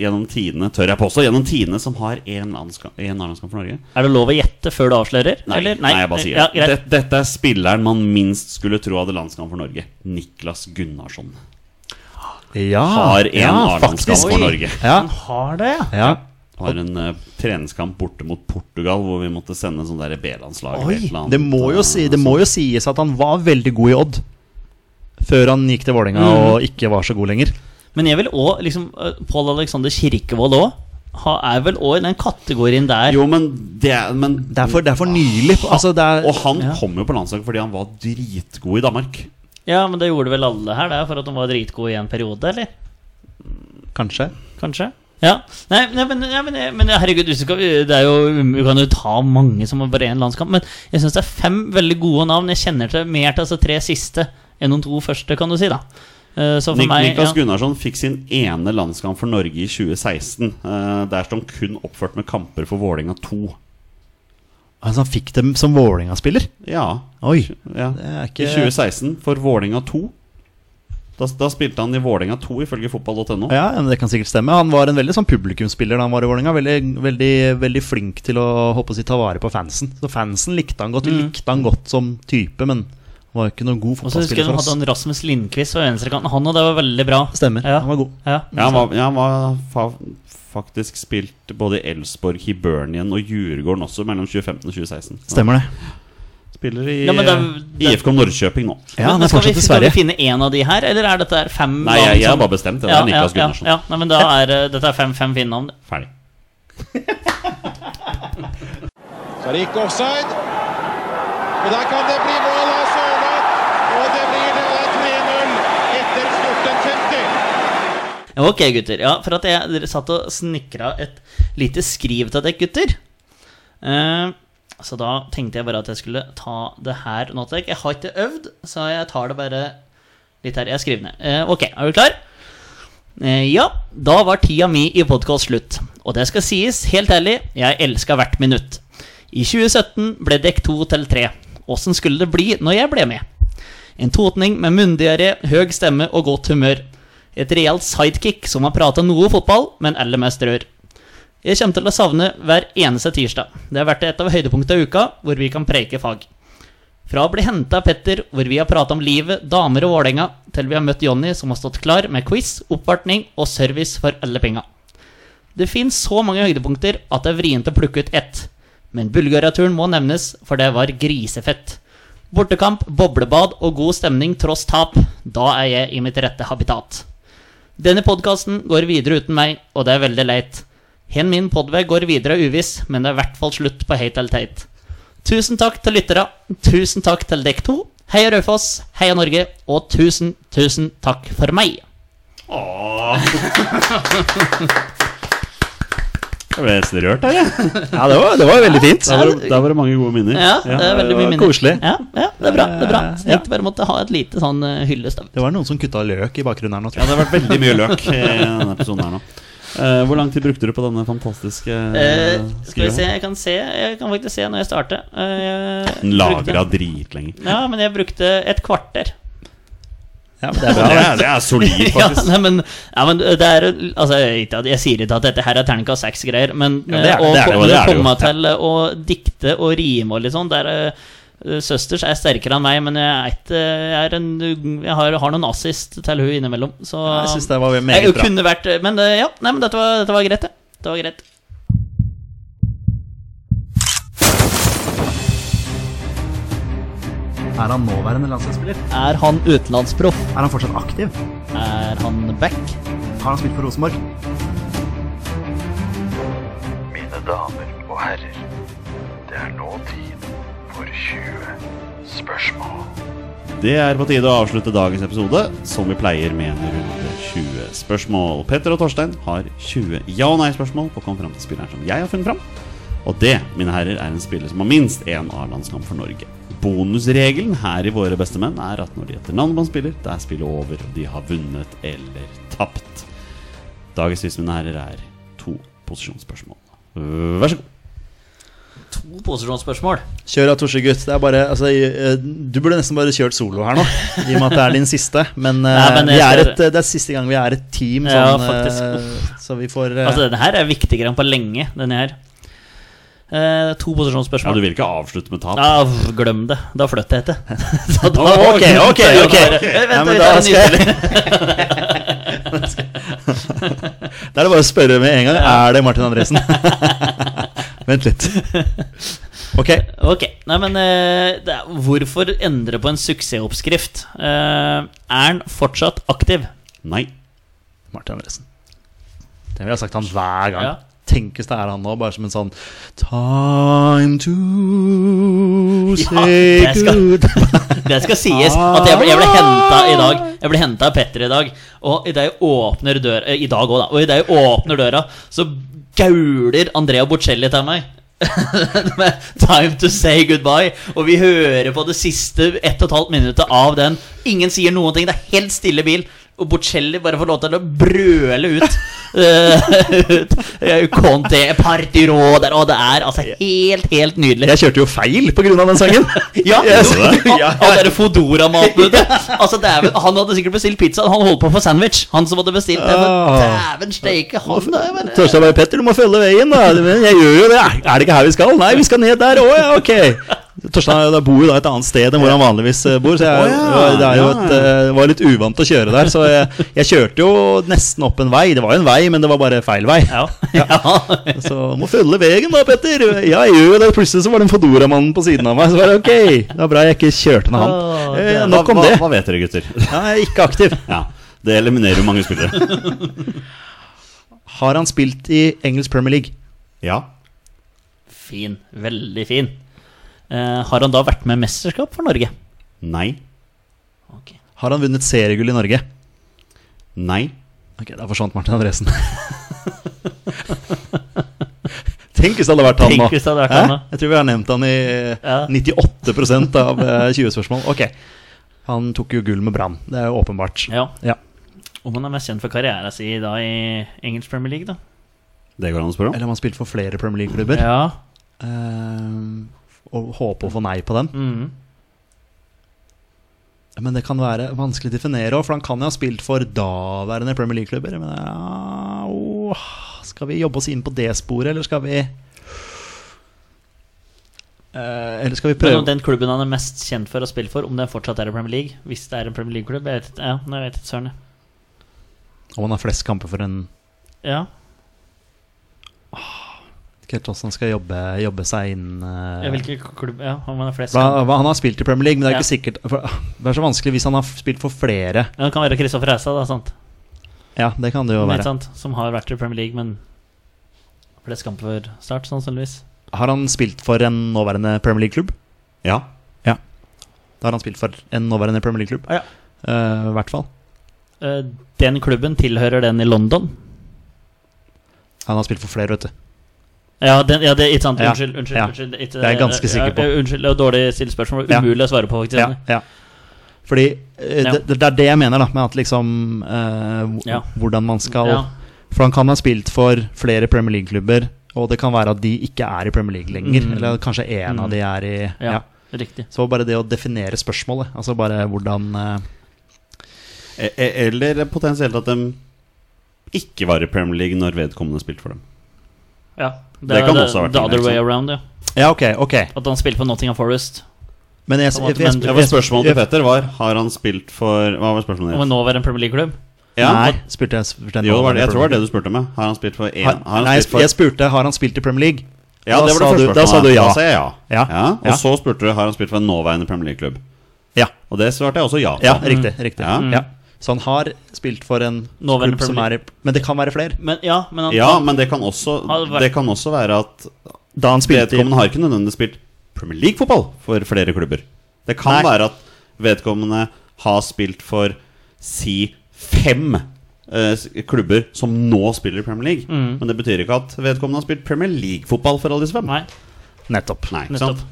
B: gjennom tidene, tør jeg påstå, gjennom tidene som har én landskamp, én landskamp for Norge
A: Er det lov å gjette før du avslører?
B: Nei,
A: eller?
B: nei, jeg bare sier
A: ja,
B: det.
A: greit.
B: Dette- Dette er spilleren man minst skulle tro hadde landskamp for Norge. Niklas Gunnarsson
C: Ja,
B: har én
C: ja,
B: A-landskamp
C: faktisk.
B: for Norge.
C: Ja,
A: Han har det, ja.
C: ja.
B: Har en eh, treningskamp borte mot Portugal hvor vi måtte sende sånn der B-landslag. eller
C: Oi,
B: et eller annet,
C: det må, jo
B: eh,
C: si, det må jo sies at han var veldig god i Odd. Før han gikk til Vålerenga og ikke var så god lenger.
A: Men jeg vil òg liksom, Pål Alexander Kirkevold òg er vel òg i den kategorien der.
B: altså. Jo, men det er- men,
C: Det er for, det er for nylig. Altså, det er,
B: Og han
A: Ja.
B: kom jo på landslaget fordi han var dritgod i Danmark.
A: Ja, men det gjorde vel alle her, det, for at de var dritgode i en periode, eller?
C: kanskje.
A: Kanskje? Ja. Nei, nei, men, nei men, men herregud, hvis du skal, det er jo, vi kan jo ta mange som er bare én landskamp. Men jeg syns det er fem veldig gode navn. Jeg kjenner til mer til altså, tre siste enn de to første, kan du si. da Eh, Så for
B: Nik
A: meg
B: Niklas
A: ja.
B: Gunnarsson fikk sin ene landskamp for Norge i 2016. Eh, der sto han kun oppført med kamper for Vålerenga 2.
C: Altså, han fikk dem som Vålerenga-spiller.
B: Ja,
C: Oi.
B: ja.
C: Det er
B: I
C: ikke
B: 2016 for Vålerenga 2. Da, da spilte han i Vålerenga 2, ifølge fotball.no.
C: Ja, ja, men Det kan sikkert stemme. Han var en veldig sånn publikumsspiller da han var i Vålerenga. Veldig, veldig, veldig flink til å håpe å si, ta vare på fansen. Så fansen likte han godt. Vi likte han godt som type, men han var jo ikke noen god
A: Mm. Og så husker jeg
C: fotballspiller
A: de
C: for
A: hadde
C: oss.
A: han Rasmus Lindqvist på venstrekanten. Han og det var veldig bra.
C: Stemmer.
A: Ja.
C: Han var god.
A: Ja.
B: Ja, han var, ja, han var fa faktisk spilt både i Elfsborg, Hibernian og Djurgården også mellom 2015 og 2016. Så
C: Stemmer det.
B: Spiller i
A: Ja, men det er-
B: eh, IFK Norrköping nå.
C: Ja, han
A: Men
C: er
A: skal, vi,
C: fortsatt i
A: skal vi
C: Sverige.
A: finne én av de her, eller er dette her
B: Nei,
A: fem navn
B: jeg, jeg
A: som-
B: har bare bestemt det. Det
A: Ja,
B: er Niklas
A: ja,
B: Gunnarsson.
A: Ja, ja. Nei, men da er eh, dette er fem-fem fine navn.
B: Ferdig.
E: Så er det ikke offside. Og der kan det bli mål av Sørloth. Og det blir det og det er 3-0 etter 14.50.
A: Ja, Ok, gutter. Ja, for at jeg dere satt og snikra et lite skriv til dere, gutter. Eh, så da tenkte jeg bare at jeg skulle ta det her nå til dere. Jeg har ikke øvd, så jeg tar det bare litt her. Jeg skriver ned. Eh, ok, er du klar? Eh, ja. Da var tida mi i podkast slutt. Og det skal sies, helt ærlig, jeg elska hvert minutt. I 2017 ble dekk to til tre. Åssen skulle det bli når jeg ble med? En totning med munndiaré, høg stemme og godt humør. Et reelt sidekick som har prata noe fotball, men aller mest rør. Jeg kommer til å savne hver eneste tirsdag. Det har vært et av høydepunktene i uka, hvor vi kan preike fag. Fra å bli henta av Petter, hvor vi har prata om livet, damer og Vålerenga, til vi har møtt Jonny, som har stått klar med quiz, oppvartning og service for alle penga. Det fins så mange høydepunkter at det er vrient å plukke ut ett. Men Bulgaria-turen må nevnes, for det var grisefett. Bortekamp, boblebad og god stemning tross tap. Da er jeg i mitt rette habitat. Denne podkasten går videre uten meg, og det er veldig leit. Hen min podvei går videre uviss, men det er i hvert fall slutt på Hate eller Tate. Tusen takk til lyttere, tusen takk til dere to. Heia Raufoss, heia Norge, og tusen, tusen takk for meg.
B: Jeg ble nesten rørt her, jeg.
F: Ja, det var, det var veldig fint.
B: Der var, det- der var det mange gode minner.
A: Ja, det er veldig
F: det
A: mye
F: var
A: minner.
F: koselig.
A: Ja, ja, det er bra. det er bra Så
C: Ja.
A: tenkte bare måtte ha et lite sånn eh, hyllest. av-
C: Det var noen som kutta løk i bakgrunnen her nå,
B: Ja,
C: tror jeg.
B: det har vært veldig mye løk i denne episoden her nå. Eh, hvor lang tid brukte du på denne fantastiske
A: Eh, skal vi
B: skrivet
A: se,
B: her?
A: jeg kan se Jeg kan faktisk se når jeg starter. Eh, jeg
B: Den
A: brukte-
B: lagra dritlenge.
A: Ja, men jeg brukte et kvarter.
C: Ja, men det er
B: Det
C: bra.
B: er, det er solid,
A: Ja,
B: faktisk.
A: nei, men, ja, men det er altså, jeg, vet ikke at- jeg sier ikke at dette her er terningkast seks-greier, men eh,
B: Ja, det er det,
A: å
B: det er det,
A: komme-
B: det er det jo.
A: komme til eh, å dikte og rime og litt sånn der, eh, Søsters er sterkere enn meg, men jeg er ikke Jeg, er en, jeg har, har noen assist til hun innimellom, så
C: Jeg syns det var
A: jeg
C: meget bra.
A: kunne vært Men eh, ja, nei, men dette var, dette var greit, det. Det var greit.
C: Er han nåværende landslagsspiller?
A: Er han utenlandsproff?
C: Er han fortsatt aktiv?
A: Er han back?
C: Har han spilt for Rosenborg?
G: Mine damer og herrer, det er nå tid for 20 spørsmål.
B: Det er på tide å avslutte dagens episode, som vi pleier med en runde 20 spørsmål. Petter og Torstein har 20 ja- og nei-spørsmål på å komme fram til spilleren som jeg har funnet fram. Og det, mine herrer, er en spiller som har minst én A-landskamp for Norge. Bonusregelen her i Våre beste menn er at når de etter navn på en spiller, det er spillet over. og De har vunnet eller tapt. Dagens quiz, mine herrer, er to posisjonsspørsmål. Vær så god.
A: To posisjonsspørsmål.
C: Kjør av Torse, gutt. Det er bare, altså, i- eh, du burde nesten bare kjørt solo her nå, i og med at det er din siste. Men, eh,
A: Nei, men jeg
C: vi er
A: skal-
C: et, eh, det er siste gang vi er et team,
A: Ja,
C: sånn, eh,
A: faktisk.
C: så vi får eh,
A: Altså, denne her er viktigere enn på lenge, denne her. Eh, to
B: Ja,
A: posisjonsspørsmål.
B: du vil ikke avslutte med tap?
A: Ja, v- glem det. Da flytter jeg til. Så da-
C: Å, ok, ok,
A: så
C: ok.
A: bare- Vent,
C: Ja, men
A: vi
C: da
A: tar en ny
C: skal
A: spiller.
C: Da er det bare å spørre med en gang. Er det Martin Andresen? Vent litt. Ok.
A: Ok, nei, men eh, det er, Hvorfor endre på en suksessoppskrift? Eh, er han fortsatt aktiv?
B: Nei.
C: Martin Andresen. Det vil jeg ha sagt han hver gang.
A: Ja.
C: Tenkes det er han nå, bare som en sånn Time to say
A: det skal-
C: good
A: Det skal sies at jeg ble, jeg ble henta i dag. Jeg ble hentet av Petter i dag. Og idet jeg åpner døra eh, I dag også da. Og i det jeg åpner døra, så gauler Andrea Bocelli til meg. Med 'Time to say goodbye'. Og vi hører på det siste 1 12 minuttet av den. Ingen sier noen ting. Det er helt stille bil. Og Bocelli bare får lov til å brøle ut. Uh, Conte, Partiro der, Og det er altså helt, helt nydelig.
C: Jeg kjørte jo feil på grunn av den sangen!
A: Ja,
C: Yes.
A: jo, han-
C: Ja.
A: Han derre Fodora-maten ute. Altså, dæven, han hadde sikkert bestilt pizza. Han holdt på for sandwich. Han som hadde bestilt det. Men
C: Ah.
A: dæven steike, han er bare
C: Torstein bare Petter, du må følge veien, da. Men jeg gjør jo det. Er det ikke her vi skal? Nei, vi skal ned der òg, ja, ok. Torstein da bor jo da et annet sted enn hvor han vanligvis eh, bor, så jeg
B: Å, ja.
C: det er jo
B: Ja.
C: et, eh, var litt uvant å kjøre der. Så jeg, jeg kjørte jo nesten opp en vei. Det var jo en vei, men det var bare feil vei.
A: Ja. ja.
C: Så må følge veien da, Petter. Ja, jeg gjør jo det. Plutselig så var det en Fodora-mann på siden av meg. Så var det ok. Det var bra jeg ikke kjørte med
A: Åh,
C: han.
A: det-
C: Eh,
B: Hva,
C: nok om
B: hva,
C: det.
B: hva vet dere, gutter?
C: Ja, jeg er ikke aktiv.
B: Ja, Det eliminerer jo mange spillere.
C: Har han spilt i engelsk Premier League?
B: Ja.
A: Fin. Veldig fin. Eh, har han da vært med i mesterskap for Norge?
B: Nei.
A: Ok.
C: Har han vunnet seriegull i Norge?
B: Nei.
C: Ok, da forsvant Martin Andresen. Tenk hvis det hadde vært han nå.
A: Tenk hvis det hadde vært han
C: Hæ?
A: nå.
C: Jeg tror vi har nevnt han i
A: Ja.
C: 98 av eh, 20 spørsmål. Ok, han tok jo gull med Brann. Det er jo åpenbart.
A: Ja.
C: Ja.
A: Om han er mest kjent for karrieren sin da i engelsk Premier League, da?
B: Det går an å spørre om.
C: Eller om han spilte for flere Premier League-klubber.
A: Ja. Mm.
C: Eh, og håpe å få nei på den.
A: Mhm.
C: Men det kan være vanskelig å definere òg, for han kan jo ha spilt for daværende Premier League-klubber. Men ja, åh, skal vi jobbe oss inn på det sporet, eller skal vi Eh, Eller skal vi
A: Men om
C: prøve
A: den klubben han er mest kjent for å spille for, om den fortsatt er i Premier League Hvis det er en Premier League-klubb jeg vet ikke- Ja, nei, jeg vet ikke, søren. jeg.
C: om han har flest kamper for en
A: Ja.
C: Ikke helt hvordan han skal jobbe, jobbe seg inn eh,
A: Ja, Hvilken klubb Ja, om han er flest
C: hva, hva, Han har spilt i Premier League, men det er
A: Ja.
C: ikke sikkert for, Det er så vanskelig hvis han har spilt for flere.
A: ja, Det kan være Kristoffer Reistad, da, sant?
C: Ja, det kan det jo
A: Men,
C: være.
A: sant? Som har vært i Premier League, men flest kamper før start, sannsynligvis.
C: Har han spilt for en nåværende Premier League-klubb?
B: Ja.
C: Da har han spilt for en nåværende Premier League-klubb.
A: Ja.
C: Eh, I hvert fall.
A: Eh, Den klubben tilhører den i London.
C: Han har spilt for flere, vet du.
A: Ja, den, ja det, ikke sant.
C: Ja,
A: Unnskyld. unnskyld,
C: ja.
A: unnskyld ikke,
C: Det er jeg ganske sikker på.
A: Ja, eh, unnskyld, det var dårlig stilt spørsmål.
C: Ja.
A: Umulig å svare på, faktisk.
C: Ja, ja. Fordi eh,
A: Ja.
C: det, det er det jeg mener, da, med at liksom eh, hv-
A: Ja.
C: Hvordan man skal
A: Ja.
C: For han kan ha spilt for flere Premier League-klubber, og det kan være at de ikke er i Premier League lenger.
A: Mm.
C: Eller kanskje én
A: Mm.
C: av de er i ja.
A: Ja. Riktig.
C: Så bare det å definere spørsmålet, altså bare hvordan eh,
B: E- e- Eller potensielt at de ikke var i Premier League når vedkommende spilte for dem.
A: Ja. Det,
B: Det
A: er
B: kan
A: the-
B: også ha vært liksom.
A: The
B: en
A: other
B: eksempel.
A: way around, ja.
C: Ja, ok, ok.
A: At han spiller på Nottingham Forest.
C: Men jeg,
A: På
C: jeg,
A: en måte,
C: jeg,
A: men-
B: Ja,
C: jeg,
B: for Spørsmålet til
C: jeg-
B: Petter var Har han spilt for Hva var spørsmålet
A: Om han
B: ditt?
A: nå være en Premier League-klubb.
B: Ja.
C: Nei, spurte jeg. Spurte
B: Jo, det var det, jeg tror det var det du spurte om. ja. Har han spilt for én?
C: Har,
B: Har han
C: nei, jeg sp-
B: spilt for
C: jeg spurte har han spilt i Premier League.
B: Ja,
C: Da
B: det var
C: sa
B: det
C: du-
B: første
C: da sa du
B: spørsmålet.
C: ja.
B: Da sa jeg ja.
C: Ja,
B: Og
C: ja.
B: så spurte du har han spilt for en nåværende Premier League-klubb.
C: Ja.
B: Og det svarte jeg også ja på.
C: Ja, riktig. riktig
B: Mm. Ja.
C: Ja. Så han har spilt for en
A: Nåværende
C: klubb som er
A: Premier
C: i Men det kan være flere.
A: Men ja, men han,
B: Ja, men det kan også,
A: Har det vært-
B: det kan også være at
C: Da han spilte i
B: vedkommende har ikke nødvendigvis spilt Premier League-fotball for flere klubber. Det kan
C: Nei.
B: være at vedkommende har spilt for si fem eh, s- klubber som nå spiller i Premier League.
A: Mm.
B: Men det betyr ikke at vedkommende har spilt Premier League-fotball for alle disse fem.
A: Nei,
C: Nettopp.
B: Nei, ikke
A: nettopp.
B: sant?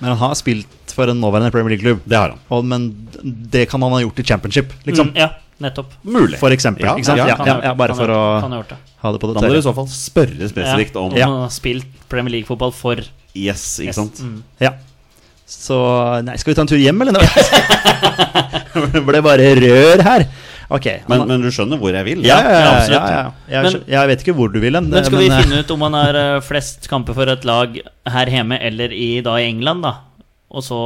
C: Men han har spilt for en nåværende Premier League-klubb.
B: Det har han.
C: Og- Men det kan han ha gjort i championship, liksom.
A: Mm, ja, nettopp.
B: Mulig.
C: For eksempel.
B: Ja,
C: ikke sant?
B: ja,
C: Ja,
A: Han
C: ja,
A: har
C: ja,
A: gjort det,
C: bare
A: han
C: for
A: har gjort det,
C: å
A: Han har gjort det.
C: ha det på det
B: Da må du i
C: tørre.
B: så fall spørre spesifikt om
A: Om han har spilt Premier League-fotball for
B: Yes, ikke
A: Yes,
B: sant?
A: mm.
C: Ja. Så Nei, skal vi ta en tur hjem, eller? noe? det ble bare rør her. Ok.
B: Men,
C: han-
B: men du skjønner hvor jeg vil?
C: ja, ja,
A: ja,
C: ja,
A: absolutt.
C: ja, ja. Jeg,
A: Men-
C: skjø- jeg vet ikke hvor du vil hen.
A: Men skal
C: men,
A: vi
C: eh,
A: finne ut om han har eh, flest kamper for et lag her hjemme eller i, da, i England, da? Og så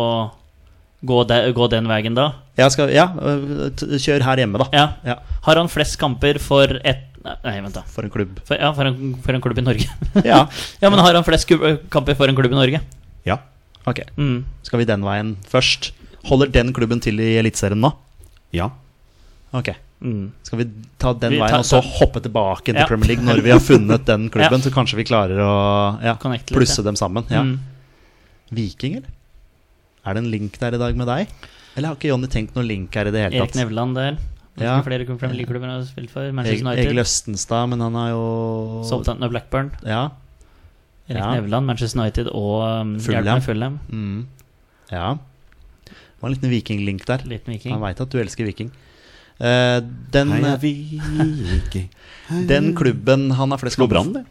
A: gå, de, gå den veien, da?
C: jeg skal, ja, øh, t- kjør her hjemme, da.
A: Ja.
C: Ja.
A: Har han flest kamper for et Nei, vent, da.
C: For en klubb.
A: For, ja, for en, for en klubb i Norge.
C: Ja,
A: ja, men har han flest kub- kamper for en klubb i Norge?
B: Ja.
C: ok.
A: Mm.
C: Skal vi den veien først? Holder den klubben til i Eliteserien nå?
B: ja.
C: Ok.
A: Mm.
C: Skal vi ta den
A: Vi tar-
C: veien og så hoppe tilbake til
A: Ja.
C: Premier League når vi har funnet den klubben?
A: Ja.
C: Så kanskje vi klarer å ja,
A: Connecte litt,
C: plusse
A: ja.
C: dem sammen. Ja.
A: Mm.
C: Viking, eller? Er det en link der i dag med deg? Eller har ikke Jonny tenkt noen link her i det hele
A: Erik
C: tatt?
A: Nevland der.
C: Ja.
A: Ja. Flere Premier League-klubber han har spilt for.
C: Egil
A: Manchester
C: Egil
A: United.
C: Østenstad, men han har jo
A: Southampton og Blackburn.
C: Ja.
A: Erik
C: Ja.
A: Nevland, Manchester United og um,
C: Fulham.
A: Hjelmen Fulham.
C: Mm. Ja. Det var en liten vikinglink der.
A: Liten
C: Han
A: viking.
C: veit at du elsker viking. Eh, den,
B: Heia Viking.
C: den klubben han har flest
B: Slo Brann, det?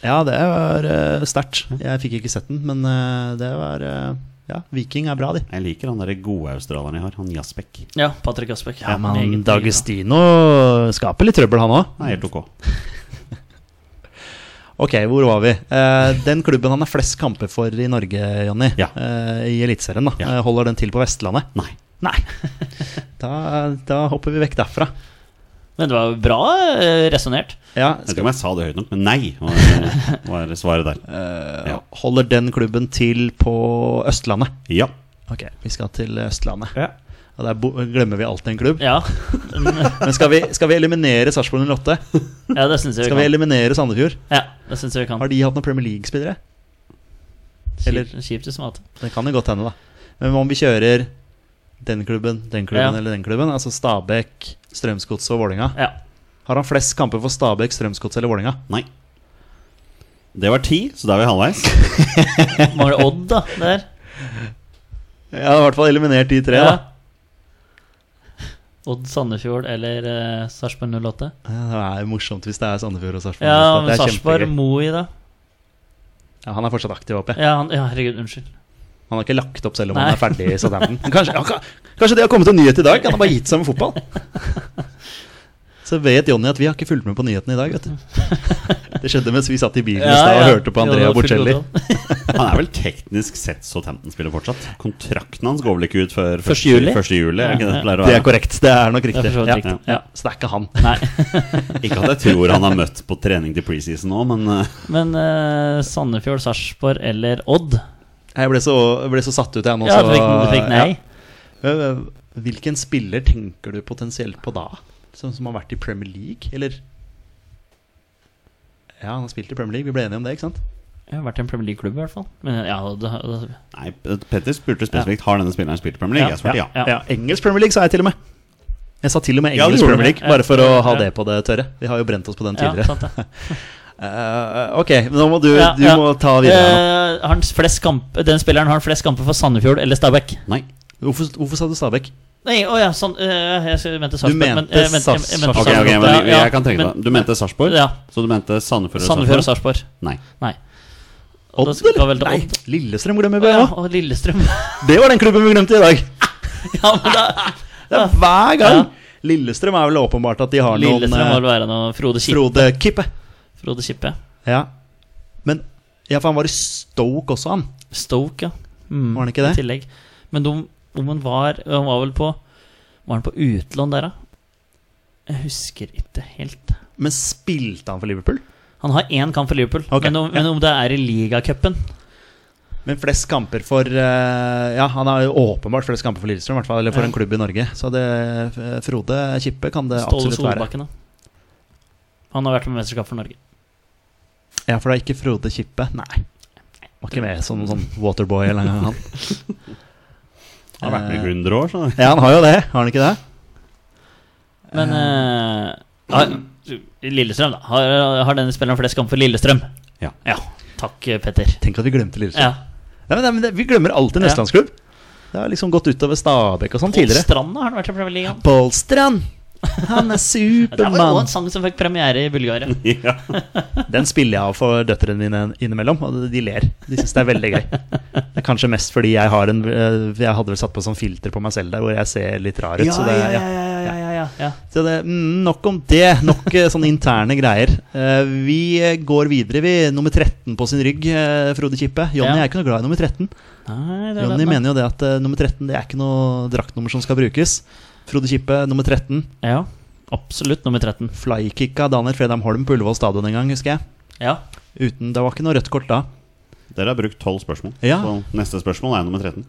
C: Ja, det var eh, sterkt. Jeg fikk ikke sett den, men eh, det var eh, Ja, Viking er bra, de.
B: Jeg liker han derre gode australieren jeg har, han Jasbekk.
A: Ja, Patrick Asbæk.
C: Ja, men
A: Meget
C: Dagestino skaper litt trøbbel, han òg.
B: Han er helt ok.
C: Ok, hvor var vi? Eh, den klubben han har flest kamper for i Norge, Jonny,
B: Ja.
C: eh, i Eliteserien, da,
B: Ja.
C: eh, holder den til på Vestlandet?
B: Nei.
C: Nei. da, da hopper vi vekk derfra.
A: Men det var bra eh, resonnert.
C: Ja,
B: Jeg vet ikke
C: skal,
B: om jeg sa det høyt nok, men nei var, var svaret der.
C: eh,
B: Ja.
C: Holder den klubben til på Østlandet?
B: Ja.
C: Ok, vi skal til Østlandet.
A: Ja.
C: Og der bo glemmer vi alltid en klubb.
A: Ja,
C: Men skal vi, skal vi eliminere Sarpsborg 08?
A: ja det syns jeg
C: Skal
A: vi
C: vi
A: kan.
C: eliminere Sandefjord?
A: Ja, det synes jeg vi kan.
C: Har de hatt noen Premier League-spillere? eller-
A: Kjipt- Kjipt som alltid.
C: Det kan jo godt hende, da. Men om vi kjører den klubben, den klubben
A: Ja.
C: eller den klubben, altså Stabæk, Strømsgodset og Vålinga
A: Ja.
C: Har han flest kamper for Stabæk, Strømsgodset eller Vålinga?
B: Nei. Det var ti, så da er vi halvveis.
A: Mangler Odd, da. Der.
C: Jeg har i hvert fall eliminert de tre,
A: Ja.
C: da.
A: Odd Sandefjord eller eh, Sarpsborg 08?
C: Det er jo morsomt hvis det er Sandefjord og Sarpsborg.
A: Ja,
C: Det
A: men
C: er
A: Sarpsborg
C: kjempegøy.
A: Moi, da.
C: ja, Han er fortsatt aktiv, håper jeg.
A: Ja, han, ja, herregud, unnskyld.
C: Han har ikke lagt opp selv om han er ferdig i Southampton. Kanskje, ja, ka- kanskje det har kommet en nyhet i dag? Han har bare gitt seg med fotball. Så vet Jonny at vi har ikke fulgt med på nyhetene i dag, vet du. Det skjedde mens vi satt i bilen i stad og hørte på Andrea Bocelli.
B: Han er vel teknisk sett Southampton-spiller fortsatt. Kontrakten hans går vel ikke ut før
A: Første juli?
B: Første juli er det ikke det det pleier å
C: Det
B: være?
C: er korrekt. Det er nok
A: Det
C: riktig.
A: er for så vidt
C: Ja.
A: riktig. Ja.
C: Så det er ikke han.
A: Nei.
B: Ikke at jeg tror han har møtt på trening til preseason nå, men eh,
A: Men eh, Sandefjord, Sarpsborg eller Odd?
C: Jeg ble så, jeg ble så satt ut, jeg nå.
A: Ja,
C: så-
A: du fikk, du fikk nei.
C: Ja. Eh, Hvilken spiller tenker du potensielt på da? Sånn som har vært i Premier League, eller? Ja, han har spilt i Premier League. Vi ble enige om det, ikke sant?
A: Jeg har vært i en Premier League-klubb, i hvert fall. Men ja, det, det,
B: Nei, Petter spurte spesifikt Har denne spilleren spilt i Premier League. Jeg svarte ja.
A: Ja.
C: Engelsk Premier League sa jeg til og med. Jeg sa til og med
B: Ja, du
C: engelsk
B: gjorde
C: Premier
B: det.
C: League, bare for å ha
A: Ja.
C: det på det tørre. Vi har jo brent oss på den
A: ja,
C: tidligere.
A: sant det.
C: Eh, ok, men nå må du,
A: Ja,
C: du
A: ja.
C: må ta videre. her nå.
A: Eh, har han flest kamp, den spilleren har han flest kamper for Sandefjord eller Stabæk?
B: Nei.
C: Hvorfor, hvorfor sa du Stabæk?
A: Nei, å ja, sånn eh, Jeg mente Sarpsborg.
C: mente
A: men- eh, jeg mente- jeg
C: Sars-
A: mente
B: Ok,
A: Sarpsborg.
B: ok, men
A: Ja,
B: jeg kan tenke
A: men
B: meg Du mente Sarpsborg,
A: Ja.
B: så du mente Sandefjord og
A: Sandefjord og
B: Sarpsborg?
A: Sarpsborg.
B: Nei.
A: Nei.
C: Odd,
A: Da skal
C: eller?
A: vel til
C: Nei,
A: Odd.
C: Lillestrøm glemmer
A: Å
C: vi
A: ja,
C: òg.
A: og Lillestrøm.
C: Det var den klubben vi glemte i dag.
A: ja, men da,
C: Det er hver gang.
A: Ja.
C: Lillestrøm er vel åpenbart at de har
A: Lillestrøm må
C: noen
A: vel være noe Frode
C: eh,
A: Kippe.
C: Frode Kippe.
A: Frode Kippe.
C: Ja. Men ja, for han var i Stoke også, han.
A: Stoke, ja. Mm,
C: Var han ikke det?
A: I tillegg. Men de, om han var Han var vel på Var han på utlån der, da? Jeg husker ikke helt.
C: Men spilte han for Liverpool?
A: Han har én kamp for Liverpool,
C: Ok,
A: men, om, men om det er i ligacupen
C: Men flest kamper for eh, Ja, han har jo åpenbart flest kamper for Lillestrøm, i hvert fall, eller for
A: Ja.
C: en klubb i Norge. Så det, eh, Frode Kippe kan det
A: Ståle
C: absolutt være.
A: Solbakken, da. Han har vært med i mesterskap for Norge.
C: Ja, for det er ikke Frode Kippe. Nei. Var ikke med som noen sånn waterboy eller noe annet.
B: Han har vært
C: Eh,
B: med i 100 år, så
C: Ja, han har jo det. Har han ikke det?
A: Men eh, har, Lillestrøm, da. Har, har denne spilleren flest kamper for Lillestrøm?
B: Ja.
A: Takk, eh, Petter.
C: Tenk at vi glemte Lillestrøm.
A: Ja.
C: Nei, men, nei, men det, vi glemmer alltid
A: Ja.
C: Østlandsklubb. Det har liksom gått utover Stabæk og sånn
A: Tidligere.
C: tidligere.
A: Stranda har han vært i Premier League. han.
C: Bolstrand, han er
A: Det var jo en
C: Supermann.
A: sang som fikk premiere i Bulgaria.
B: ja.
C: Den spiller jeg av for døtrene mine innimellom, og de ler. De syns det er veldig gøy. Det er kanskje mest fordi jeg har en eh, Jeg hadde vel satt på sånn filter på meg selv der hvor jeg ser litt rar ut. så det, ja.
A: ja, ja, ja, ja.
C: Så det, mm, nok om det. Nok eh, sånne interne greier. Eh, vi eh, går videre, vi. Nummer 13 på sin rygg, eh, Frode Kippe. Jonny
A: Ja.
C: er ikke noe glad i nummer 13.
A: Nei, det er
C: Jonny
A: den, da.
C: mener jo det at eh, nummer 13 det er ikke noe draktnummer som skal brukes. Frode Kippe, nummer 13.
A: Ja, absolutt nummer 13.
C: Flykicka Daniel Fredheim Holm på Ullevål stadion en gang, husker jeg.
A: Ja,
C: Uten, Det var ikke noe rødt kort da.
B: Dere har brukt 12 spørsmål.
C: Ja.
B: Så neste spørsmål er nummer 13.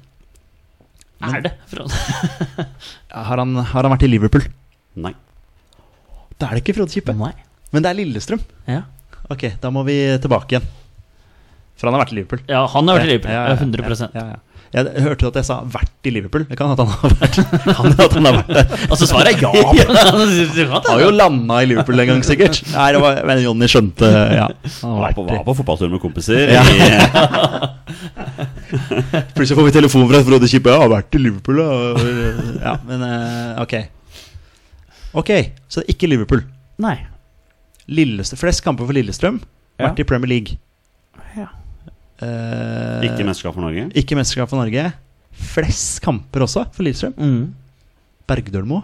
A: er det? Frode?
C: Har han, har han vært i Liverpool?
B: Nei.
C: Da er det ikke Frode Kippe.
A: Nei.
C: Men det er Lillestrøm.
A: Ja.
C: Ok, da må vi tilbake igjen. For han har vært i Liverpool.
A: ja, han har vært i Liverpool.
C: Ja, ja, ja,
A: Ja, 100
C: Ja, ja. Jeg hørte at jeg sa 'vært i Liverpool'. Det kan hende at han har vært Kan hende at han har vært der.
A: Altså svaret er ja!
C: Han har jo landa i Liverpool en gang, sikkert. Nei, det var, men Jonny skjønte ja. Han har
B: Var på,
C: vært
B: var
C: i.
B: på fotballtur med kompiser.
C: Ja.
B: I, eh,
C: Plutselig får vi telefon fra Frode Kippe. Ja, 'Har vært i Liverpool', da. Ja, men eh, ok. Ok, så det er ikke Liverpool.
A: Nei.
C: Lillestrøm, flest kamper for Lillestrøm.
A: Ja.
C: Vært i Premier League.
A: Ja.
C: Eh,
B: ikke mesterskap for Norge.
C: ikke mesterskap for Norge. Flest kamper også for Lillestrøm.
A: Mm.
C: Bergdølmo.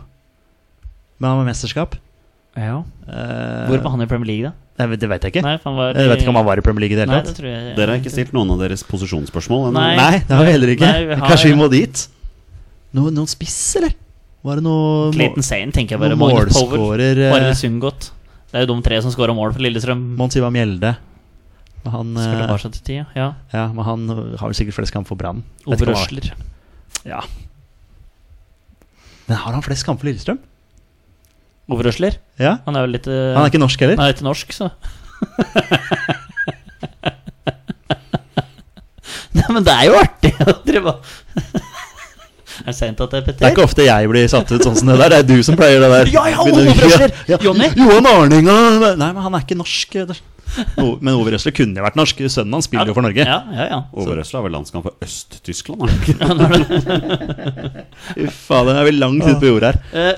C: Men han var mesterskap.
A: ja.
C: Eh,
A: Hvor var han i Premier League, da?
C: Nei, men det vet jeg ikke. Eh,
A: Nei, for han var
C: jeg vet ikke om han var i Premier League i det hele
A: Nei, det
C: tatt.
A: tror jeg
B: Dere har ikke stilt noen av deres posisjonsspørsmål ennå.
A: Nei.
C: Nei, det har vi heller ikke.
A: Nei, vi har-
C: Kanskje vi må dit? No, noen spiss, eller? Var det noe
A: Clayton Sane, tenker jeg bare.
C: Noen
A: Magnus Powell.
C: målskårer eh,
A: Arild Sundgodt. Det er jo de tre som skåra mål for Lillestrøm.
C: Mons Ivar Mjelde. Men Han, eh,
A: Skulle bare seg til tida. Ja.
C: ja, men han har vel sikkert flest kamper for Brann. Vet ikke om han har-
A: Overrøsler.
C: Ja. Men har han flest kamper for Lillestrøm?
A: Overrøsler?
C: Ja.
A: Han er jo litt eh,
C: Han er ikke norsk heller?
A: Han er ikke norsk, så. Nei, men det er jo artig å drive og- Er det seint at det er
C: Det er
A: Petter?
C: ikke ofte jeg blir satt ut sånn som det der. Det er du som pleier det der.
A: Ja, ja,
C: Begynner-
A: overrøsler!
C: Ja, ja.
A: Jonny?
C: Johan Arninga! Nei, men han er ikke norsk. No, men Overøsler kunne jo vært norsk. Sønnen hans spiller jo for Norge.
A: Ja, ja, ja.
B: Overøsla har vel landskamp for Øst-Tyskland? har de ikke?
C: Uff, faen, det er vel langt ut på jordet her.
A: Eh, eh,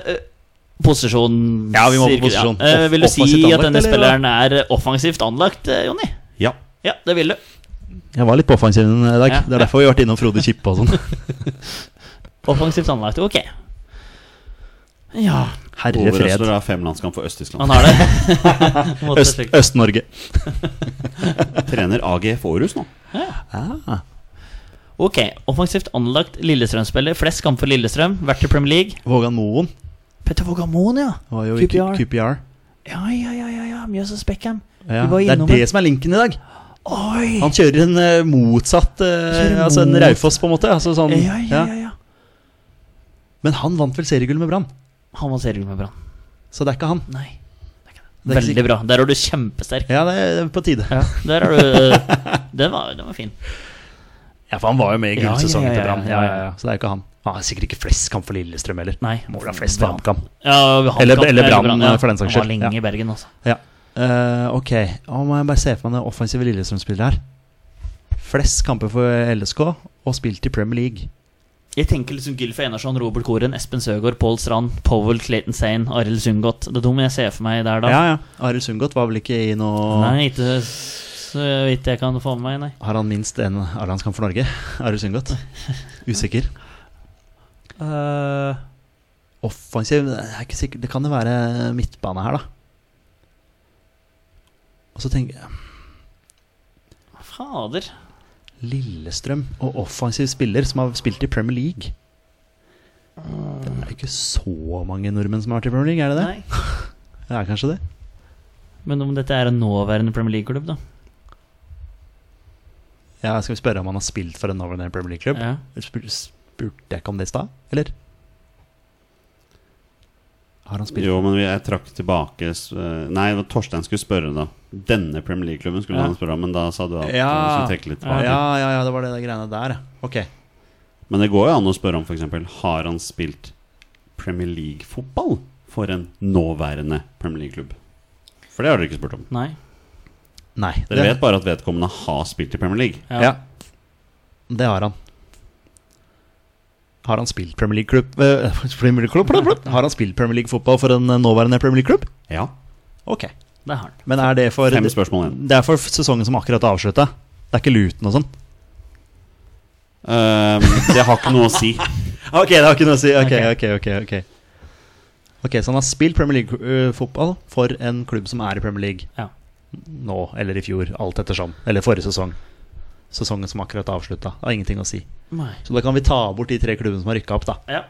A: Posisjon
C: Ja, vi må på
A: cirka,
C: posisjon.
A: ja. Eh,
C: Off-
A: vil du si
C: offensivt
A: at denne
C: anlagt, eller?
A: spilleren er offensivt anlagt, eh, Jonny?
B: Ja.
A: Ja, det vil du.
C: Jeg var litt på offensiv i dag.
A: Ja.
C: Det er derfor vi har vært innom Frode Kippe og sånn.
A: Offensivt anlagt. Ok. Ja,
C: Herre fred.
B: Overøsler har fem landskamp for
A: han
B: Øst-Tyskland.
A: har det. Måtte
C: Øst-
A: trykke.
C: Øst-Norge.
B: Trener AGF Aarhus nå.
C: Ah.
A: ok, offensivt anlagt Lillestrøm-spiller. Flest kamper for Lillestrøm. Vært i Premier League.
C: Vågan Moen
A: Petter Vågamon, ja.
C: var jo i
A: QPR.
C: Q- QPR.
A: Ja, ja, ja, ja, ja. Mjøsas Beckham.
C: Ja.
A: Vi var
C: Det er
A: innom
C: det som er linken i dag.
A: Oi!
C: Han kjører en eh, motsatt eh,
A: Kjører
C: Altså en
A: motsatt.
C: Raufoss, på en måte. Altså sånn,
A: ja, ja,
C: ja.
A: ja, ja.
C: Men han vant vel seriegull med Brann,
A: Han var seriegull med Brann.
C: så det er ikke han.
A: Nei. det er ikke det.
C: Det er ikke
A: Veldig bra. Der er du kjempesterk.
C: Ja, det er på tide.
A: Ja, der er du Den var, den var fin.
C: Ja, for han var jo med i
A: Ja,
C: gullsesongen
A: ja, ja,
C: til Brann.
A: ja,
C: Ja,
A: ja,
C: ja, ja. Så det er ikke han. Han har sikkert ikke flest kamp for Lillestrøm heller.
A: Nei.
C: Må vel ha flest
A: Ja.
C: for HamKam.
A: Ja, vi har
C: Eller-
A: kampen,
C: eller Brann,
A: ja.
C: for den saks
A: Han var
C: skyld.
A: lenge
C: Ja.
A: i Bergen, altså.
C: Ja. Eh, ok, nå må jeg bare se for meg den offensive Lillestrøm-spilleren her. Flest kamper for LSK og spilt i Premier League.
A: Jeg tenker liksom Gylfe Einarsson, Robert Koren, Espen Søgaard, Pål Strand, Powell, Clayton Sane, Arild Sundgodt. Det er dem jeg ser for meg der, da.
C: Ja, ja. Arild Sundgodt var vel ikke i noe
A: Nei, ikke så vidt jeg kan få med meg, nei.
C: Har han minst én A-landskamp for Norge? Arild Sundgodt? Usikker.
A: Eh,
C: Offensiv det er ikke sikkert. Det kan jo være midtbane her, da. Og så tenker jeg
A: Fader.
C: Lillestrøm og offensiv spiller som har spilt i Premier League. Det er jo ikke så mange nordmenn som har vært i Premier League, er det det?
A: Nei.
C: Det er kanskje det.
A: Men om dette er en nåværende Premier League-klubb, da?
C: Ja, skal vi spørre om han har spilt for en nåværende Premier League-klubb?
A: Ja.
C: Spur- Spurte jeg ikke om det i stad, eller? Har han spilt
B: Jo, men vi- jeg trakk tilbake s- eh, Nei, det var Torstein skulle spørre, da. Denne Premier League-klubben skulle
A: Ja.
B: han spørre om, men da sa du at
C: Ja.
B: du skulle trekke litt
C: Ja,
B: tilbake.
C: ja, ja, det var det der greiene der, ja. Ok.
B: Men det går jo an å spørre om f.eks.: Har han spilt Premier League-fotball for en nåværende Premier League-klubb? For det har dere ikke spurt om.
A: Nei.
C: Nei.
B: Dere vet bare at vedkommende har spilt i Premier League.
C: Ja. Det har han. Har han spilt Premier League-klubb eh, Premier League-klubb? blubb, blubb. Har han spilt Premier League-fotball for en eh, nåværende Premier League-klubb?
B: Ja.
C: Ok.
A: Det har han.
C: Men er det for
B: Fem spørsmål igjen.
C: Det er for sesongen som akkurat er avslutta. Det er ikke Luton og sånn.
B: Ehm, det har ikke noe å si.
C: Ok, det har ikke noe å si. Ok, ok,
A: Ok.
C: ok. Ok, Ok, Så han har spilt Premier League-fotball for en klubb som er i Premier League
A: Ja.
C: nå eller i fjor, alt ettersom. Eller forrige sesong. Sesongen som akkurat er avslutta. Det har ingenting å si.
A: Nei.
C: Så da kan vi ta bort de tre klubbene som har rykka opp, da.
A: Ja.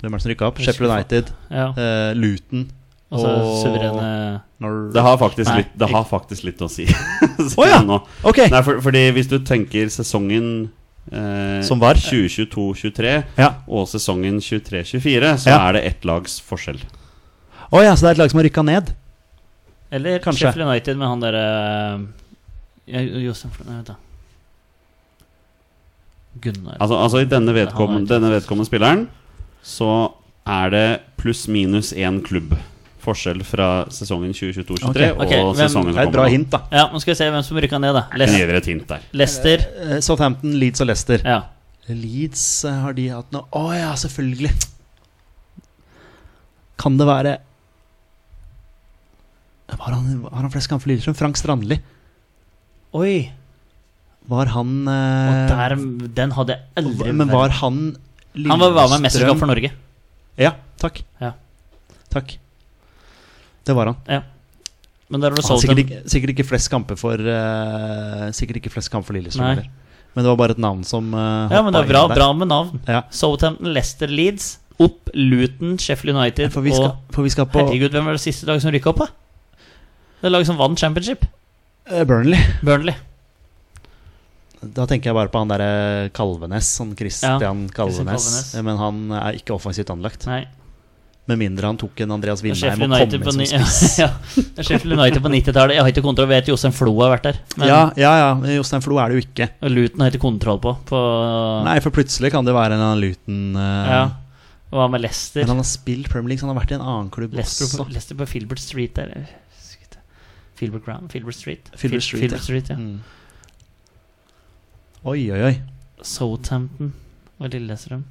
C: Hvem er det som rykka opp? Sheffield United,
A: ja.
C: eh, Luton
A: Og så Altså, suverene
C: Nor-
B: Det har faktisk
A: Nei,
B: litt, det
A: ikke-
B: har faktisk litt å si.
C: Å ja.
B: Nå.
C: Ok!
B: Nei, for, fordi hvis du tenker sesongen eh,
C: Som var?
B: 2022-23
C: Ja.
B: og sesongen 23-24, så
C: Ja.
B: er det ett lags forskjell.
C: Å ja, så det er et lag som har rykka ned?
A: Eller
C: Kanskje.
A: Sheffield United med han derre ja, Josef Nei, vent, da. Gunnar
B: Altså, altså i denne vedkommende,
A: Det har
B: denne vedkommende spilleren så er det pluss-minus én klubb. Forskjell fra sesongen 2022-23
C: Ok,
B: og
A: ok,
B: sesongen
A: hvem-
C: Det
B: som
C: er et bra
B: kommer. nå.
C: hint, da.
A: Ja, nå skal vi se hvem som rykka ned, da.
B: Jeg kan
A: Leic-
B: gi dere et hint der.
A: Leicester.
C: Eh, Southampton, Leeds og Leicester.
A: Ja.
C: Leeds eh, har de hatt noe Å ja, selvfølgelig! Kan det være Var han, har han flest kamper for Lillestrøm? Frank Strandli.
A: Oi!
C: Var han
A: Og
C: eh,
A: der, den hadde jeg aldri
C: Men var han
A: Han var, var med i mesterskap for Norge.
C: Ja, takk.
A: Ja.
C: Takk. Det var han.
A: Men der har
C: han har
A: du solgt
C: sikkert,
A: dem.
C: ikke, sikkert ikke flest kamper for eh, Sikkert ikke flest kamper for Lillestrøm
A: Nei.
C: heller. Men det var bare et navn som uh,
A: Ja, men det er bra, bra med navn.
C: Ja.
A: Southampton, Leicester, Leeds. Opp Luton, Sheffield United
C: For vi skal,
A: og
C: for vi skal på
A: Herregud, hvem var det siste laget som rykka opp, da? Det laget som vant championship.
C: eh, Burnley.
A: Burnley.
C: Da tenker jeg bare på han derre Kalvenes. Sånn Christian Kalvenes.
A: Christian Kalvenes.
C: Eh, Men han er ikke offensivt anlagt.
A: Nei.
C: Med mindre han tok en Andreas
A: Det er
C: Vindheim og
A: Sheffield
C: kom
A: United
C: inn
A: på,
C: som
A: ni-
C: spiss.
A: ja, det er Sheffield United på 90-tallet. Jeg har ikke kontroll, jeg vet Jostein Flo har vært der. Men
C: Ja, ja, ja. men Jostein Flo er det jo ikke.
A: Luton har jeg ikke kontroll på. på
C: Nei, for plutselig kan det være en annen Luton eh,
A: ja. Og hva med Leicester?
C: Men han har spilt Premier League, så han har vært i en annen klubb
A: Leicester på,
C: også.
A: Leicester på Filbert Street der. jeg husker ikke. Filbert Ground? Filbert Street?
C: Filbert
A: Fil-
C: Street, ja.
A: Street, ja.
C: Mm. Oi, oi, oi.
A: Southampton og Lillestrøm.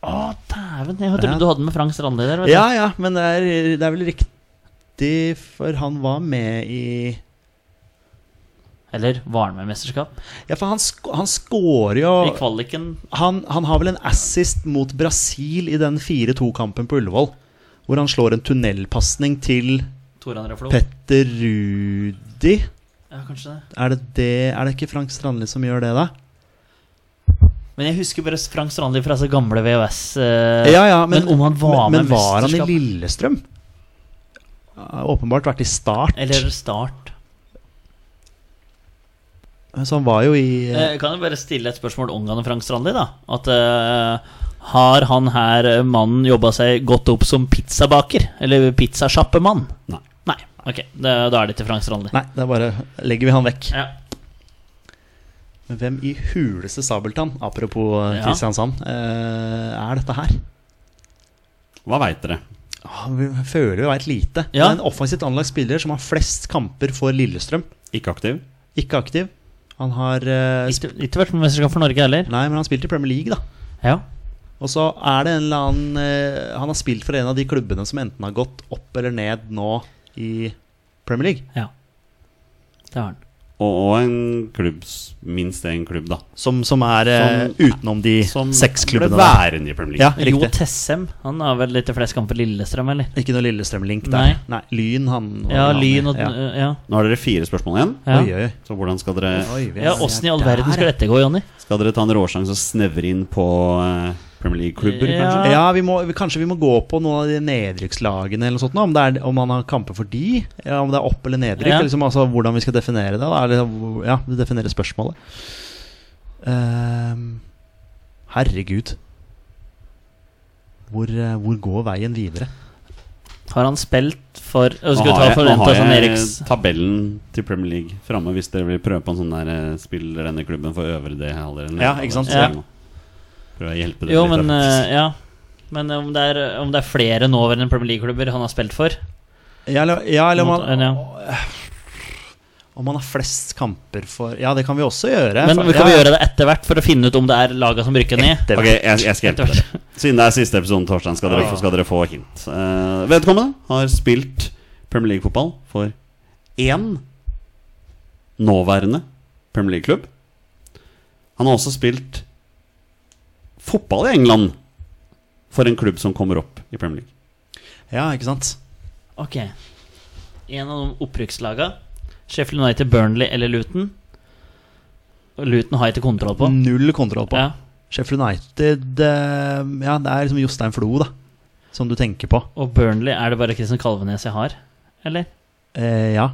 A: Å, dæven! Jeg
C: Ja.
A: trodde du hadde med Frank Strandli der. Vet
C: Ja, ja, men det er, det er vel riktig, for han var med i
A: du. Eller Varme-mesterskap.
C: Ja, for han, sk han scorer jo
A: I kvaliken
C: han, han har vel en assist mot Brasil i den 4-2-kampen på Ullevål. Hvor han slår en tunnelpasning til
A: Tor André Flo.
C: Petter Rudi.
A: Ja, kanskje det.
C: Er det, det, er det ikke Frank Strandli som gjør det, da?
A: Men jeg husker bare Frank Strandli fra så gamle VHS. eh,
C: Ja, ja,
A: men, om han var
C: men, men
A: med
C: var han i
A: mesterskap?
C: Lillestrøm? Har Åpenbart vært i Start.
A: Eller Start.
C: Så han var jo i
A: Eh, kan jeg bare stille et spørsmål omgående Frank Strandli, da? At eh, har han her eh, mannen jobba seg godt opp som pizzabaker? Eller pizzasjappemann?
B: Nei.
A: Nei. Ok, det, da er det til Frank Strandli.
C: Nei, det er bare legger vi han vekk.
A: Ja.
C: Men hvem i huleste Sabeltann, apropos eh,
A: Ja.
C: Kristiansand, eh, er dette her?
B: Hva veit dere?
C: Ah, Vi føler vi veit lite.
A: Ja.
C: Det er en offensivt anlagt spiller som har flest kamper for Lillestrøm.
B: Ikke aktiv?
C: Ikke aktiv. Han har eh, sp-
A: Ikke, ikke vært med mesterskap for Norge heller.
C: Nei, men han spilte i Premier League, da.
A: Ja.
C: Og så er det en eller annen eh, Han har spilt for en av de klubbene som enten har gått opp eller ned nå i Premier League.
A: ja. Det har han.
B: Og, og en klubbs Minst en klubb, da.
C: Som, som er eh,
B: Som-
C: utenom de
B: Som
C: Mm. seks klubbene.
B: ble
C: der.
B: værende i Premier
C: Ja,
B: League.
A: Jo
C: riktig.
A: Tessem. Han har vel litt flest kamper Lillestrøm, eller?
C: Ikke noe Lillestrøm-link
A: Nei.
C: der. Nei. Lyn, han var
A: Ja,
C: vel han i.
A: Lyn og
C: ja.
A: Ja.
B: Nå har dere fire spørsmål igjen,
A: ja.
C: Oi, oi, oi.
B: så hvordan skal dere,
C: Oi, vi er-
A: Ja, Åssen i all verden skal dette gå, Jonny?
B: skal dere ta en råsjanse og snevre inn på eh, Premier League-klubber,
A: Ja.
B: kanskje?
C: Ja, vi må, vi, Kanskje vi må gå på noen av de nedrykkslagene, eller noe sånt, nå, om, det er, om man har kamper for de, ja, om det er opp- eller nedrykk.
A: Ja.
C: eller Liksom, altså, hvordan vi skal definere det. Da, eller, hvor- ja, vi definerer spørsmålet. Ehm, herregud. Hvor, eh, hvor går veien videre?
A: Har han spilt for Jeg
B: Nå
A: skulle ta
B: har jeg-
A: for
B: nå har
A: Rentas og
B: jeg
A: Eriks
B: tabellen til Premier League framme hvis dere vil prøve på en sånn der eh, spiller denne klubben for øvre del eller nede
C: Ja,
B: del.
C: ikke sant?
B: Så jeg
A: Ja.
B: må Prøve å hjelpe dere
A: Jo,
B: litt.
A: men
B: da.
A: eh, Ja. Men om det er, om det er flere nåværende Premier League-klubber han har spilt for
C: Ja, eller, ja, eller om,
A: Mot-
C: man,
A: ja.
C: om man har flest kamper for Ja, det kan vi også gjøre.
A: Men
C: for-
A: vi kan vi
C: ja,
A: gjøre det etter hvert for å finne ut om det er laga som rykker ned?
B: Ok, jeg, jeg skal hjelpe
A: Etter hvert.
B: dere. Siden det er siste episoden torsdag, skal dere, få- skal dere få hint. Eh, vedkommende har spilt Premier League-fotball for én nåværende Premier League-klubb. Han har også spilt fotball i England for en klubb som kommer opp i Premier League.
C: ja, ikke sant?
A: Ok. En av de opprykkslaga. Sheffield United, Burnley eller Luton. Og Luton har jeg ikke kontroll på.
C: Null kontroll på.
A: Ja.
C: Sheffield United eh, Ja, det er liksom Jostein Flo, da. Som du tenker på.
A: Og Burnley er det bare Christian Kalvenes jeg har? Eller?
C: Eh, ja.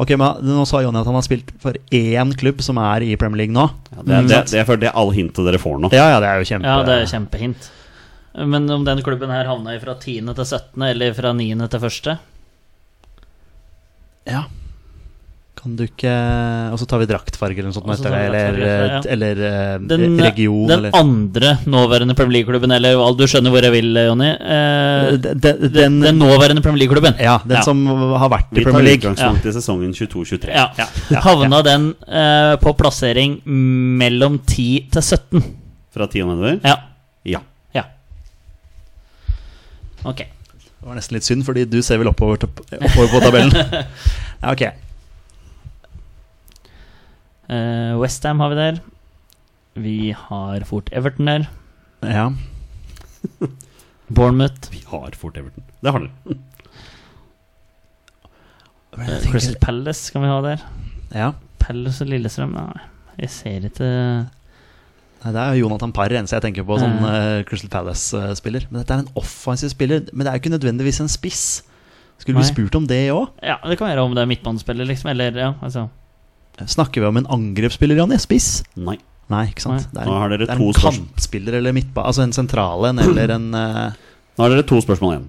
C: Ok, men Nå sa Jonny at han har spilt for én klubb som er i Premier League nå.
B: Ja, det, er, det, det, er, for- det er all hintet dere får nå.
C: Ja, ja, det er jo kjempe...
A: Ja, det er kjempehint. Men om den klubben her havna i fra 10. til 17., eller fra 9. til 1.?
C: Ja. Kan du ikke Og så tar vi draktfarge eller noe sånt.
A: Og så
C: etter
A: tar vi
C: det, eller
A: draktfarge,
C: eh, eller eh,
A: Den,
C: region,
A: den
C: eller
A: andre nåværende Premier League-klubben, eller hva- du skjønner hvor jeg vil, Jonny. Eh,
C: den, den,
A: den, den nåværende Premier League-klubben.
C: Ja, den
B: Ja.
C: som har vært
B: Vi
C: i
B: tar
C: Premier League.
B: utgangspunkt i sesongen 22-23.
A: Ja. Havna den eh, på plassering mellom 10 til 17.
B: Fra 10 og nedover?
A: Ja.
B: Ja.
A: ja. Ok.
C: Det var nesten litt synd, fordi du ser vel oppover, til- oppover på tabellen. ja, ok.
A: Eh, West Westham har vi der. Vi har fort Everton der.
C: Ja.
A: Bournemouth.
B: Vi har fort Everton. Det har dere.
A: eh, Crystal Palace kan vi ha der.
C: ja.
A: Palace og Lillestrøm? Nei, jeg ser ikke
C: Nei, Det er jo Jonathan Parr, eneste jeg tenker på som
A: Mm.
C: eh, Crystal Palace-spiller. Men dette er en offensiv spiller, men det er jo ikke nødvendigvis en spiss. Skulle vi
A: Nei.
C: spurt om det òg?
A: Ja, det kan være om det er midtbanespiller, liksom. Eller, ja, altså
C: Snakker vi om en angrepsspiller, Jonny? Spiss?
B: Nei.
C: Nei, ikke sant? Det er,
B: Nå har dere
C: det er
B: to
C: en
B: spørsmål.
C: kantspiller eller midtba... Altså en sentral en eller en eh,
B: Nå har dere to spørsmål igjen.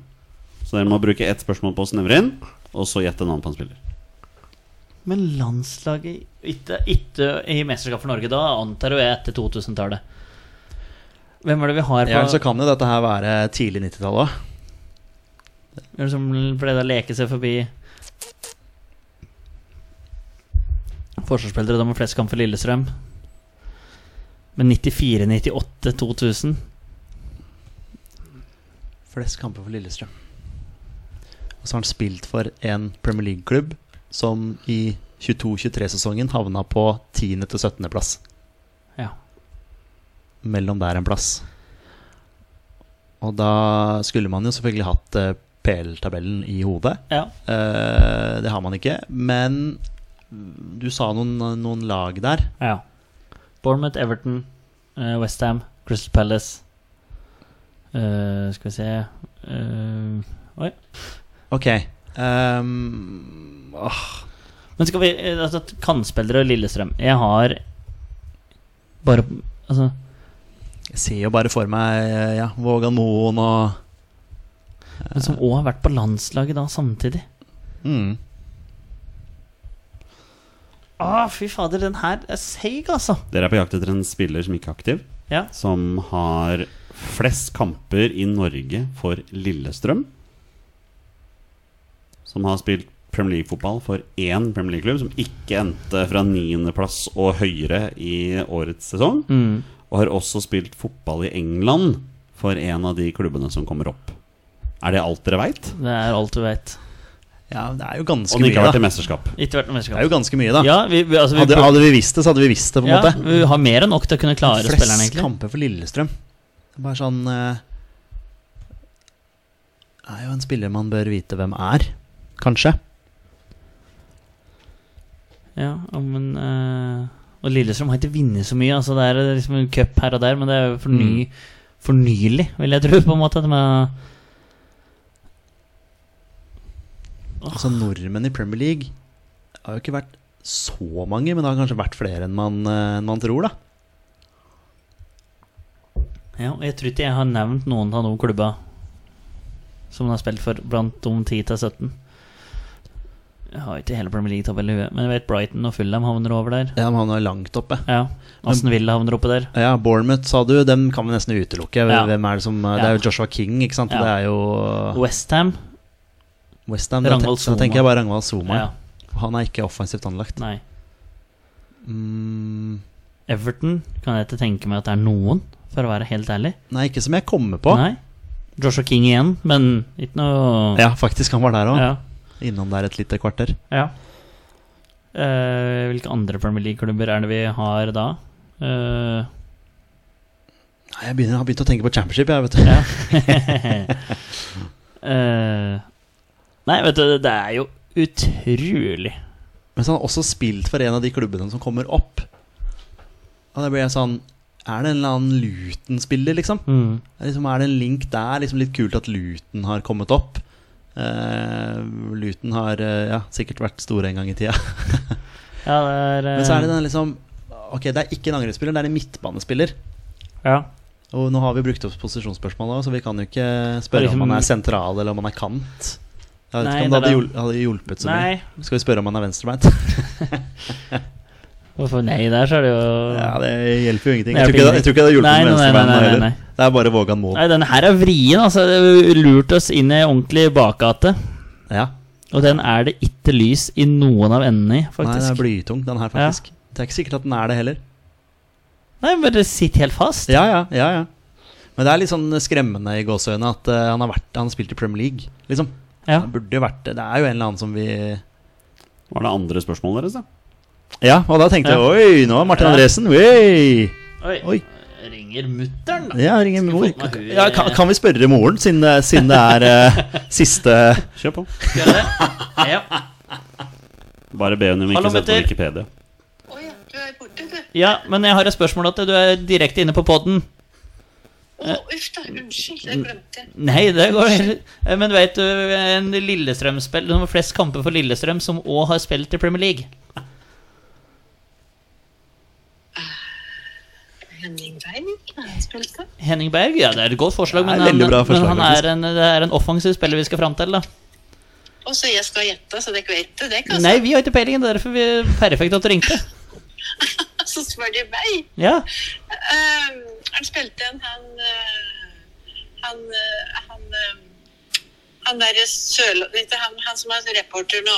B: Så dere må bruke ett spørsmål på å snevre inn, og så gjette navn på en spiller.
A: Men landslaget ikke, ikke i mesterskap for Norge, da antar jo jeg etter 2000-tallet. Hvem er det vi har på
C: Ja, så kan jo dette her være tidlig 90-tall òg.
A: Gjør det som ble da leke seg forbi Forsvarsspillere da med flest kamp for Lillestrøm. Men 94, 98, 2000
C: Flest kamper for Lillestrøm. Og så har han spilt for en Premier League-klubb som i 22-23-sesongen havna på 10. til 17. plass.
A: Ja.
C: Mellom der en plass. Og da skulle man jo selvfølgelig hatt eh, PL-tabellen i hodet.
A: Ja.
C: Eh, det har man ikke. Men du sa noen, noen lag der.
A: ja. Bournemouth, Everton, eh, West Westham, Crystal Palace Eh, Skal vi se eh,
C: Ok. ehm, åh,
A: Men skal vi eh, altså, Kantspillere og Lillestrøm. Jeg har bare Altså
C: jeg ser jo bare for meg eh, ja, Vågan Moen og
A: Men som òg har vært på landslaget da samtidig.
C: mm.
A: Å, Ah, fy fader, den her er seig, altså.
B: Dere er på jakt etter en spiller som ikke er aktiv,
A: Ja.
B: som har flest kamper i Norge for Lillestrøm. Som har spilt Premier League-fotball for én Premier League-klubb, som ikke endte fra niendeplass og høyere i årets sesong.
C: Mm.
B: Og har også spilt fotball i England for en av de klubbene som kommer opp. Er det alt dere veit?
A: Det er alt du vet.
C: Ja, det er jo
B: Og
C: ganske
B: den ikke
C: mye,
B: har vært i
C: da.
B: mesterskap.
A: Ikke vært noe
C: Det er
A: mesterskap.
C: jo ganske mye, da.
A: Ja, vi, vi, altså, vi,
C: Hadde, hadde vi visst det, så hadde vi visst det, på en
A: ja,
C: måte.
A: vi har mer enn nok til å kunne klare spilleren,
C: Flest
A: egentlig.
C: kamper for Lillestrøm. Det er bare sånn eh, Det er jo en spiller man bør vite hvem er, kanskje.
A: Ja, ja, men eh, Og Lillestrøm har ikke vunnet så mye. Altså, det er liksom en cup her og der, men det er jo forny,
C: Mm.
A: fornyelig, vil jeg tro, på en måte. at de er-
C: Altså Nordmenn i Premier League har jo ikke vært så mange, men det har kanskje vært flere enn man, eh, enn man tror, da.
A: Ja, og jeg tror ikke jeg har nevnt noen av de klubba som han har spilt for blant de 10 til 17. Jeg har ikke hele Premier League-tabellen i huet, men jeg vet Brighton og Fulham havner over der.
C: Ja, men han er langt oppe.
A: Ja, Aston Villa havner oppe der.
C: Ja, Bournemouth, sa du. Dem kan vi nesten utelukke.
A: Ja.
C: Hvem er Det som eh, Det er jo Joshua King, ikke sant.
A: Ja.
C: Det er jo
A: Westham?
C: Westham. Da,
A: Ragnvald
C: tenk- da
A: Soma.
C: tenker jeg bare Ragnvald Soma.
A: Ja,
C: Han er ikke offensivt anlagt.
A: nei.
C: Mm,
A: Everton kan jeg ikke tenke meg at det er noen, for å være helt ærlig.
C: nei, ikke som jeg kommer på.
A: Nei. Joshua King igjen, men ikke noe
C: Ja, faktisk, han var der òg.
A: Ja.
C: Innom der et lite kvarter.
A: ja. Eh, hvilke andre Premier League-klubber er det vi har da? Eh,
C: Nei, jeg begynner, har begynt å tenke på championship, jeg, vet du.
A: Ja. Eh, nei, vet du, det er jo utrolig.
C: Men så har han også spilt for en av de klubbene som kommer opp. Og da blir jeg sånn Er det en eller annen Luton-spiller, liksom?
A: Mm.
C: Det er liksom? Er det en link der? Liksom litt kult at Luton har kommet opp. Eh, Luton har eh, ja, sikkert vært store en gang i tida.
A: Ja, det er eh,
C: Men så er det den liksom Ok, det er ikke en angrepsspiller, det er en midtbanespiller.
A: ja.
C: Og nå har vi brukt opp posisjonsspørsmålet, også, så vi kan jo ikke spørre
A: Liksom-
C: om han er sentral eller om han er kant. Jeg vet
A: Nei,
C: ikke om det
A: det er
C: hadde, hjul, hadde hjulpet så
A: Nei.
C: mye. Skal vi spørre om han er venstrebeint?
A: Hvorfor nei der, så er det jo
C: Ja, det hjelper jo ingenting.
A: Det
C: Jeg tror ikke det,
A: hjelper
C: jeg tror ikke det hadde hjulpet
A: Nei,
C: med
A: nei, nei,
C: venstrebeint
A: nei, nei,
C: heller.
A: nei.
C: Det er bare Vågan Moen.
A: Nei, denne her er vrien, altså. Det lurte oss inn i ei ordentlig bakgate.
C: Ja.
A: Og den er det ikke lys i noen av endene i,
C: Nei, den
A: faktisk.
C: er blytung, den her,
A: Ja.
C: faktisk. Det er ikke sikkert at den er det heller.
A: Nei, men det sitter helt fast.
C: Ja, ja, ja, ja. Men det er litt sånn skremmende i gåseøynene at eh, han, har vært, han har spilt i Premier League, liksom.
A: Ja.
C: Han burde jo vært det. Det er jo en eller annen som vi
B: Var det andre spørsmålet deres, da?
C: Ja, og da tenkte jeg
A: Ja.
C: oi, nå er Martin Andresen Oi!
A: Oi.
C: Oi.
A: Ringer mutter'n, da?
C: Ja, ringer mor.
A: få med hun-
C: Ja, kan, kan vi spørre moren, siden, det- siden det er eh, siste
B: Kjør på.
A: Skal jeg det? Ja.
B: Bare be henne om ikke
A: Hallo,
B: å se på
A: gutter.
B: Wikipedia.
F: Å ja, du er borte, du.
A: ja, men jeg har et spørsmål til deg. Du er direkte inne på poden.
F: Å, uff da, unnskyld, det glemte jeg.
A: Nei, det går Eh, Men vet du, en Lillestrøm-spill Det var flest kamper for Lillestrøm som òg har spilt i Premier League.
F: Henning Berg, har han spilt det?
A: Henning Berg, ja, det er et godt forslag,
C: Det er
A: men
C: et
A: han,
C: veldig bra forslag,
A: men han er, en, det er en offensiv spiller vi skal fram til, da.
F: Og så jeg skal gjette, så dere vet det. Det kan
A: Nei, vi har ikke peiling, det er derfor vi perfekt at du ringte.
F: sånn. Så spør de meg.
A: Ja.
F: Um, han spilte en han eh, Han eh, han, eh, han derre Sørla... Ikke han, han som er reporter nå.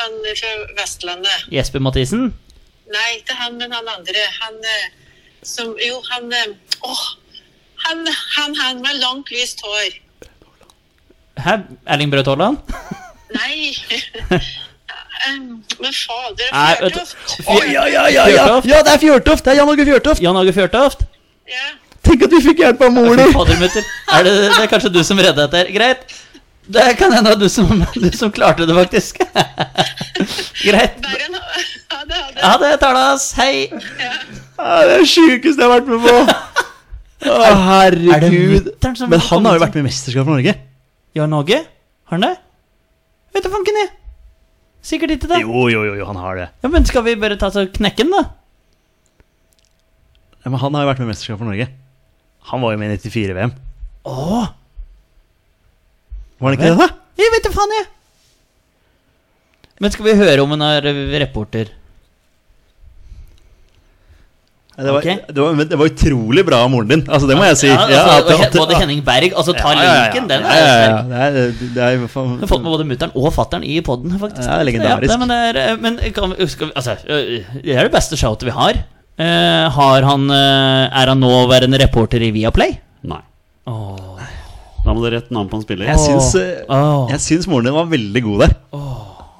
F: Han fra Vestlandet.
A: Jesper Mathisen?
F: Nei, ikke han, men han andre. Han eh, som Jo, han eh, Åh! Han, han, han med langt, lyst hår.
A: Hæ? Erling Braut Haaland?
F: Nei. ehm, Men fader,
A: Nei, vet du-
F: Fjørtoft!
A: Oi,
C: Ja, ja, ja, ja, ja, det er Fjørtoft! Det er Jan Åge Fjørtoft!
A: Jan Åge Fjørtoft?
F: Ja.
C: Tenk at vi fikk hjelp av mor
A: Fy
C: di!
A: fader, mutter. Er det, det er kanskje du som redda dette? her. Greit. Det kan hende det var du som, du som klarte det, faktisk. Greit.
F: Bare en Ha det, ha det.
A: Ha det, Talas. Hei.
C: Ja, det er det sjukeste jeg har vært med på! Å, herregud.
A: mutteren som-
C: Men han har jo vært med i mesterskap for Norge.
A: Jan Åge? Har han det? Vet du fanken, jeg. Sikkert ikke det.
C: Jo, jo, jo, jo, han har det.
A: Ja, men skal vi bare ta så knekke den, da?
C: Ja, men han har jo vært med i mesterskap for Norge. Han var jo med i 94-VM.
A: Åh,
C: Var han ikke det, da?
A: jeg vet da faen, jeg. Men skal vi høre om hun er reporter?
C: Ja, Det var,
A: Ok.
C: det, var, men det var utrolig bra av moren din. Altså, det må jeg si.
A: Ja, altså,
C: Ja, at-
A: og
C: at-
A: Hen- både Henning Berg, altså ta
C: Ja, ja, ja.
A: linken, den
C: Ja,
A: er
C: ja, ja.
A: sterk.
C: Det er, det er, i hvert fall-
A: Vi har fått med både mutter'n og fatter'n i poden, faktisk.
C: Ja, det er legendarisk.
A: Ja, nei, men det er, eh, men kan, vi- skal vi, altså, øh, det er det beste shoutet vi har. Eh, har han, eh, er han nåværende reporter i Viaplay?
B: Nei.
A: Åh,
B: Da må det rett navn på en spiller.
C: jeg, syns, eh,
A: Åh.
C: jeg syns moren din var veldig god der.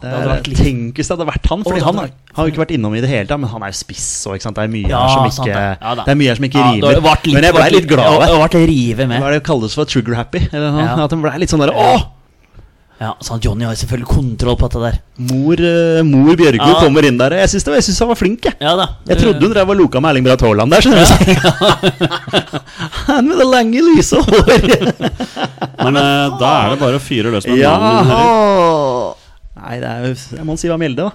C: Det
A: hadde
C: er-
A: vært litt-
C: Tenk hvis det hadde vært han.
A: Åh,
C: Fordi
A: det
C: han
A: hadde
C: har har jo ikke vært innom i det hele tatt, men han er jo spiss. Og, ikke sant? Det er mye
A: Ja,
C: her som
A: sant
C: ikke,
A: det. Ja, da.
C: det er mye her som ikke
A: ja,
C: rimer.
A: da har det vært
C: men jeg ble
A: vært
C: litt glad
A: Ja,
C: av det.
A: det har vært rive
C: Hva
A: med.
C: er det kalles for trigger happy? Eller noe?
A: Ja.
C: At han ble litt sånn derre Åh!
A: Ja, så han Johnny har jo selvfølgelig kontroll på dette der.
C: Mor, eh, mor Bjørgud
A: Ja.
C: kommer inn der. Jeg syns det- jeg syns han var flink, jeg.
A: Ja da.
C: Jeg trodde hun drev og loka med Erling Braut Haaland der. skjønner du Han med det lange, lyse håret.
B: Men eh, da er det bare å fyre løs med
C: Ja.
B: navnet ditt.
C: Nei, det er jo Jeg må si hva Mjelde, da.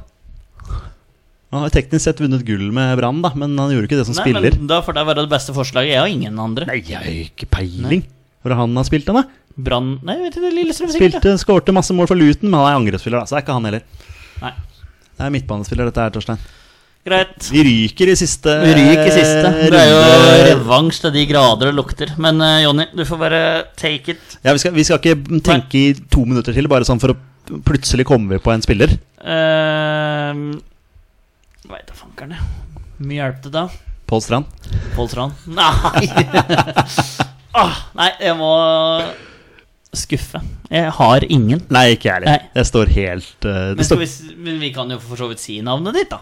C: Han har jo teknisk sett vunnet gull med Brann, da, men han gjorde ikke det som
A: Nei,
C: spiller.
A: men da får det være det beste forslaget. Jeg har ingen andre.
C: Nei, jeg har jo ikke peiling. Hvor er han har spilt, han, da?
A: Brann Nei, vet du, det er Lillestrøm sikkert.
C: Spilte, Skårte masse mål for Luton, men han er angrepsspiller, da, så det er ikke han heller.
A: ja. Nei.
C: Det er midtbanespiller, dette her, Torstein.
A: Greit.
C: Vi ryker i siste
A: Vi ryker siste. Det er jo
C: Eh, runde.
A: revansj til de grader det lukter. Men eh, Jonny, du får bare take it.
C: Ja, vi, skal, vi skal ikke tenke i to minutter til, bare sånn for å plutselig komme vi på en spiller.
A: Uh, Veit da fankeren, jeg. Mye hjelp det da.
C: Pål Strand.
A: Pål Strand? Nei! ah, nei, jeg må skuffe. Jeg har ingen.
C: Nei, ikke jeg heller.
A: Nei.
C: Jeg står helt eh,
A: Men,
C: Det står
A: skal vi, s- men vi kan jo for så vidt si navnet ditt, da.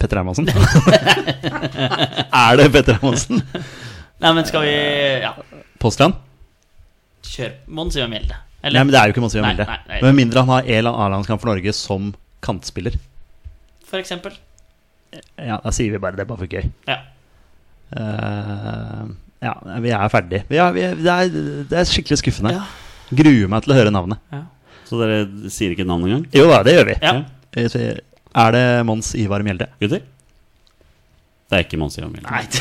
C: Petter Hermansen. er det Petter Hermansen?
A: Nei, men skal vi
C: Eh.
A: Ja,
C: Pål Strand?
A: kjør. Mons gjør melde.
C: Nei, men det er jo ikke Monsieur
A: Nei,
C: Milde.
A: nei, nei.
C: Med mindre han har en eller annen A-landskamp for Norge som kantspiller.
A: for eksempel.
C: Ja, Da sier vi bare det, bare for gøy.
A: Ja.
C: Eh, ja, vi er ferdig. Vi er, vi er, det, er, det er skikkelig skuffende.
A: Ja.
C: Gruer meg til å høre navnet.
B: Så dere sier ikke navn engang?
C: Jo da, det gjør vi.
A: ja.
C: Eh, så Er det Mons Ivar Mjelde?
B: Gutter? Det er ikke Mons Ivar Mjelde.
A: Nei, det,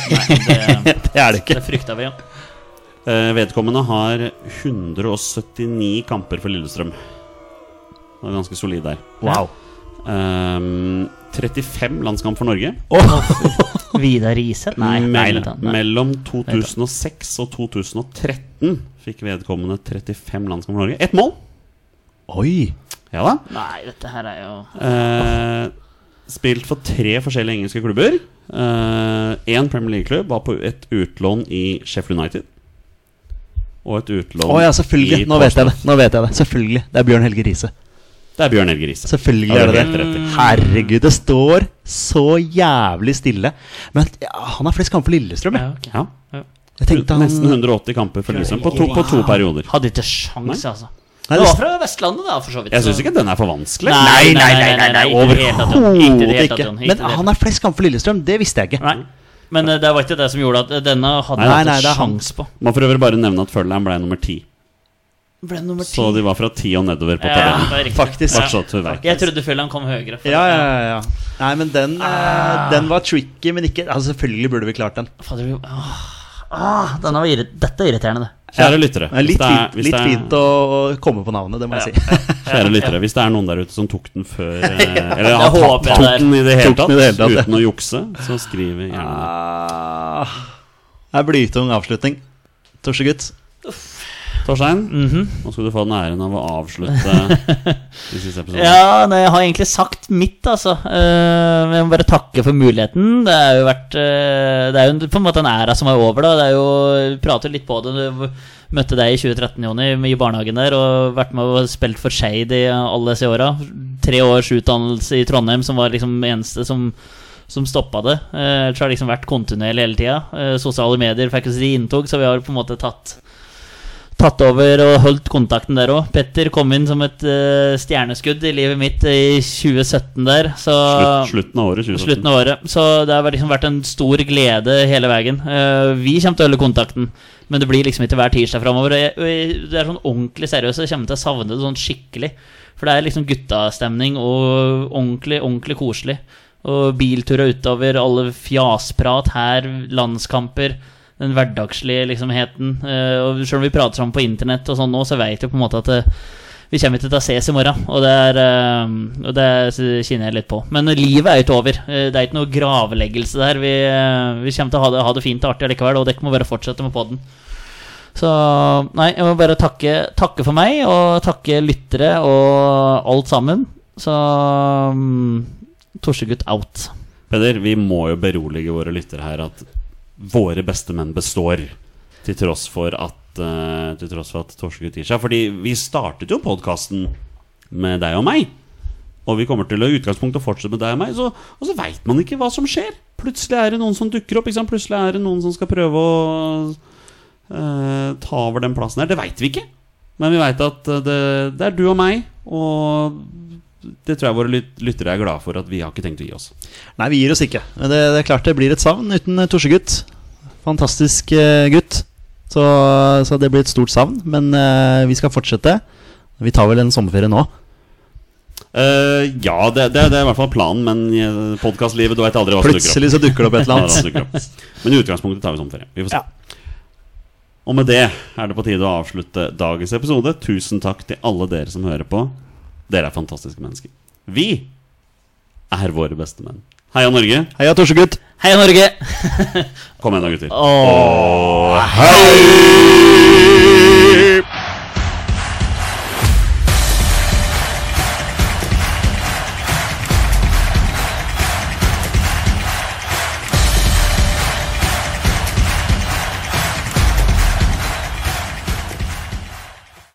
C: Det er det ikke.
A: det frykta vi jo.
B: Eh, vedkommende har 179 kamper for Lillestrøm. Han er ganske solid der.
C: Wow.
B: Ehm, 35 landskamp for Norge.
A: Vidar Riseth? Nei, nei,
B: Mell-
A: vent da, nei.
B: Mellom 2006 og 2013 fikk vedkommende 35 landskamp for Norge. Ett mål!
C: Oi.
B: Ja da.
A: nei, dette her er jo
B: Eh, spilt for tre forskjellige engelske klubber. Én Premier League-klubb var på et utlån i Sheffield United. Og et utlån
C: Å ja, selvfølgelig. Nå vet jeg det. Nå vet jeg det. Selvfølgelig. Det er Bjørn Helge Riise.
B: Det er Bjørn Helge Riise.
C: Selvfølgelig
B: Ja,
C: er
B: det
C: det
B: er
C: det.
B: helt rett i.
C: Herregud, det står så jævlig stille. Men ja, han har flest kamper for Lillestrøm,
A: ja,
C: jeg.
A: ok.
B: Ja.
C: Jeg tenkte han
B: Nesten 180 kamper for Lillestrøm på, to- på to perioder.
A: Hadde ikke sjans, altså.
C: Nei,
A: Det
C: det-
A: var fra Vestlandet, da, for så vidt.
B: Jeg
A: så-
B: syns ikke den er for vanskelig.
A: Nei, nei, nei, nei, nei, ikke i det hele tatt, Jon. Ikke i det hele
C: Overhodet
A: tatt,
C: ikke.
A: Jon. Ikke i
C: Men ah,
A: det hele
C: han har flest kamper for Lillestrøm, det visste jeg ikke.
A: Nei. Men eh, det var ikke det som gjorde at eh, denne hadde
C: Nei, nei,
A: jeg
C: det
A: ikke
C: er han.
A: sjans på.
B: Man for øvrig bare nevne at Følheim ble nummer ti.
A: Ble nummer ti.
B: Så de var fra ti og nedover på
A: ja,
B: tabellen.
A: det er riktig.
C: Faktisk.
A: Ja.
B: Bare så du vet.
A: Jeg trodde Fjelland kom høyere. for-
C: Ja, ja, ja, ja. Nei, men den, eh, den var tricky, men ikke altså, Selvfølgelig burde vi klart den.
A: Fader, vi- åh. Ah, denne var irri- Dette er irriterende, det.
B: Kjære lyttere.
C: Det er
B: hvis
C: litt
B: det er-
C: fint,
B: hvis
C: litt
B: det er-
C: fint å å komme på navnet, det må jeg si.
B: Kjære lyttere, hvis det er noen der ute som tok den før eh, Eller
A: Jeg
B: har tatt,
A: håper det er-
B: tok den i det hele
C: Tok den i det hele
B: tatt
C: tatt, ja.
B: uten å jukse, så skriv gjerne det.
C: Ah, det er blytung avslutning. Torsegutt.
B: Torstein, nå skal du få den æren av å avslutte de siste episodene.
A: Ja, nei, jeg har egentlig sagt mitt, altså. Eh, men jeg må bare takke for muligheten. Det har jo vært eh, Det er jo en- på en måte en æra som er over, da. Det er jo, vi prater litt på det. Du møtte deg i 2013, Jonny, i barnehagen der, og vært med og spilt for Skeid i alle disse åra. tre års utdannelse i Trondheim som var liksom eneste som som stoppa det. Eh, Ellers har det liksom vært kontinuerlig hele tida. Eh, sosiale medier fikk oss i inntog, så vi har på en måte tatt Tatt over og holdt kontakten der òg. Petter kom inn som et eh, stjerneskudd i livet mitt i 2017 der. Så
B: Slutt, slutten av året 2017.
A: slutten av året. Så det har liksom vært en stor glede hele veien. Eh, vi kommer til å holde kontakten, men det blir liksom ikke hver tirsdag framover. Det er sånn ordentlig seriøst, jeg kommer til å savne det sånn skikkelig. For det er liksom guttastemning og ordentlig, ordentlig koselig. Og bilturer utover, alle fjasprat her, landskamper. Den hverdagslige liksomheten. eh, Og selv om vi prater sammen på internett, og sånn nå, så vet vi på en måte at det, vi kommer ikke til å ses i morgen, og det, er, eh, og det kjenner jeg litt på. Men livet er jo ikke over. Eh, Det er ikke noe gravleggelse der. Vi, eh, vi kommer til å ha det, ha det fint og artig likevel, og dere må bare fortsette med podden. Så nei, jeg må bare takke, takke for meg, og takke lyttere og alt sammen. Så mm, Torsegutt out.
B: Peder, vi må jo berolige våre lyttere her at våre beste menn består. Til tross for at uh, Til tross for at Torskegutt gir seg. Fordi vi startet jo podkasten med deg og meg. Og vi kommer til å i utgangspunktet fortsette med deg og meg. Så, og så veit man ikke hva som skjer. Plutselig er det noen som dukker opp. Ikke sant? Plutselig er det noen som skal prøve å eh, ta over den plassen her. Det veit vi ikke. Men vi veit at eh, det, det er du og meg. Og det tror jeg våre lyt- lyttere er glade for at vi har ikke tenkt å gi oss.
C: Nei, vi gir oss ikke. Men det, det er klart det blir et savn uten eh, Torsegutt. Fantastisk eh, gutt. Så, så det blir et stort savn. Men eh, vi skal fortsette. Vi tar vel en sommerferie nå.
B: Eh, ja, det, det, det er i hvert fall planen, men podkastlivet Du veit aldri hva som dukker opp.
C: Plutselig så dukker det opp et eller
B: Ja,
C: annet.
B: det dukker opp. Men i utgangspunktet tar vi sommerferie. Vi får se. Og med det er det på tide å avslutte dagens episode. Tusen takk til alle dere som hører på. Dere er fantastiske mennesker. Vi er våre beste menn. Heia Norge.
C: Heia Torsegutt!
A: Hei, Norge!
B: Kom igjen da, gutter.
A: Åh.
B: Hei!